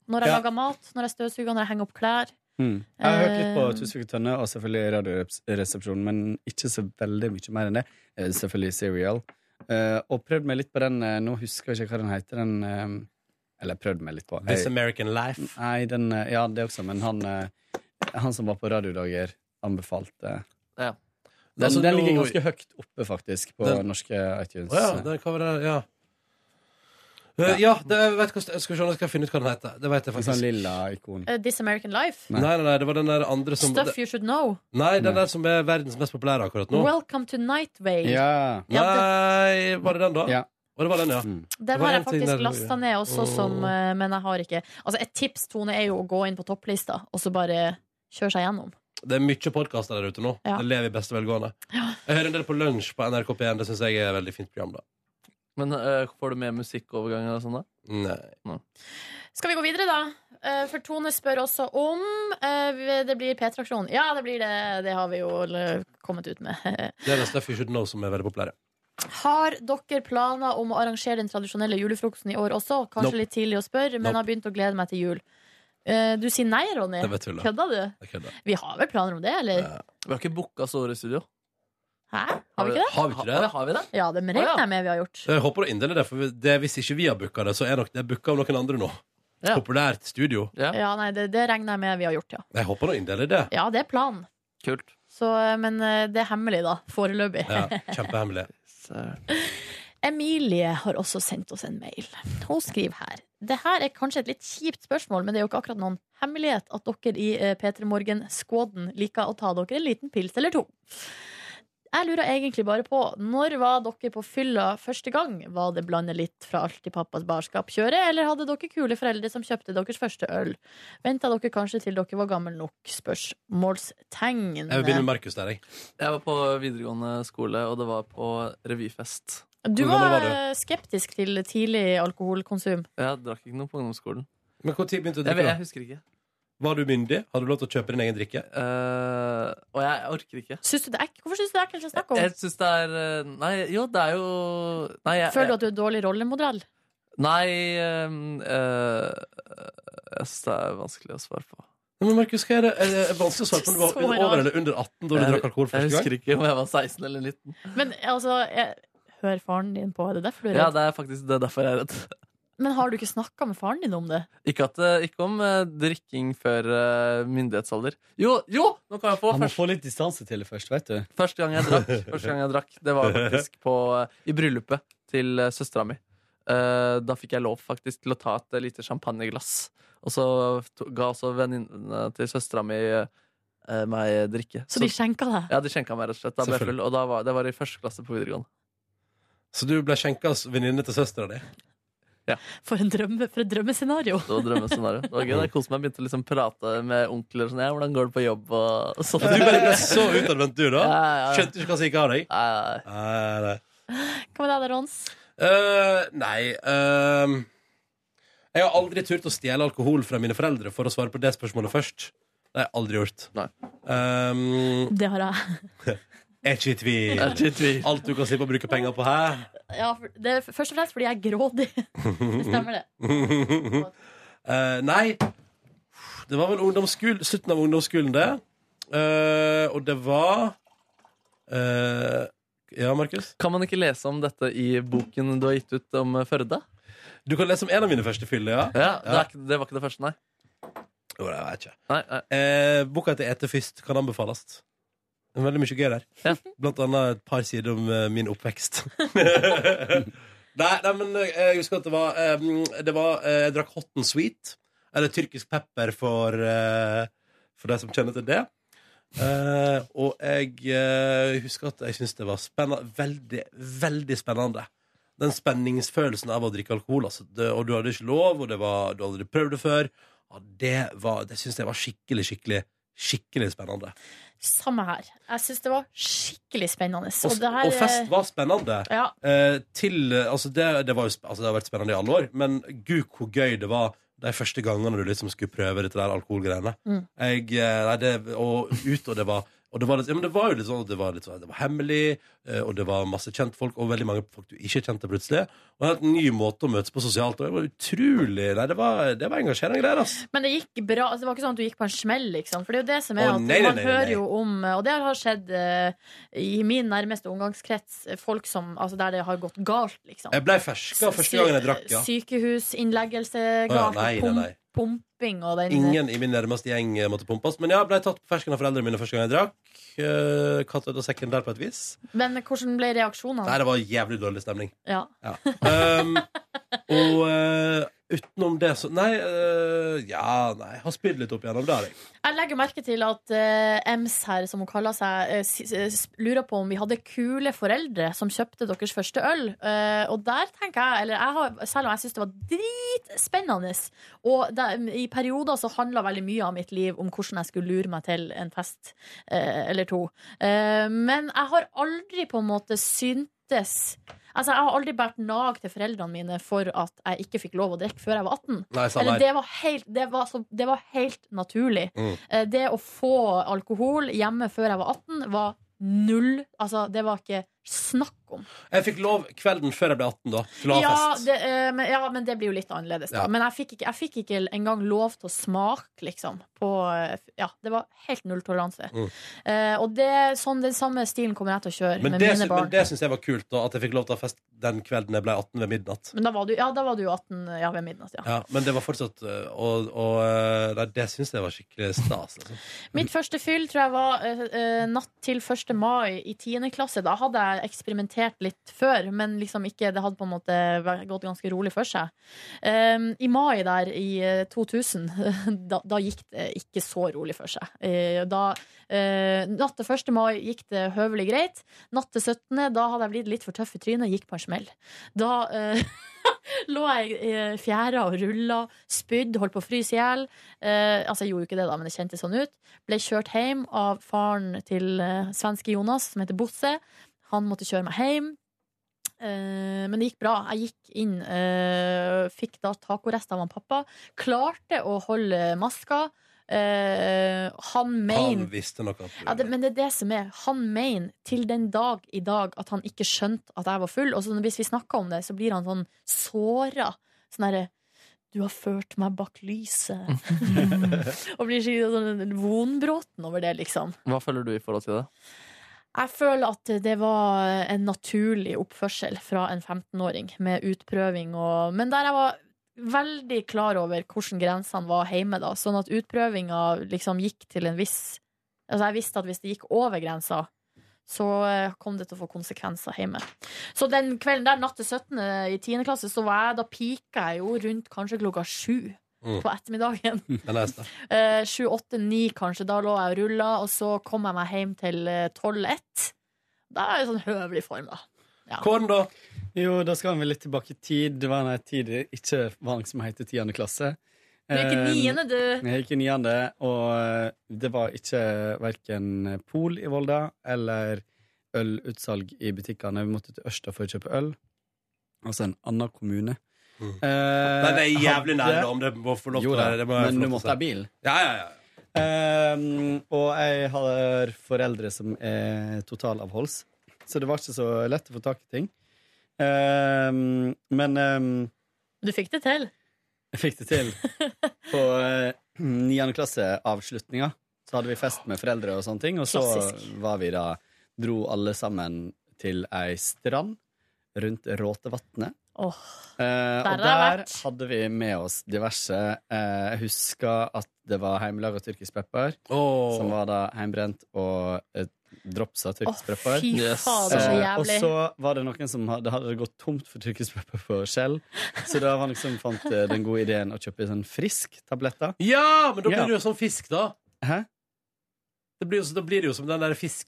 Speaker 2: Når jeg
Speaker 6: Ja.
Speaker 2: lager mat, når jeg støvsuger, når jeg henger opp klær.
Speaker 6: Mm. Jeg har hørt litt på
Speaker 2: Eh,
Speaker 6: Tusvik og Tønne og selvfølgelig Radioresepsjonen, men ikke så veldig mye mer enn det. Eh, Selvfølgelig Serial. Eh, og prøvd meg litt på den eh, Nå husker jeg ikke hva den heter. Den, eh, eller prøvd meg litt på
Speaker 1: This
Speaker 6: Jeg-
Speaker 1: American Life.
Speaker 6: Nei, den, eh, ja, det også, men han, eh, han som var på Radiodager, anbefalte
Speaker 3: Ja.
Speaker 6: Den,
Speaker 1: Altså,
Speaker 6: den
Speaker 1: nå-
Speaker 6: ligger ganske høyt oppe, faktisk, på
Speaker 1: Den-
Speaker 6: norske iTunes.
Speaker 1: Å ja, den coveren der, ja. Eh, ja, det, jeg vet, hva- skal vi se, nå skal jeg finne ut hva den heter. Det vet jeg
Speaker 6: En
Speaker 1: faktisk.
Speaker 6: sånn lilla ikon.
Speaker 2: eh, This American Life.
Speaker 1: Nei, nei, nei, det var den der andre som
Speaker 2: Stuff you should know.
Speaker 1: Nei, den der som er verdens mest populære akkurat nå.
Speaker 2: Welcome to Night Vale.
Speaker 1: Nei, var det den, da?
Speaker 6: Ja.
Speaker 1: Og det var den, ja.
Speaker 6: Mm.
Speaker 1: Det
Speaker 2: Den
Speaker 1: var
Speaker 2: har jeg
Speaker 1: en ting
Speaker 2: faktisk
Speaker 1: der,
Speaker 2: lasta
Speaker 1: ja.
Speaker 2: ned også,
Speaker 1: Åh.
Speaker 2: som, eh, men jeg har ikke Altså Et tips, Tone, er jo å gå inn på topplista og så bare kjøre seg gjennom.
Speaker 1: Det er mye podkaster der ute nå.
Speaker 2: Ja.
Speaker 1: Det lever i beste velgående. Jeg hører en del på Lunsj på NRK P1. Det syns jeg er et veldig fint program, da.
Speaker 3: Men eh, får du med musikkoverganger og sånn, da?
Speaker 1: Nei.
Speaker 2: Skal vi gå videre, da? Eh, For Tone spør også om eh, det blir P-traksjon. Ja, det blir det. Det har vi jo eh, kommet ut med. [LAUGHS]
Speaker 1: Det er den Stuff You Should Know som er veldig populære.
Speaker 2: Har dere planer om å arrangere den tradisjonelle julefrokosten i år også? Kanskje
Speaker 1: Nope.
Speaker 2: litt tidlig å spørre, men
Speaker 1: Nope.
Speaker 2: har begynt å glede meg til jul. Eh, Du sier nei, Ronny.
Speaker 3: Det var tull, da.
Speaker 2: Kødda du? Vi har vel planer om det, eller?
Speaker 3: Vi har ikke booka Store Studio.
Speaker 2: Hæ? Har vi ikke det?
Speaker 1: Har vi ikke det?
Speaker 3: Har vi det?
Speaker 2: Ja, det regner jeg med vi har gjort.
Speaker 1: Jeg håper å inndele det, for det, hvis ikke vi har booka det, så er nok det booka av noen andre nå. Populært studio.
Speaker 2: Ja, nei, det, det regner jeg med vi har gjort, ja.
Speaker 1: Jeg håper å inndele det.
Speaker 2: Ja, det er planen.
Speaker 3: Kult.
Speaker 2: Så, men eh, det er hemmelig, da. Foreløpig.
Speaker 1: Ja, kjempehemmelig.
Speaker 2: Emilie har også sendt oss en mail. Hun skriver her. Det her er kanskje et litt kjipt spørsmål, men det er jo ikke akkurat noen hemmelighet at dere i eh, P3 Morgen-skåden liker å ta dere en liten pils eller to. Jeg lurer egentlig bare på, når var dere på fylla første gang? Var det blande litt fra alt i pappas barskap kjøre, eller hadde dere kule foreldre som kjøpte deres første øl? Venta dere kanskje til dere var gammel nok? Spørsmålstegn.
Speaker 1: Jeg vil begynne med Markus der, jeg.
Speaker 3: Jeg var på videregående skole, og det var på revyfest.
Speaker 2: Du var, eh, skeptisk til tidlig alkoholkonsum.
Speaker 3: Jeg drakk ikke noe på ungdomsskolen.
Speaker 1: Men når begynte du å
Speaker 3: Jeg, vet-
Speaker 1: drikke?
Speaker 3: jeg
Speaker 1: da?
Speaker 3: husker ikke.
Speaker 1: Var du myndig? Hadde du lov til å kjøpe din egen drikke?
Speaker 3: Eh, og jeg orker ikke.
Speaker 2: Syns du det er ek- Hvorfor syns du det er ekkelt å snakke om?
Speaker 3: Jeg syns det er eh, Nei, jo, det er jo Nei, jeg,
Speaker 2: Føler du at du er dårlig rollemodell?
Speaker 3: Nei ehm, eh, Jeg syns det er vanskelig å svare på.
Speaker 1: Nei, Men Markus, hva er det? Er det er vanskelig å svare på om
Speaker 2: Så
Speaker 1: du var
Speaker 2: rar.
Speaker 1: over eller under 18 da du
Speaker 3: Jeg-
Speaker 1: drakk alkohol første gang?
Speaker 3: Jeg husker ikke om jeg var 16 eller 19.
Speaker 2: Men altså, jeg, hør faren din på. Er det derfor du er
Speaker 3: Ja,
Speaker 2: redd?
Speaker 3: det er faktisk det er derfor jeg er redd. [LAUGHS]
Speaker 2: Men har du ikke snakka med faren din om det?
Speaker 3: Ikke, at, eh, ikke om eh, drikking før eh, myndighetsalder. Jo, jo! Nå kan jeg få
Speaker 6: Han må
Speaker 3: først.
Speaker 6: få litt distanse til det først, vet du.
Speaker 3: Første gang jeg drakk, første gang jeg drakk det var faktisk på, eh, i bryllupet til uh, søstera mi. Eh, da fikk jeg lov faktisk til å ta et eh, lite champagneglass. Og så to, ga også venninnene til søstera mi eh, meg drikke.
Speaker 2: Så de skjenka deg?
Speaker 3: Ja, de skjenka meg rett og slett. Da ble jeg
Speaker 1: Selvfølgelig.
Speaker 3: full, og da var, det var i første klasse på videregående.
Speaker 1: Så du ble skjenka av venninne til søstera di?
Speaker 2: For, en drømme, for et drømmescenario.
Speaker 3: Det var drømmescenario. Det var gøy. da. Jeg koste meg. Jeg Begynte å liksom prate med onkler og sånn. Ja, hvordan går det på jobb og sånn.
Speaker 1: Du bare ble så utadvendt, du, da.
Speaker 3: Ja, ja, ja.
Speaker 1: Skjønte ikke hva som gikk av deg? Nei, nei.
Speaker 2: Hva med deg, da, Rons?
Speaker 1: Eh, nei eh, ehm, Jeg har aldri turt å stjele alkohol fra mine foreldre, for å svare på det spørsmålet først. Det har jeg aldri gjort. Um,
Speaker 2: Det har jeg.
Speaker 1: er ikke i tvil.
Speaker 3: Er ikke i tvil.
Speaker 1: Alt du kan slippe å bruke penger på, hæ?
Speaker 2: Ja, for- det er først og fremst fordi jeg er grådig. Det stemmer, det.
Speaker 1: [LAUGHS] Eh, nei, det var vel ungdomsskol- slutten av ungdomsskolen, det. Eh, og det var eh, Ja, Markus?
Speaker 3: Kan man ikke lese om dette i boken du har gitt ut om eh, Førde?
Speaker 1: Du kan lese om en av mine første fyller, ja.
Speaker 3: Ja, det, er, ikke- det var ikke det første, nei.
Speaker 1: Jo, det vet jeg ikke.
Speaker 3: Nei, nei.
Speaker 1: Eh, boka heter Ete først kan anbefales. Det er Veldig mye gøy der. Blant annet et par sider om eh, min oppvekst. nei, nei, men eh, jeg husker at det var, eh, det var eh, Jeg drakk hot and sweet. Eller tyrkisk pepper for, eh, for de som kjenner til det. Eh, og jeg eh, husker at jeg syntes det var spennende, veldig, veldig spennende. Den spenningsfølelsen av å drikke alkohol. Altså, det, og du hadde ikke lov, og det var, du hadde aldri prøvd det før. Ja, det var, det syns jeg var skikkelig, skikkelig, skikkelig spennende.
Speaker 2: Samme her. Jeg syns det var skikkelig spennende.
Speaker 1: Og,
Speaker 2: Og det her,
Speaker 1: og fest var spennende.
Speaker 2: Ja.
Speaker 1: Eh, til, eh, altså det, det, var jo, sp- altså det har vært spennende i alle år, men gud, hvor gøy det var de første gangene du liksom skulle prøve dette der alkoholgreiene.
Speaker 13: Mm.
Speaker 1: Jeg, eh, nei, det, og ut, og det var og det var, litt, ja, men det var jo litt sånn at det var, litt, sånn- det var hemmelig, eh, og det var masse kjentfolk, og veldig mange folk du ikke kjente plutselig. Og en helt ny måte å møtes på sosialt. Og det var utrolig Nei, det var, det var engasjerende greier, altså.
Speaker 2: Men det gikk bra. Altså, det var ikke sånn at du gikk på en smell, liksom. For det er jo det som er
Speaker 1: Å,
Speaker 2: at
Speaker 1: nei, nei, nei,
Speaker 2: man
Speaker 1: nei,
Speaker 2: hører
Speaker 1: nei.
Speaker 2: jo om Og det har skjedd eh, i min nærmeste omgangskrets. Folk som Altså der det har gått galt, liksom.
Speaker 1: Jeg ble ferska første gangen jeg drakk, ja.
Speaker 2: Sykehusinnleggelse,
Speaker 1: Å, ja,
Speaker 2: galt,
Speaker 1: nei, nei,
Speaker 2: og
Speaker 1: nei.
Speaker 2: pump, pumping og den
Speaker 1: Ingen i min nærmeste gjeng eh, måtte pumpes. Men jeg ble tatt på fersken av foreldrene mine første gang jeg drakk. Eh, Katt ut av sekken der på et vis.
Speaker 2: Men hvordan ble reaksjonene?
Speaker 1: Nei, det var jævlig dårlig stemning.
Speaker 2: Ja.
Speaker 1: Ja. Um, og eh, utenom det så Nei, eh, ja, nei. Har spydd litt opp igjennom det, har jeg.
Speaker 2: Jeg legger jo merke til at eh, Ems her, som hun kaller seg, eh, s- s- lurer på om vi hadde kule foreldre som kjøpte deres første øl. Eh, og der tenker jeg, eller jeg har, selv om jeg syns det var dritspennende, og det, i perioder så handla veldig mye av mitt liv om hvordan jeg skulle lure meg til en fest eh, eller to. Eh, men jeg har aldri på en måte syntes Altså, Jeg har aldri båret nag til foreldrene mine for at jeg ikke fikk lov å drikke før jeg var 18.
Speaker 1: Nei, samme her.
Speaker 2: Eller det var helt, det var, så, det var helt naturlig.
Speaker 1: Mm.
Speaker 2: Eh, Det å få alkohol hjemme før jeg var 18, var null. Altså, det var ikke snakk om.
Speaker 1: Jeg fikk lov kvelden før jeg ble 18, da. Til å ha
Speaker 2: Ja,
Speaker 1: fest.
Speaker 2: det, eh, men, ja, men det blir jo litt annerledes, da.
Speaker 1: Ja.
Speaker 2: Men jeg fikk, ikke, jeg fikk ikke engang lov til å smake, liksom. På, eh, ja, det var helt null toleranse.
Speaker 1: Mm.
Speaker 2: Eh, og det, sånn, den samme stilen kommer jeg til å kjøre
Speaker 1: Men
Speaker 2: med
Speaker 1: det, sy-
Speaker 2: mine barn.
Speaker 1: men det syns jeg var kult, da. At jeg fikk lov til å ha fest den kvelden jeg ble 18 ved midnatt.
Speaker 2: Men da var du, ja, da var du 18 ja, ved midnatt, ja.
Speaker 1: Ja, men det var fortsatt eh, Og, og eh, nei, det syns jeg var skikkelig stas. Altså.
Speaker 2: Mitt første fyll tror jeg var eh, eh, natt til 1. mai i 10. klasse. Da hadde jeg eksperimentert litt før, men liksom ikke, det hadde på en måte vært- gått ganske rolig for seg. Ehm, I mai der i eh, 2000, [LAUGHS] da, da gikk det ikke så rolig for seg. Eh, da, eh, natt til 1. mai gikk det høvelig greit. Natt til 17. da hadde jeg blitt litt for tøff i trynet, gikk på en smell. Da eh, [LAUGHS] lå jeg eh, fjæra og rulla, spydd, holdt på å fryse i hjel. Eh, altså, jeg gjorde jo ikke det, da, men det kjentes sånn ut. Ble kjørt hjem av faren til eh, svenske Jonas, som heter Bosse. Han måtte kjøre meg hjem. Eh, men det gikk bra. Jeg gikk inn, eh, fikk da tacorester av han pappa. Klarte å holde maska. Eh, han
Speaker 1: Han
Speaker 2: mener
Speaker 1: visste nok at
Speaker 2: ja, det, men det er det som er. Han mener til den dag i dag at han ikke skjønte at jeg var full. Og så hvis vi snakker om det, så blir han sånn såra. Sånn herre Du har ført meg bak lyset. [LAUGHS] og blir skikkelig sånn vonbråten over det, liksom.
Speaker 3: Hva føler du i forhold til det?
Speaker 2: Jeg føler at det var en naturlig oppførsel fra en 15-åring, med utprøving og Men der jeg var veldig klar over hvordan grensene var hjemme, da. Sånn at utprøvinga liksom gikk til en viss Altså, jeg visste at hvis det gikk over grensa, så eh, kom det til å få konsekvenser hjemme. Så den kvelden der, natt til 17. i 10. klasse, så var jeg Da pika jeg jo rundt kanskje klokka sju
Speaker 1: Mm.
Speaker 2: på ettermiddagen.
Speaker 1: Det er nice, da.
Speaker 2: Eh, Sju, åtte, ni kanskje. Da lå jeg og rulla, og så kom jeg meg hjem til eh, tolv-ett. Da er jeg i sånn høvelig form, da.
Speaker 1: Kåren, da?
Speaker 6: Jo, da skal vi litt tilbake i tid. Det var en tid det ikke var noe som het tiende klasse.
Speaker 2: Du er ikke
Speaker 6: Eh,
Speaker 2: niende, du.
Speaker 6: Jeg gikk i niende, og eh, det var ikke verken pol i Volda eller ølutsalg i butikkene. Vi måtte til Ørsta for å kjøpe øl. Altså en annen kommune.
Speaker 1: Mm. Nei, det er jævlig nære, da, om det må få lov
Speaker 6: Eh, Jo
Speaker 1: til å
Speaker 6: da,
Speaker 1: være- det må jeg få lov
Speaker 6: men du
Speaker 1: til å
Speaker 6: måtte ha
Speaker 1: si.
Speaker 6: bil.
Speaker 1: Ja, ja, ja.
Speaker 6: Ehm, og jeg har foreldre som er totalavholds, så det var ikke så lett å få tak i ting. Ehm, men ehm,
Speaker 2: Du fikk det til.
Speaker 6: jeg fikk det til. På eh, 9. klasseavslutninga så hadde vi fest med foreldre og sånne ting, og så
Speaker 13: Klassisk.
Speaker 6: var vi da Dro alle sammen til ei strand rundt Råtevatnet.
Speaker 2: Åh,
Speaker 6: Eh,
Speaker 2: Der
Speaker 6: og
Speaker 2: har jeg
Speaker 6: der hadde vi med oss diverse. Eh, jeg husker at det var heimelaga tyrkisk pepper, som var da heimbrent og eh, dropsa tyrkisk pepper.
Speaker 2: fy Yes. fader, så
Speaker 6: Eh, og
Speaker 2: jævlig.
Speaker 6: så var det noen som hadde, hadde det gått tomt for tyrkisk pepper på Shell, så da var liksom fant eh, den gode ideen å kjøpe sånn frisk tabletter.
Speaker 1: Ja, men da blir
Speaker 6: Ja.
Speaker 1: det jo som fisk, da.
Speaker 6: Hæ?
Speaker 1: Det blir, jo, så- da blir det jo som den der fiske...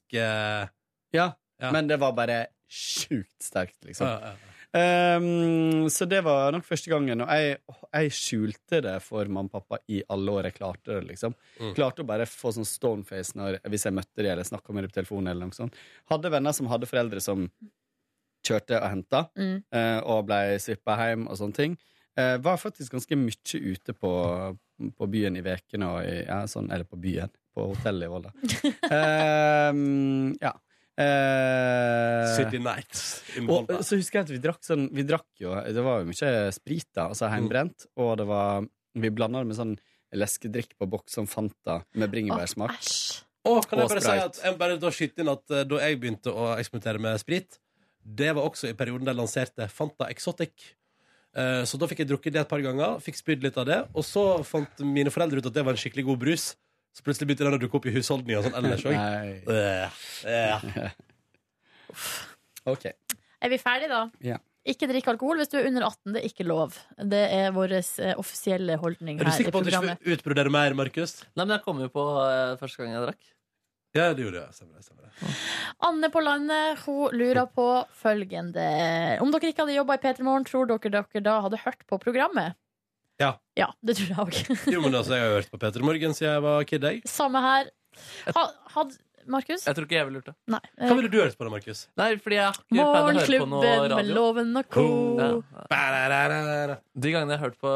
Speaker 6: Ja, men det var bare sjukt sterkt, liksom.
Speaker 1: Ja, ja,
Speaker 6: Ehm, så det var nok første gangen, og jeg, jeg skjulte det for mamma og pappa i alle år jeg klarte det. liksom.
Speaker 1: Mm.
Speaker 6: Klarte å bare få sånn stoneface når, hvis jeg møtte de eller snakka med dem på telefonen. eller noe sånt. Hadde venner som hadde foreldre som kjørte og henta,
Speaker 2: Mm.
Speaker 6: eh, og blei svippa hjem og sånne ting. Eh, var faktisk ganske mye ute på, på byen i vekene og i, ja, sånn, Eller på byen. På hotellet i Volda.
Speaker 1: [LAUGHS]
Speaker 6: Ehm, ja. Eh,
Speaker 1: City Nights. i
Speaker 6: og
Speaker 1: Volda.
Speaker 6: så husker jeg at vi drakk sånn Vi drakk jo Det var jo mye sprit, da. Altså heimbrent.
Speaker 2: Mm.
Speaker 6: Og det var Vi blanda det med sånn leskedrikk på boks, sånn Fanta med bringebærsmak.
Speaker 1: Og kan jeg
Speaker 6: Og
Speaker 1: bare si
Speaker 6: Sprite.
Speaker 1: at jeg må bare da skyte inn at eh, da jeg begynte å eksperimentere med sprit, det var også i perioden de lanserte Fanta Exotic. Eh, Så da fikk jeg drukket det et par ganger, fikk spydd litt av det, og så fant mine foreldre ut at det var en skikkelig god brus. Så plutselig begynte den å dukke opp i husholdninga sånn ellers Eh, òg.
Speaker 6: OK.
Speaker 2: Er vi ferdige, da?
Speaker 6: Ja.
Speaker 2: Ikke drikk alkohol hvis du er under 18. Det er ikke lov. Det er vår eh, offisielle holdning
Speaker 1: Er du
Speaker 2: her i
Speaker 1: sikker på at du ikke
Speaker 2: programmet.
Speaker 1: vil utbrodere mer, Markus?
Speaker 3: Nei, men jeg kom jo på eh, første gang jeg drakk.
Speaker 1: Ja, det gjorde jeg. Stemmer det. Stemmer det.
Speaker 2: Anne på landet hun lurer på følgende. Om dere ikke hadde jobba i P3 Morgen, tror dere dere da hadde hørt på programmet?
Speaker 1: Ja.
Speaker 2: Ja, det tror jeg òg.
Speaker 1: Jo, men altså, jeg har jo hørt på Peter Morgen siden jeg var kid, jeg.
Speaker 2: Samme her. Ha, had, Markus?
Speaker 3: Jeg tror ikke jeg ville gjort det.
Speaker 2: Nei. Eh,
Speaker 1: Hva ville du hørt på da, Markus?
Speaker 3: Nei, fordi jeg har ikke pleid å høre på noe
Speaker 2: Morgenklubben med
Speaker 3: radio.
Speaker 2: Loven og co.
Speaker 1: Ja.
Speaker 3: De gangene jeg hørte på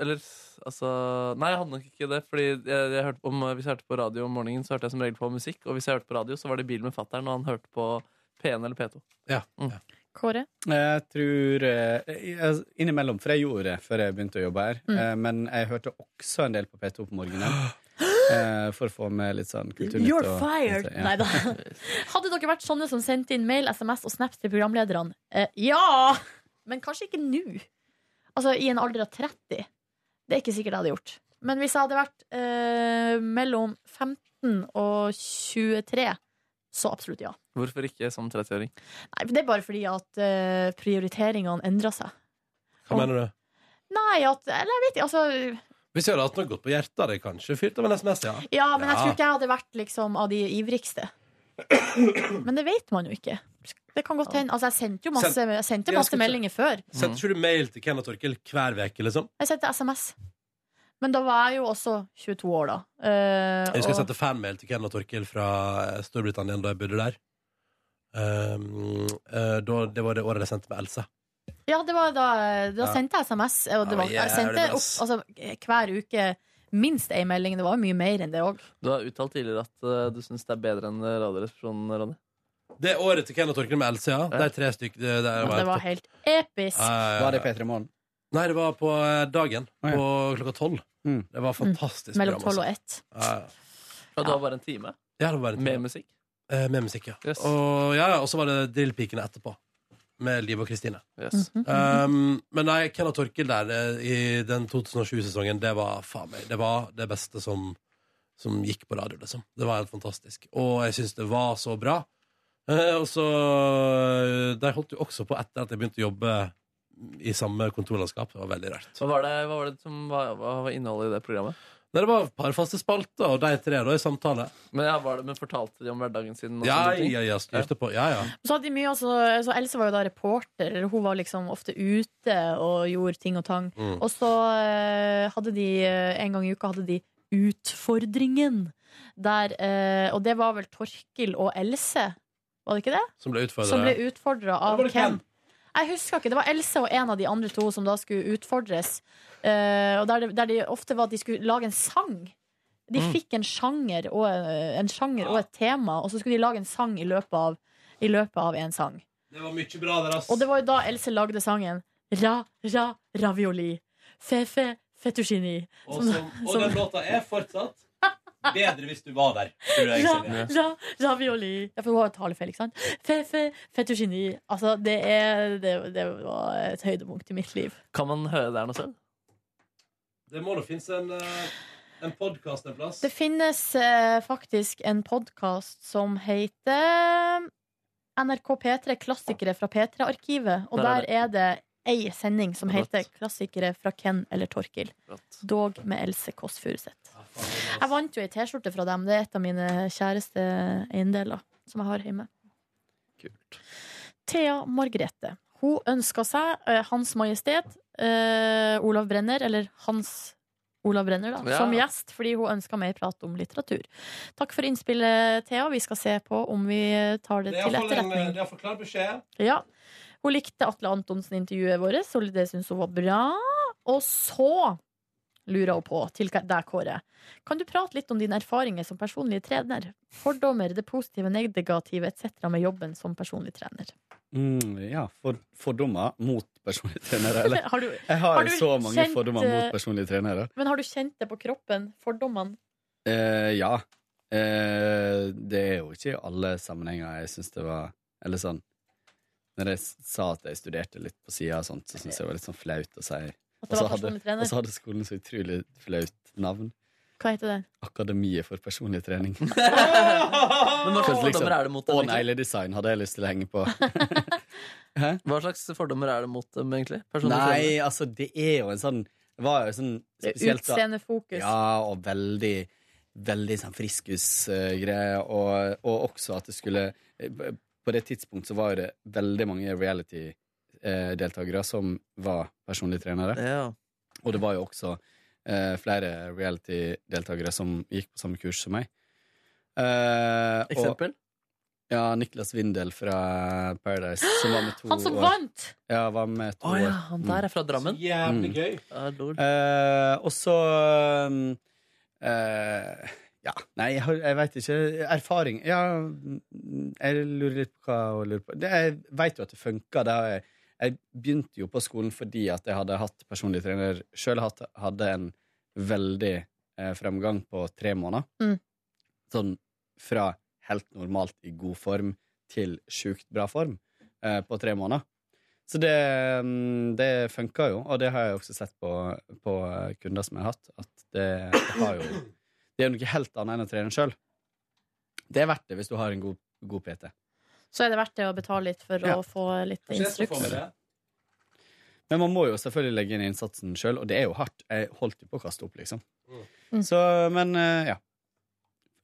Speaker 3: Eller altså Nei, jeg hadde nok ikke det. Fordi jeg, jeg hørte om, Hvis jeg hørte på radio om morgenen, så hørte jeg som regel på musikk. Og hvis jeg hørte på radio, så var det i bil med fatter'n, og han hørte på P1 eller P2.
Speaker 1: Ja.
Speaker 2: Kåre?
Speaker 6: Jeg tror eh, jeg- Innimellom, for jeg gjorde det før jeg begynte å jobbe her.
Speaker 2: Mm.
Speaker 6: Eh, Men jeg hørte også en del på P2 på morgenen.
Speaker 2: [GASPS]
Speaker 6: eh, For å få med litt sånn kulturnytt.
Speaker 2: You're
Speaker 6: og-
Speaker 2: fired!
Speaker 6: Ja.
Speaker 2: Neida. [LAUGHS] Hadde dere vært sånne som sendte inn mail, SMS og Snap til programlederne? Eh, ja! Men kanskje ikke nå. Altså i en alder av 30. Det er ikke sikkert jeg hadde gjort. Men hvis jeg hadde vært eh, mellom 15 og 23, så absolutt ja.
Speaker 3: Hvorfor ikke som 30-åring?
Speaker 2: Nei, men det er bare fordi at eh, prioriteringene endrer seg.
Speaker 1: Hva mener du?
Speaker 2: Nei, at Eller jeg vet ikke. Altså,
Speaker 1: Hvis jeg hadde hatt noe godt på hjertet, hadde jeg kanskje fyrt av en SMS, ja.
Speaker 2: ja, men jeg tror ikke jeg hadde vært liksom av de ivrigste. Men det vet man jo ikke. Det kan godt hende. Altså, jeg sendte jo masse,
Speaker 1: Send-
Speaker 2: jeg sendte
Speaker 1: Ja,
Speaker 2: masse
Speaker 1: skal vi se.
Speaker 2: meldinger før.
Speaker 1: Sendte ikke du mail til Ken og Torkel hver uke, liksom?
Speaker 2: Jeg sendte SMS. Men da var jeg jo også 22 år, da. Eh,
Speaker 1: Jeg husker jeg
Speaker 2: og-
Speaker 1: sendte fanmail til Ken og Torkel fra eh, Storbritannia da jeg bodde der. Um, eh, da, det var det året jeg sendte med Else.
Speaker 2: ja, det var da, da
Speaker 1: Ja.
Speaker 2: sendte jeg SMS. eh, Og det
Speaker 1: Ja,
Speaker 2: var, jeg
Speaker 1: jævlig
Speaker 2: sendte
Speaker 1: bra,
Speaker 2: opp,
Speaker 1: ass.
Speaker 2: altså, hver uke minst ei melding. Det var jo mye mer enn det òg.
Speaker 3: Du har uttalt tidligere at eh, du syns det er bedre enn Radioresepsjonen, Ronny.
Speaker 1: Det året til Ken og Torkel med Else, ja. De tre stykk, det, det
Speaker 2: Det
Speaker 1: var
Speaker 2: var
Speaker 1: helt
Speaker 2: helt episk.
Speaker 6: Var det P3 Morgen?
Speaker 1: Nei, det var på eh, dagen. På klokka tolv. Det var fantastisk.
Speaker 2: Mm. Mellom
Speaker 1: program,
Speaker 2: 12 og
Speaker 1: altså.
Speaker 2: 1.
Speaker 1: Ja, ja.
Speaker 3: Ja, det var bare en time?
Speaker 1: Ja, det var bare en time.
Speaker 3: Med musikk?
Speaker 1: Eh, Med musikk, ja. Og, ja, ja, og så var det Drillpikene etterpå. Med Liv og Kristine.
Speaker 3: Yes. Mhm,
Speaker 1: Um, men nei, Ken og Torkil der eh, i den 2020-sesongen, det var faen meg Det var det beste som, som gikk på radio, liksom. Det var helt fantastisk. Og jeg syns det var så bra. Eh, og så eh, De holdt jo også på etter at jeg begynte å jobbe i samme kontorlandskap. Det var veldig rart.
Speaker 3: Hva var det, hva var det som var, hva var innholdet i det programmet?
Speaker 1: Nei, det var et par faste spalter, og de tre da i samtale.
Speaker 3: Men, ja, var det, men Fortalte de om hverdagen sin? og
Speaker 1: Ja,
Speaker 3: sånne ting?
Speaker 1: ja, ja, styrte på. Ja, ja.
Speaker 2: Så hadde de mye, altså, så Else var jo da reporter. eller Hun var liksom ofte ute og gjorde ting og tang.
Speaker 1: Mm.
Speaker 2: Og så eh, hadde de eh, en gang i uka hadde de Utfordringen. Der, eh, og det var vel Torkil og Else, var det ikke det?
Speaker 1: Som ble utfordret.
Speaker 2: Som ble utfordra av
Speaker 1: Eller var det
Speaker 2: hvem? Jeg husker ikke. Det var Else og en av de andre to som da skulle utfordres. Eh, og der, det- der de ofte var at de skulle lage en sang. De
Speaker 13: Mm.
Speaker 2: fikk en sjanger, og, eh, en sjanger og et tema, og så skulle de lage en sang i løpet av, i løpet av en sang.
Speaker 1: Det var mye bra der, ass.
Speaker 2: Og det var jo da Else lagde sangen Ra, ra, ravioli. Fe-fe, fettuccini.
Speaker 1: Og, som, og den låta er fortsatt bedre hvis du var der. Tror jeg,
Speaker 2: Ra,
Speaker 1: Silje.
Speaker 2: ra, ravioli. Ja, for hun har jo talefeil, ikke sant? Fe-fe, fettuccini. Altså, det, er, det, det var et høydepunkt i mitt liv.
Speaker 3: Kan man høre det her nå selv?
Speaker 1: Det må da finnes en, eh, en podkast en plass.
Speaker 2: Det finnes eh, faktisk en podkast som heter eh, NRK P3 Klassikere fra P3-arkivet. Og
Speaker 13: Der
Speaker 2: der
Speaker 13: er
Speaker 2: er det ei sending som
Speaker 13: Flott.
Speaker 2: heter Klassikere fra Ken eller Torkil. Dog med Else Kåss Furuseth. Jeg vant jo ei T-skjorte fra dem. Det er et av mine kjæreste eiendeler som jeg har hjemme. Thea Margrethe. Hun ønska seg eh, Hans Majestet eh, Olav Brenner, eller Hans Olav Brenner, da,
Speaker 13: Ja.
Speaker 2: som gjest, fordi hun ønska mer prat om litteratur. Takk for innspillet, Thea. Vi skal se på om vi tar det,
Speaker 1: Det er
Speaker 2: til
Speaker 1: iallfall en, eh,
Speaker 2: etterretning.
Speaker 1: det er iallfall klar beskjed.
Speaker 2: Ja. Hun likte Atle Antonsen-intervjuet vårt, så det syns hun var bra. Og så lurer hun på, til deg, Kåre, kan du prate litt om dine erfaringer som personlig trener? Fordommer, det positive, negative etc. med jobben som personlig trener.
Speaker 6: Mm, ja, for, fordommer mot personlige trenere. Eller?
Speaker 2: Har du-
Speaker 6: jeg har,
Speaker 2: har du
Speaker 6: så mange
Speaker 2: kjent,
Speaker 6: fordommer
Speaker 2: eh,
Speaker 6: mot personlige trenere.
Speaker 2: Men har du kjent det på kroppen? Fordommene?
Speaker 6: Eh, ja. Eh, det er jo ikke i alle sammenhenger jeg syns det var Eller sånn Når jeg s- sa at jeg studerte litt på sida og sånt, så syntes jeg det var litt sånn flaut å si.
Speaker 2: At
Speaker 6: Og
Speaker 2: det
Speaker 6: så
Speaker 2: var
Speaker 6: Altså, hadde,
Speaker 2: personlig trener?
Speaker 6: og så hadde skolen så utrolig flaut navn.
Speaker 2: Hva heter den?
Speaker 6: Akademiet for personlig
Speaker 2: [LAUGHS]
Speaker 6: trening. Men
Speaker 3: hva slags fordommer er det mot dem,
Speaker 6: Å
Speaker 3: egentlig?
Speaker 6: nei, design hadde jeg lyst til å henge på.
Speaker 3: Hva slags fordommer er det mot dem, egentlig? Personlig
Speaker 6: Nei,
Speaker 3: trener?
Speaker 6: altså, det er jo en sånn Det var jo sånn
Speaker 2: Det er
Speaker 6: spesielt da-
Speaker 2: utseendefokus.
Speaker 6: Ja, og veldig Veldig sånn friskus-greie, og, og også at det skulle eh, På det tidspunktet så var jo det veldig mange reality-deltakere som var personlige trenere. Og det var jo også eh, flere reality-deltakere som gikk på samme kurs som meg. Eh, og-
Speaker 3: Eksempel?
Speaker 6: ja, Niklas Windel fra Paradise. Som var med to
Speaker 3: Han som
Speaker 6: år.
Speaker 3: vant!
Speaker 6: Ja, var med to
Speaker 3: Å ja,
Speaker 6: år.
Speaker 3: han der er fra Drammen.
Speaker 6: jævlig Mm.
Speaker 1: gøy.
Speaker 6: Eh, og så um, eh, Ja, nei, jeg, har- jeg veit ikke. Erfaring Ja, mm, jeg lurer litt på hva hun lurer på. Det, jeg veit jo at det funka. Det har jeg, jeg begynte jo på skolen fordi at jeg hadde hatt personlig trener sjøl. Hadde en veldig eh, fremgang på tre måneder.
Speaker 2: Mm.
Speaker 6: Sånn fra helt normalt i god form til sjukt bra form eh, på tre måneder. Så det, mm, det funka jo, og det har jeg også sett på, på kunder som jeg har hatt, at det, det har jo Det er jo noe helt annet enn å trene sjøl. Det er verdt det hvis du har en god, god PT.
Speaker 2: Så er det verdt det å betale litt for
Speaker 6: Ja.
Speaker 2: å få litt
Speaker 1: Kanskje Altså, jeg skal få
Speaker 2: instruks.
Speaker 1: med det.
Speaker 6: Men man må jo selvfølgelig legge inn innsatsen sjøl, og det er jo hardt. Jeg holdt jo på å kaste opp, liksom.
Speaker 2: Mm.
Speaker 6: Så, men eh, ja.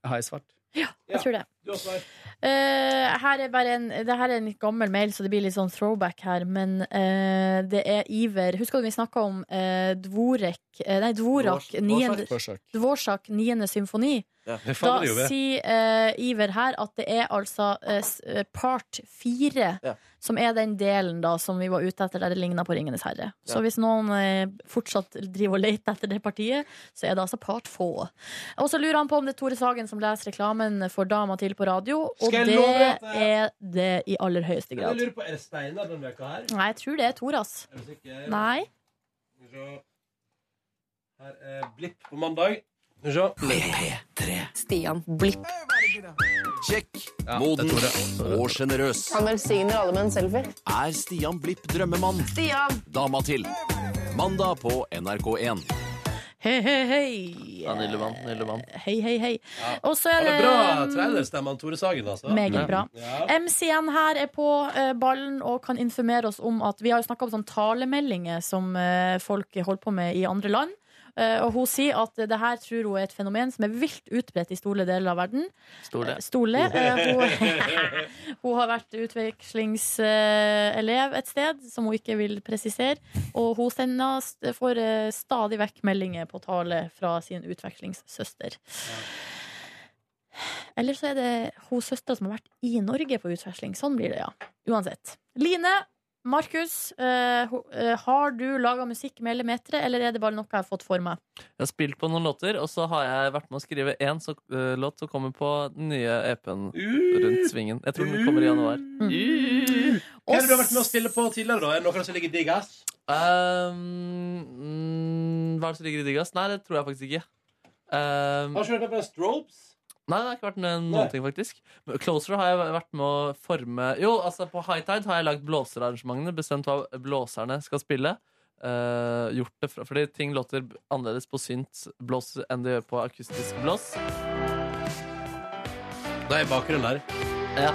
Speaker 6: Har jeg svart?
Speaker 2: Ja, jeg tror det.
Speaker 1: Du har svar.
Speaker 2: Eh, her er bare en, det her er en litt gammel mail, så det blir litt sånn throwback her. Men eh, det er Iver Husker du vi snakka om eh, Dvorek eh, Nei, Dvorak.
Speaker 13: Dvorsak.
Speaker 2: niende-
Speaker 13: Dvorsak.
Speaker 2: Dvorsak 9. symfoni.
Speaker 13: Ja, det
Speaker 2: da
Speaker 13: faller jo ved.
Speaker 2: sier eh, Iver her at det er altså eh, s- eh, part fire som er den delen da som vi var ute etter der det ligna på Ringenes herre. Så
Speaker 13: Ja.
Speaker 2: hvis noen eh, fortsatt driver og leter etter det partiet, så er det altså part få. Og så lurer han på om det er Tore Sagen som leser reklamen for Dama til på radio, og
Speaker 1: Skal jeg
Speaker 2: det
Speaker 1: love deg at eh,
Speaker 2: er det i aller høyeste
Speaker 1: Jeg
Speaker 2: grad.
Speaker 1: lurer på, Er det Steinar denne veka her?
Speaker 2: Nei, jeg tror det er Tor, ass.
Speaker 1: Er du sikker?
Speaker 2: Nei.
Speaker 1: Skal vi se. Her er Blipp på mandag. Skal vi se.
Speaker 14: Stian Blipp.
Speaker 15: Kjekk, moden og sjenerøs.
Speaker 14: Han velsigner alle med en selfie.
Speaker 15: Er Stian Blipp drømmemann?
Speaker 14: Stian!
Speaker 15: Dama til. Mandag på NRK1.
Speaker 2: Hei, hei, hei.
Speaker 3: Nillevann, Nillevann.
Speaker 2: Hei, hei, hei. Og så
Speaker 1: Ja,
Speaker 2: er
Speaker 1: det
Speaker 2: det
Speaker 1: er bra trailerstemme av Tore Sagen, altså.
Speaker 2: Meget bra. MCN her er på eh, ballen og kan informere oss om at vi har jo snakka om sånne talemeldinger som eh, folk holder på med i andre land. Eh, og hun sier at det her tror hun er et fenomen som er vilt utbredt i store deler av verden.
Speaker 3: Stole.
Speaker 2: Eh, Stole. Eh, hun, [LAUGHS] hun har vært utvekslingselev et sted, som hun ikke vil presisere. Og hun sender, st- får eh, stadig vekk meldinger på tale fra sin utvekslingssøster. Eller så er det hun søstera som har vært i Norge på utveksling. Sånn blir det, ja. Uansett. Line Markus, eh, ho- eh, har du laga musikk med Elemetere, eller er det bare noe jeg har fått for meg?
Speaker 3: Jeg har spilt på noen låter, og så har jeg vært med å skrive én så, eh, låt som kommer på den nye EP-en
Speaker 2: Mm.
Speaker 3: rundt svingen. Jeg tror den kommer i januar.
Speaker 1: Hva er det du har vært med å spille på tidligere, da? Er det noe som ligger digg, ass?
Speaker 3: Um, Ehm, mm, hva er det som ligger i diggas? Nei, det tror jeg faktisk ikke. Um,
Speaker 1: Har ikke du hørt om Strobes?
Speaker 3: Nei, det har ikke vært noen, noen ting, faktisk. Men Closer har jeg vært med å forme Jo, altså, på High Tide har jeg lagd blåserarrangementene, bestemt hva blåserne skal spille. Eh, gjort det fra, Fordi ting låter annerledes på synt-blås enn det gjør på akustisk blås.
Speaker 1: Det er i bakgrunnen her.
Speaker 3: Ja.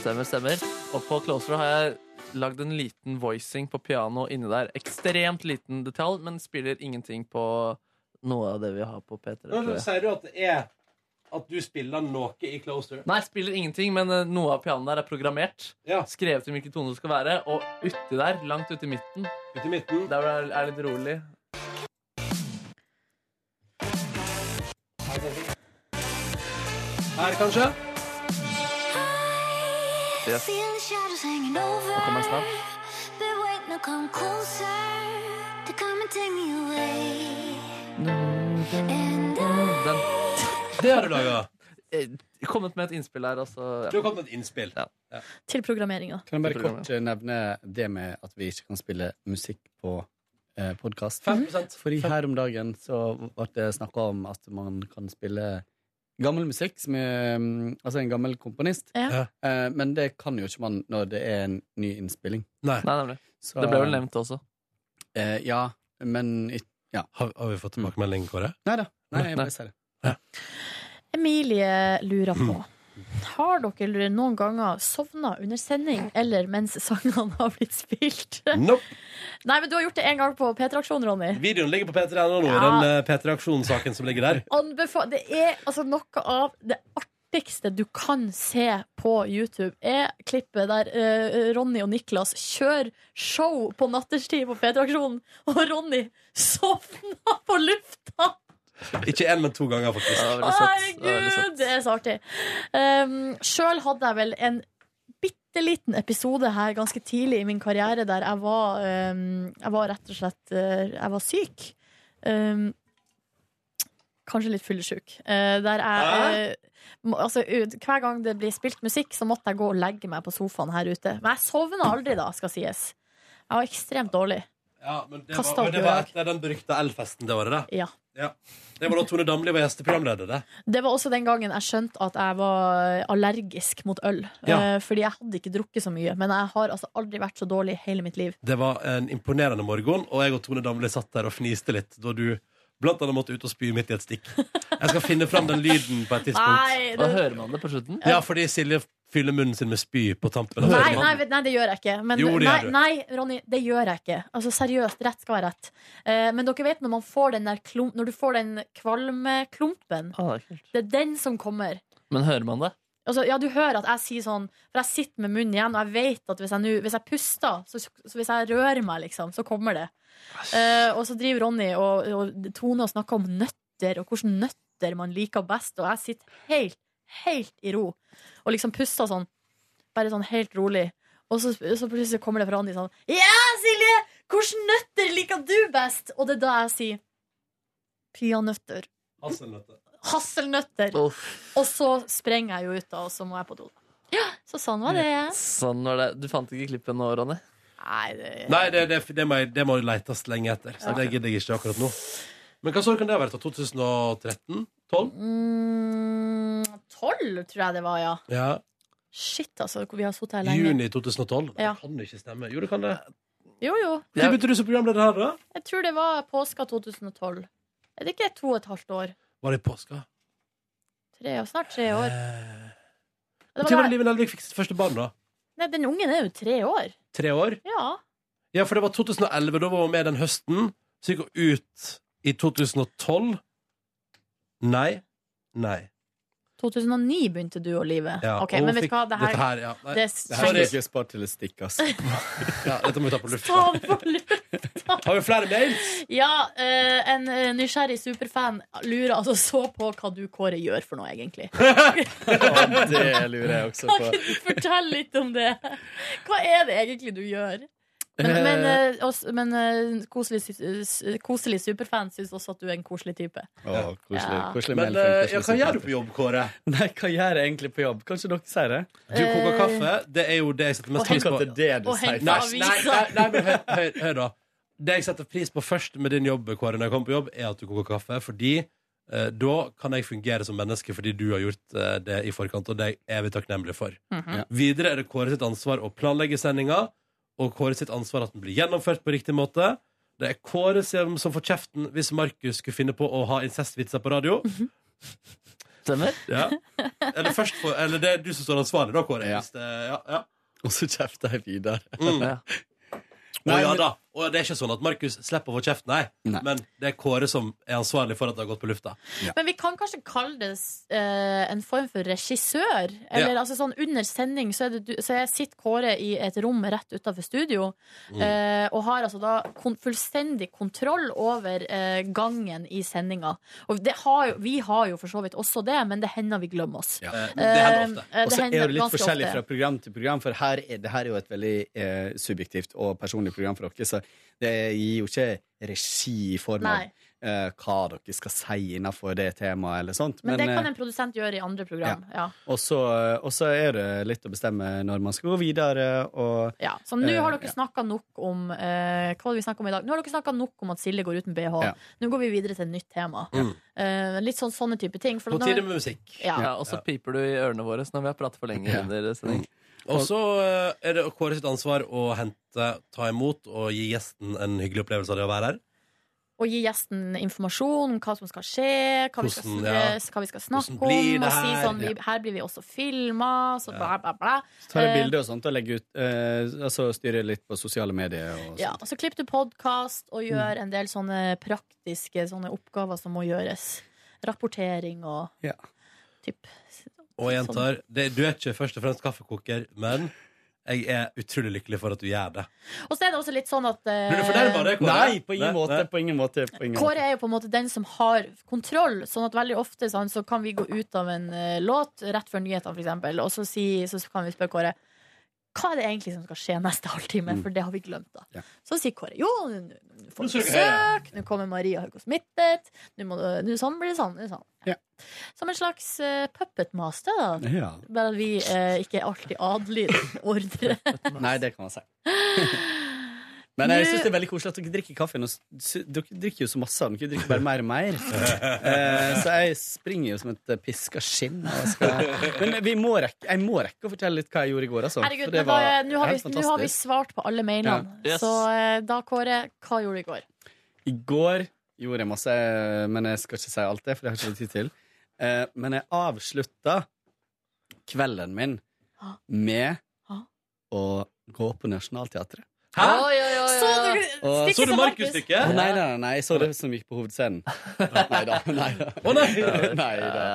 Speaker 3: Stemmer, stemmer. Og på Closer har jeg lagd en liten voicing på piano inni der. Ekstremt liten detalj, men spiller ingenting på noe av det vi har på P3.
Speaker 1: Nå
Speaker 3: tror jeg.
Speaker 1: sier du at det er at du spiller noe i Closer.
Speaker 3: Nei, spiller ingenting, men eh, noe av pianoet der er programmert. Skrevet i hvilken tone det skal være, og uti der, langt uti midten, der hvor det er- er litt rolig
Speaker 1: Her, kanskje?
Speaker 3: Yes.
Speaker 13: Nå
Speaker 3: kommer den snart. Den. eh,
Speaker 1: Det har du laga.
Speaker 3: Kommet med et innspill her, altså.
Speaker 1: Du har kommet med et innspill.
Speaker 2: Til programmeringa.
Speaker 6: Kan jeg bare kort eh, nevne det med at vi ikke kan spille musikk på eh, podkast? Fordi her om dagen så ble det snakka om at man kan spille gammel musikk, som er, mm, altså en gammel komponist,
Speaker 3: Ja.
Speaker 6: Eh, men det kan jo ikke man når det er en ny innspilling.
Speaker 1: Nei,
Speaker 3: nemlig. Det ble vel nevnt også.
Speaker 6: Eh, ja, men ikke ja.
Speaker 1: Har, har vi fått tilbakemelding, Kåre?
Speaker 6: Nei da. Nei, jeg bare sier det.
Speaker 2: Emilie lurer på [CLEARS THROAT] Har dere noen ganger sovna under sending eller mens sangene [LAUGHS] har blitt spilt?
Speaker 1: Nope.
Speaker 2: Nei, men du har gjort det en gang på P3-aksjonen, Ronny.
Speaker 1: Videoen ligger på P3.no nå,
Speaker 2: Ja.
Speaker 1: den eh, P3-aksjonssaken som ligger der.
Speaker 2: Anbefa det er altså noe av det artigste du kan se på YouTube, er klippet der eh, Ronny og Niklas kjører show på natterstid på P3-aksjonen, og Ronny sovna på lufta!
Speaker 1: Ikke én, men to ganger, faktisk.
Speaker 2: Å, Herregud, det er så artig. Um, Sjøl hadde jeg vel en bitte liten episode her ganske tidlig i min karriere der jeg var, um, jeg var rett og slett uh, Jeg var syk. Um, kanskje litt fyllesyk. Uh, der jeg uh, må- Altså, ut- hver gang det blir spilt musikk, så måtte jeg gå og legge meg på sofaen her ute. Men jeg sovna aldri da, skal sies. Jeg var ekstremt dårlig.
Speaker 1: Ja, men det
Speaker 2: Kastet
Speaker 1: var, men
Speaker 2: opp
Speaker 1: det
Speaker 2: i
Speaker 1: var
Speaker 2: dag.
Speaker 1: etter den berykta L-festen det året, det.
Speaker 2: Ja.
Speaker 1: Ja. Det var da Tone Damli var gjesteprogramleder. det.
Speaker 2: Det var også den gangen jeg skjønte at jeg var allergisk mot øl.
Speaker 1: Ja.
Speaker 2: Eh, Fordi jeg hadde ikke drukket så mye. Men jeg har altså aldri vært så dårlig i hele mitt liv.
Speaker 1: Det var en imponerende morgen, og jeg og Tone Damli satt der og fniste litt da du blant annet måtte ut og spy midt i et stikk. Jeg skal finne fram den lyden på et tidspunkt.
Speaker 2: Nei, det- Da hører
Speaker 3: man det på slutten?
Speaker 1: Ja, fordi Silje fyller munnen sin med spy på tampen. av
Speaker 2: Nei,
Speaker 1: sendingen.
Speaker 2: nei, vet- nei, det gjør jeg ikke. Men,
Speaker 1: Jo, det
Speaker 2: nei,
Speaker 1: gjør du.
Speaker 2: nei, Ronny, det gjør jeg ikke. Altså Seriøst, rett skal være rett. Eh, Men dere vet når, man får den der klump, når du får den kvalmeklumpen, det er den som kommer.
Speaker 3: Men hører man det?
Speaker 2: Altså, ja, du hører at jeg sier sånn For jeg sitter med munnen igjen, og jeg vet at hvis jeg, nu- hvis jeg puster, så, så hvis jeg rører meg, liksom, så kommer det. Eh, og så driver Ronny og, og Tone og snakker om nøtter, og hvilke nøtter man liker best, og jeg sitter helt, helt i ro og liksom puster sånn, bare sånn helt rolig. Og så, så plutselig kommer det fra Ronny sånn Ja, Silje! Hvilke nøtter liker du best? Og det er da jeg sier peanøtter.
Speaker 1: Hasselnøtter.
Speaker 2: Hasselnøtter. Og så sprenger jeg jo ut, da, og så må jeg på do. Ja, så sånn var det.
Speaker 3: Sånn var det. Du fant ikke klippet nå, Ronny?
Speaker 2: Nei, det
Speaker 1: Nei, det, det, det, må, jeg- det må leites lenge etter, så
Speaker 2: Ja.
Speaker 1: det gidder jeg ikke akkurat nå. Men hva år kan det ha vært? da? 2013? 12?
Speaker 2: Mm, Tolv, tror jeg det var, ja.
Speaker 1: Ja.
Speaker 2: Shit, altså. Vi har sittet her lenge.
Speaker 1: Juni 2012?
Speaker 2: Ja.
Speaker 1: Det kan ikke stemme. Jo, det kan det.
Speaker 2: Jo, jo.
Speaker 1: Når begynte du som programleder her, da?
Speaker 2: Jeg tror det var påska 2012. Er det ikke to og et halvt år?
Speaker 1: Var det i påska? Eh,
Speaker 2: Tre år, snart tre år. Det
Speaker 1: Når
Speaker 2: var
Speaker 1: var det
Speaker 2: da,
Speaker 1: Live Nelvik fikk sitt første barn, da?
Speaker 2: nei, den ungen er jo tre år.
Speaker 1: Tre år?
Speaker 2: Ja.
Speaker 1: Ja, for det var 2011. Da var hun med den høsten. Så gikk hun ut i 2012. Nei. Nei.
Speaker 2: 2009 begynte du og livet.
Speaker 6: Ja,
Speaker 2: ok,
Speaker 6: og
Speaker 2: men vet
Speaker 6: fikk
Speaker 2: du hva, det her,
Speaker 6: dette her, ja. Nei,
Speaker 2: det
Speaker 6: det her
Speaker 2: trenger-
Speaker 6: skal ikke spart til et stikk, ass.
Speaker 1: ja, dette må vi ta på lufta.
Speaker 2: Ta det på
Speaker 1: Har vi flere mails?
Speaker 2: Ja, eh, en eh, nysgjerrig superfan lurer altså så på hva du, Kåre, gjør for noe, egentlig.
Speaker 6: Det lurer jeg også
Speaker 2: Kan [LAUGHS]
Speaker 6: på.
Speaker 2: ikke du fortelle litt om det? Hva er det egentlig du gjør? Men, men, eh, oss, men eh, koselig, sy- s- koselig superfan syns også at du er en koselig type.
Speaker 6: Å, koselig,
Speaker 2: Ja.
Speaker 6: koselig
Speaker 1: Men,
Speaker 6: mail fra en
Speaker 1: eh,
Speaker 6: koselig
Speaker 1: ja, hva gjør du
Speaker 6: psykopat.
Speaker 1: på jobb, Kåre?
Speaker 6: Nei, hva gjør jeg egentlig på jobb? Kanskje dere sier det?
Speaker 1: Du koker kaffe. Det er jo det jeg setter
Speaker 6: Og
Speaker 1: mest pris
Speaker 6: heng-
Speaker 1: på.
Speaker 6: Akkurat det du Og sier heng-
Speaker 1: Nei,
Speaker 6: aviser.
Speaker 1: nei, nei, nei, men hør, hør, hør da. Det jeg setter pris på først med din jobb, Kåre, når jeg kommer på jobb, er at du koker kaffe. Fordi eh, da kan jeg fungere som menneske fordi du har gjort eh, det i forkant, og det er jeg evig takknemlig for.
Speaker 2: Mhm. Ja.
Speaker 1: Videre er det Kåre sitt ansvar å planlegge sendinga, og Kåre sitt ansvar at den blir gjennomført på riktig måte. Det er Kåre som som får kjeften hvis Markus skulle finne på å ha incestvitser på radio.
Speaker 3: Stemmer.
Speaker 1: Ja. Eller, først for, eller det er du som står ansvarlig, da, Kåre. Hvis det, ja, ja.
Speaker 6: Og så kjefter jeg videre.
Speaker 1: Mm.
Speaker 6: Ja.
Speaker 1: Å
Speaker 6: Nei,
Speaker 1: ja
Speaker 6: men-
Speaker 1: da. Og det er ikke sånn at Markus slipper å få kjeft, nei. Men det er Kåre som er ansvarlig for at det har gått på lufta.
Speaker 2: Men vi kan kanskje kalle det eh, en form for regissør.
Speaker 1: Ja.
Speaker 2: Eller altså sånn under sending så, er det, du- så jeg sitter Kåre i et rom rett utenfor studio
Speaker 11: Mm.
Speaker 2: eh, og har altså da kon fullstendig kontroll over eh, gangen i sendinga. Og det har jo, vi har jo for så vidt også det, men det hender vi glemmer oss.
Speaker 6: Eh,
Speaker 2: Eh,
Speaker 6: Og så er
Speaker 2: hender
Speaker 6: det litt
Speaker 2: ganske
Speaker 6: forskjellig
Speaker 2: ofte.
Speaker 6: fra program til program, for her er, det her er jo et veldig eh, subjektivt og personlig program for dere, så det gir jo ikke regi i form av
Speaker 2: Nei.
Speaker 6: eh, hva dere skal si innenfor det temaet eller sånt.
Speaker 2: Men, det
Speaker 6: eh,
Speaker 2: kan en produsent gjøre i andre program. Ja.
Speaker 6: og så, eh, og så er det litt å bestemme når man skal gå videre, og
Speaker 2: Ja, så nå
Speaker 6: Eh,
Speaker 2: har dere
Speaker 6: ja.
Speaker 2: snakka nok om eh, Hva var det vi snakket om i dag? Nå har dere snakka nok om at Silje går uten bh.
Speaker 6: Ja.
Speaker 2: Nå går vi videre til et nytt tema.
Speaker 1: Mm.
Speaker 2: Eh, litt sånn sånne type ting. for
Speaker 3: På
Speaker 2: når-
Speaker 3: tide med musikk.
Speaker 2: Ja.
Speaker 3: Ja, og så piper du i ørene våre når vi har pratet for lenge. under sending.
Speaker 1: Og så eh, er det Kåre sitt ansvar å hente, ta imot og gi gjesten en hyggelig opplevelse av det å være her.
Speaker 2: Og gi gjesten informasjon om hva som skal skje, hva, vi, skal,
Speaker 1: Hvordan,
Speaker 2: snakke-
Speaker 1: ja.
Speaker 2: hva vi skal snakke
Speaker 6: Hvordan blir
Speaker 2: om.
Speaker 6: det
Speaker 2: Og si
Speaker 6: her?
Speaker 2: sånn, vi,
Speaker 6: Ja.
Speaker 2: her blir vi også filma, så bla, bla, bla.
Speaker 6: så tar jeg
Speaker 2: Eh,
Speaker 6: bilder og sånt og legger ut, eh, altså styrer litt på sosiale medier og
Speaker 2: ja, og så klipper du podkast
Speaker 6: Mm.
Speaker 2: og gjør en del sånne praktiske sånne oppgaver som må gjøres. Rapportering og
Speaker 6: Ja.
Speaker 2: typ
Speaker 1: Og jeg gjentar, det, du er ikke først og fremst kaffekoker, men jeg er utrolig lykkelig for at du gjør det.
Speaker 2: Og så er det også litt sånn at eh,
Speaker 1: Blir du fornærma av det, Kåre?
Speaker 6: Nei, på ingen måte, på ingen måte. På ingen
Speaker 2: Kåre er jo på en måte den som har kontroll, sånn at veldig ofte sånn, så kan vi gå ut av en eh, låt rett før nyhetene, for eksempel, og så, si, så kan vi spørre Kåre hva er det egentlig som skal skje neste halvtime, for det har vi glemt. da. Så sier Kåre jo, nå nå får du
Speaker 11: Nå skal jeg høre.
Speaker 2: besøk, nå kommer Maria Haugo smittet, nå må du- nå sånn blir det sånn. blir det sånn. Ja. Som en slags eh, puppet master, da.
Speaker 6: Ja.
Speaker 2: Bare at vi eh, ikke alltid adlyder ordre.
Speaker 6: måte. Nei, det
Speaker 2: [GASPS]
Speaker 6: kan man si. Men jeg syns det er veldig koselig at dere drikker kaffe. Nå s- s- Dere drikker jo så masse av den, dere drikker bare mer og
Speaker 2: [LAUGHS]
Speaker 6: mer. Eh, så jeg springer jo som et eh, piska skinn. og skal- Men vi må rekke, jeg må rekke å fortelle litt hva jeg gjorde i går, altså.
Speaker 2: Herregud,
Speaker 6: for det
Speaker 2: men da,
Speaker 6: var
Speaker 2: eh, nå har,
Speaker 6: helt
Speaker 2: vi- nå har vi
Speaker 6: fantastisk.
Speaker 2: svart på alle mailene.
Speaker 6: Ja. Yes.
Speaker 2: Så eh, da, Kåre, hva gjorde du i går?
Speaker 6: I går gjorde jeg masse, men jeg skal ikke si alt det, for det har jeg ikke tid til. Eh, men jeg avslutta kvelden min med
Speaker 2: Hæ?
Speaker 6: å gå på Nationaltheatret.
Speaker 1: Hæ?
Speaker 2: Så du
Speaker 6: Og-
Speaker 2: stikket til Markus?
Speaker 6: Å, nei, nei, nei, nei, jeg så det som gikk på hovedscenen. Nei da. Nei da.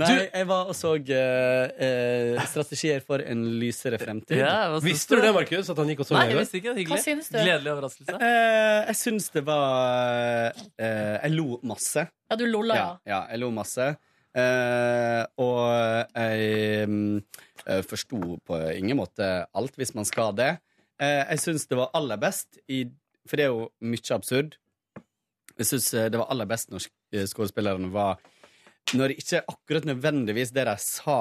Speaker 6: Nei, jeg var og så eh, eh, strategier for en lysere fremtid.
Speaker 3: Ja, hva synes Visste du du? det, Markus, at han gikk og så Nei, det jeg visste ikke. Hyggelig. Hva synes du? Gledelig overraskelse.
Speaker 6: Eh, jeg syns det var eh, Jeg lo masse.
Speaker 2: Ja, du lolla, ja. [LAUGHS]
Speaker 6: Ja, jeg lo masse. Eh, og jeg mm, eh, forsto på ingen måte alt, hvis man skal det. Eh, jeg syns det var aller best, i, for det er jo mye absurd. Jeg syns eh, det var aller best når sk- eh, skuespillerne var Når ikke akkurat nødvendigvis det de sa,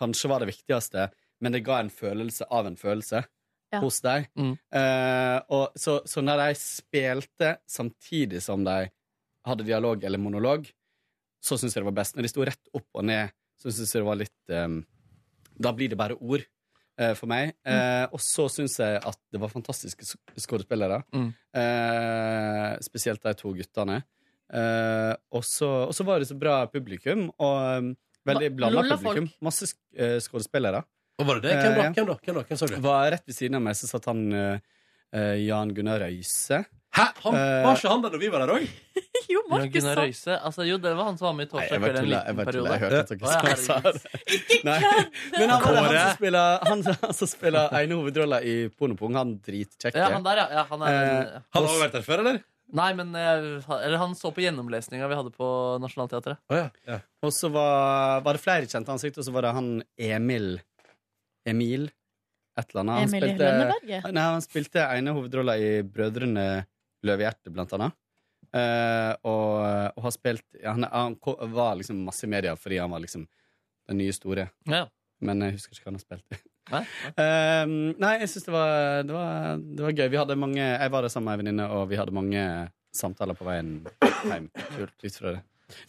Speaker 6: kanskje var det viktigste, men det ga en følelse av en følelse
Speaker 2: Ja.
Speaker 6: hos deg. Eh, og så, så når de spilte samtidig som de hadde dialog eller monolog, så syns jeg det var best. Når de sto rett opp og ned, så syns jeg det var litt ehm, Da blir det bare ord eh, for meg. Eh, og så syns jeg at det var fantastiske sk- skuespillere.
Speaker 3: Mm.
Speaker 6: Eh, spesielt de to guttene. Eh, og så og så var det så bra publikum, og ehm, veldig
Speaker 1: Hva-
Speaker 6: blanda
Speaker 1: lolla folk?
Speaker 6: publikum. Masse sk eh, skuespillere.
Speaker 1: Og var det det? Hvem da?
Speaker 6: Eh,
Speaker 1: Hvem da? Hvem da? Hvem så du?
Speaker 6: Var rett ved siden av meg så satt han eh, eh, Jan Gunnar Røise.
Speaker 1: Hæ? Han, var ikke han der når vi var der òg?
Speaker 2: Jo,
Speaker 3: Jon
Speaker 2: Markus
Speaker 3: Gunnar
Speaker 2: sa
Speaker 3: Røise. Altså, jo, det var han som var med i
Speaker 6: jeg
Speaker 3: Torsdag
Speaker 6: bare
Speaker 3: kveld en
Speaker 6: tulla, jeg
Speaker 3: liten
Speaker 6: bare tulla,
Speaker 3: periode.
Speaker 6: jeg hørte at dere sa det.
Speaker 3: [LAUGHS]
Speaker 2: Ikke
Speaker 6: Nei. Men han, var det, han som spiller, han, han som spiller ene hovedrolla i Pornopung, han dritkjekke.
Speaker 3: Ja, han der, ja. ja han, er,
Speaker 6: Eh,
Speaker 1: Han har vært der før, eller?
Speaker 3: Nei, men eh, han- eller han så på gjennomlesninga vi hadde på Nationaltheatret.
Speaker 6: Og så var, var det flere kjente ansikt, og så var det han Emil Emil et eller annet. Han eh,
Speaker 2: Emil i Lønneberget?
Speaker 6: Nei, han spilte ene hovedrolla i Brødrene Løvehjerte, blant annet. Eh, og, og har spilt ja, han, han ko- var liksom masse i media fordi han var liksom den nye store.
Speaker 3: Ja.
Speaker 6: Men jeg husker ikke hva han har spilt i.
Speaker 3: Nei,
Speaker 6: nei jeg syns det, var- det, var- det var gøy. Vi hadde mange, jeg var der sammen med ei venninne, og vi hadde mange samtaler på veien hjem. Ut fra det.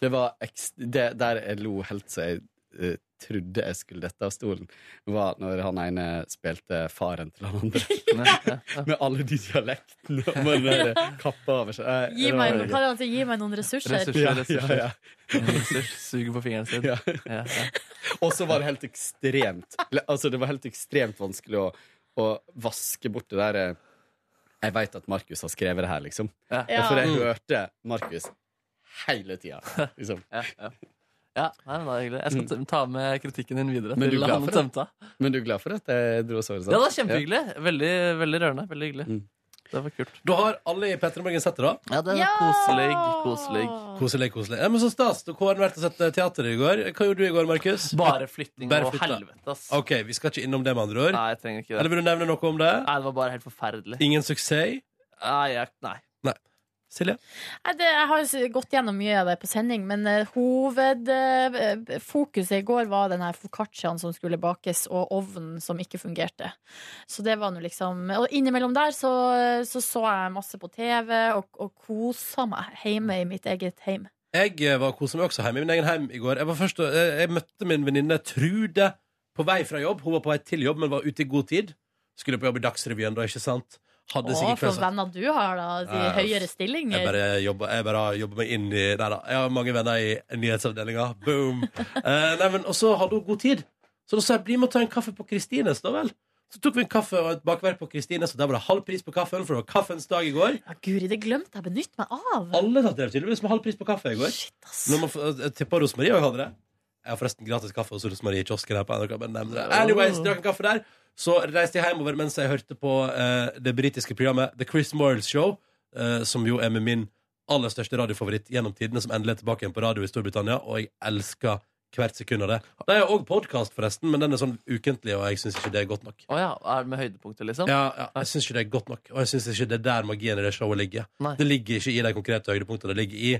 Speaker 6: Det var ekst det, Der jeg lo helt så jeg eh, trodde jeg skulle dette av stolen, var når han ene spilte faren til han andre. Med alle de dialektene
Speaker 2: [LAUGHS]
Speaker 6: og med den der kappa over seg. Nei,
Speaker 2: Gi
Speaker 6: det var
Speaker 2: meg, hva
Speaker 6: veldig
Speaker 2: er
Speaker 6: gøy.
Speaker 2: det han sier? Gi meg noen ressurser.
Speaker 6: [LAUGHS] Ja, ja, ja.
Speaker 3: Suger på fingeren sin.
Speaker 6: Ja. Og så var det helt ekstremt eller, Altså, det var helt ekstremt vanskelig å, å vaske bort det der eh, Jeg veit at Markus har skrevet det her, liksom.
Speaker 3: Ja.
Speaker 6: Og For
Speaker 2: Mm.
Speaker 6: jeg
Speaker 3: Ja.
Speaker 6: hørte Markus hele tida, liksom.
Speaker 3: Ja, ja. ja nei, men det er hyggelig. Jeg skal ta med kritikken din videre.
Speaker 6: Mm. Men du,
Speaker 3: til
Speaker 6: er glad
Speaker 3: han
Speaker 6: for
Speaker 3: tømte.
Speaker 6: det? men du er glad for at jeg dro og så det? sant?
Speaker 3: Ja, det var kjempehyggelig. Veldig, veldig rørende. Veldig hyggelig.
Speaker 6: Mm.
Speaker 3: Det var kult.
Speaker 1: Da har alle i Petter Morgen sett det, da?
Speaker 3: Ja, det er koselig. Koselig.
Speaker 1: Koselig, koselig. Ja, men så stas. Dere har vært og sett eh, teater i går. Hva gjorde du i går, Markus?
Speaker 3: Bare flytting og
Speaker 1: flytta.
Speaker 3: helvete, ass.
Speaker 1: Ok, Vi skal ikke innom det, med andre ord?
Speaker 3: Nei, jeg trenger ikke det.
Speaker 1: Eller vil du nevne noe om det?
Speaker 3: Nei, det var bare helt forferdelig.
Speaker 1: Ingen suksess?
Speaker 3: Nei, jeg, nei.
Speaker 1: Nei. Silje?
Speaker 2: Nei, det, jeg har s- gått gjennom mye av det på sending, men eh, hovedfokuset i går var den her foccacciaen som skulle bakes, og ovnen som ikke fungerte. Så det var nå liksom Og innimellom der så så, så jeg masse på TV og, og kosa meg hjemme i mitt eget heim.
Speaker 1: Jeg eh, var kosa meg også hjemme i min egen heim i går. Jeg, var først, og- eh, jeg møtte min venninne Trude på vei fra jobb. Hun var på vei til jobb, men var ute i god tid. Skulle på jobb i Dagsrevyen, da, ikke sant? Hadde
Speaker 2: Å,
Speaker 1: sikkert
Speaker 2: for
Speaker 1: kvelds-
Speaker 2: venner du har, da. De
Speaker 1: Nei,
Speaker 2: høyere
Speaker 1: Jeg
Speaker 2: stillinger.
Speaker 1: bare jobber, jeg bare jobber meg inn i Nei da. Jeg har mange venner i nyhetsavdelinga. Boom! Eh, nei, men, og så hadde hun god tid. Så da sa jeg bli med og ta en kaffe på Kristines, da vel. Så tok vi en kaffe og et bakverk på Kristines, og der var det halv pris på kaffen, for det var kaffens dag i går.
Speaker 2: Ja, Guri, det glemte jeg å benytte meg av.
Speaker 1: Alle tatt det tydeligvis med halv pris på kaffe i går. Når man får- jeg tipper Rosmarie også hadde det. Jeg har forresten gratis kaffe hos Rosmarie i kiosken her på NRK. Bare nevner det. Anyways, drakk en kaffe der. Så reiste jeg hjemover mens jeg hørte på eh, det britiske programmet The Chris Morales Show, eh, som jo er med min aller største radiofavoritt gjennom tidene, som endelig er tilbake igjen på radio i Storbritannia, og jeg elsker hvert sekund av det. Det er òg podkast, forresten, men den er sånn ukentlig, og jeg syns ikke det er godt nok.
Speaker 3: Å ja, er det med høydepunktet, liksom?
Speaker 1: Ja, ja, jeg syns ikke det er godt nok. Og jeg syns ikke det er der magien i det showet ligger.
Speaker 3: Nei.
Speaker 1: Det ligger ikke i de konkrete høydepunktene. Det ligger i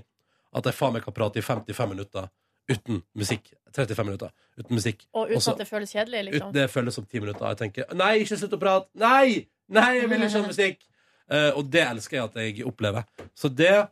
Speaker 1: at jeg faen meg kan prate i 55 minutter uten musikk. 35 minutter uten musikk.
Speaker 2: Og uten
Speaker 1: Også-
Speaker 2: at det føles kjedelig,
Speaker 1: ut-
Speaker 2: liksom.
Speaker 1: det føles som 10 minutter. Jeg tenker nei, ikke slutt å prate! Nei! Nei, jeg vil ikke ha musikk! Eh, og det elsker jeg at jeg opplever. Så det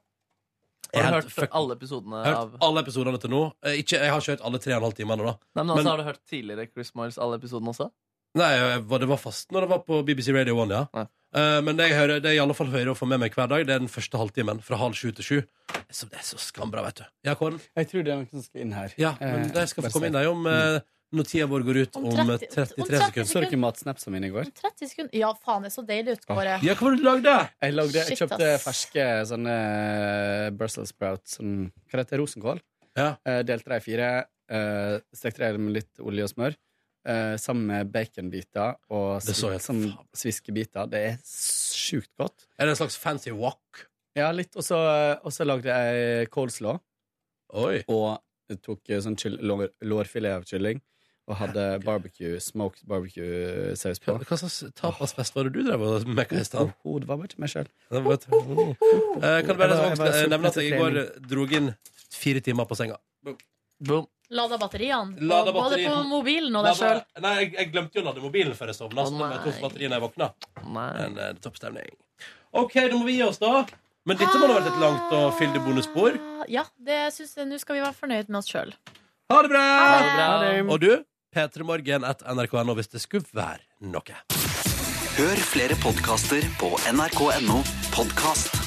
Speaker 3: Har du hørt
Speaker 1: fuck-
Speaker 3: alle episodene
Speaker 1: jeg har
Speaker 3: av
Speaker 1: hørt alle episodene til nå. Eh, ikke, jeg har ikke hørt alle tre og en halv time ennå, da.
Speaker 3: Nei, men
Speaker 1: Men-
Speaker 3: altså, Har du hørt tidligere Chris Miles alle episodene også?
Speaker 1: Nei, jeg var- det var fast når det var på BBC Radio 1, ja. Eh, men det jeg, hører, det jeg i alle fall hører og får med meg hver dag, det er den første halvtimen. Fra halv sju til sju. Så det er så skambra, vet du. Ja, Kåren?
Speaker 6: Jeg tror det er noen som skal inn her.
Speaker 1: Ja, men
Speaker 6: Eh, Mm.
Speaker 1: det skal få
Speaker 6: bare
Speaker 1: komme inn
Speaker 6: se.
Speaker 1: der om eh, når tida vår går ut om,
Speaker 2: Om 30
Speaker 1: eh, 33
Speaker 2: om 30
Speaker 1: sekunder.
Speaker 2: sekunder. Så dere
Speaker 6: matsnapsa mine i går?
Speaker 2: 30 sekunder. Ja, faen, det så deilig ut, Kåre.
Speaker 1: Ja, hva var det du lagde?
Speaker 6: Jeg, lagde, jeg
Speaker 2: Shit,
Speaker 6: kjøpte
Speaker 2: ass.
Speaker 6: ferske sånne eh, Brussels sprouts sånn, Hva heter det? Rosenkål? Eh, delte det i fire. eh, stekte det med litt olje og smør. eh, sammen med baconbiter og
Speaker 1: Det så
Speaker 6: svi-
Speaker 1: helt
Speaker 6: sånn sviskebiter. Det er sjukt godt.
Speaker 1: Er det en slags fancy wok?
Speaker 6: Ja, litt. Og så eh, og så lagde jeg coleslaw. Og jeg tok eh, sånn kyll- lår, lårfilet av kylling. Og hadde barbecue, smoked barbecue-saus på.
Speaker 1: Hva slags tapasfest var det du drev og mekka i
Speaker 6: [LAUGHS]
Speaker 1: stad?
Speaker 6: Hodet var bare til meg sjøl.
Speaker 1: Eh, kan det være
Speaker 6: Jeg var- jeg
Speaker 1: jeg
Speaker 6: var
Speaker 1: også, eh, nevne at
Speaker 6: sulten
Speaker 1: jeg i
Speaker 6: etter
Speaker 1: går
Speaker 6: trening.
Speaker 1: dro inn fire timer på senga.
Speaker 3: Boom.
Speaker 2: Lada batteriene.
Speaker 1: Lada
Speaker 2: Både
Speaker 1: batterien.
Speaker 2: på mobilen og
Speaker 1: Nei,
Speaker 2: deg sjøl.
Speaker 1: Nei, jeg, jeg glemte jo å lade mobilen før jeg sovna. Så
Speaker 2: Å,
Speaker 1: da var jeg tom
Speaker 2: nei.
Speaker 1: for batteri når jeg våkna. Men eh, topp stemning. OK, da må vi gi oss, da. Men dette må da ha vært et langt og fyldig bonusspor.
Speaker 2: Ah, Ja, det syns jeg nå skal vi være fornøyd med oss sjøl.
Speaker 1: Ha det bra!
Speaker 2: Ha det bra.
Speaker 1: Og du, p3morgen at nrk.no hvis det skulle være noe.
Speaker 15: Hør flere podkaster på nrk.no podkast.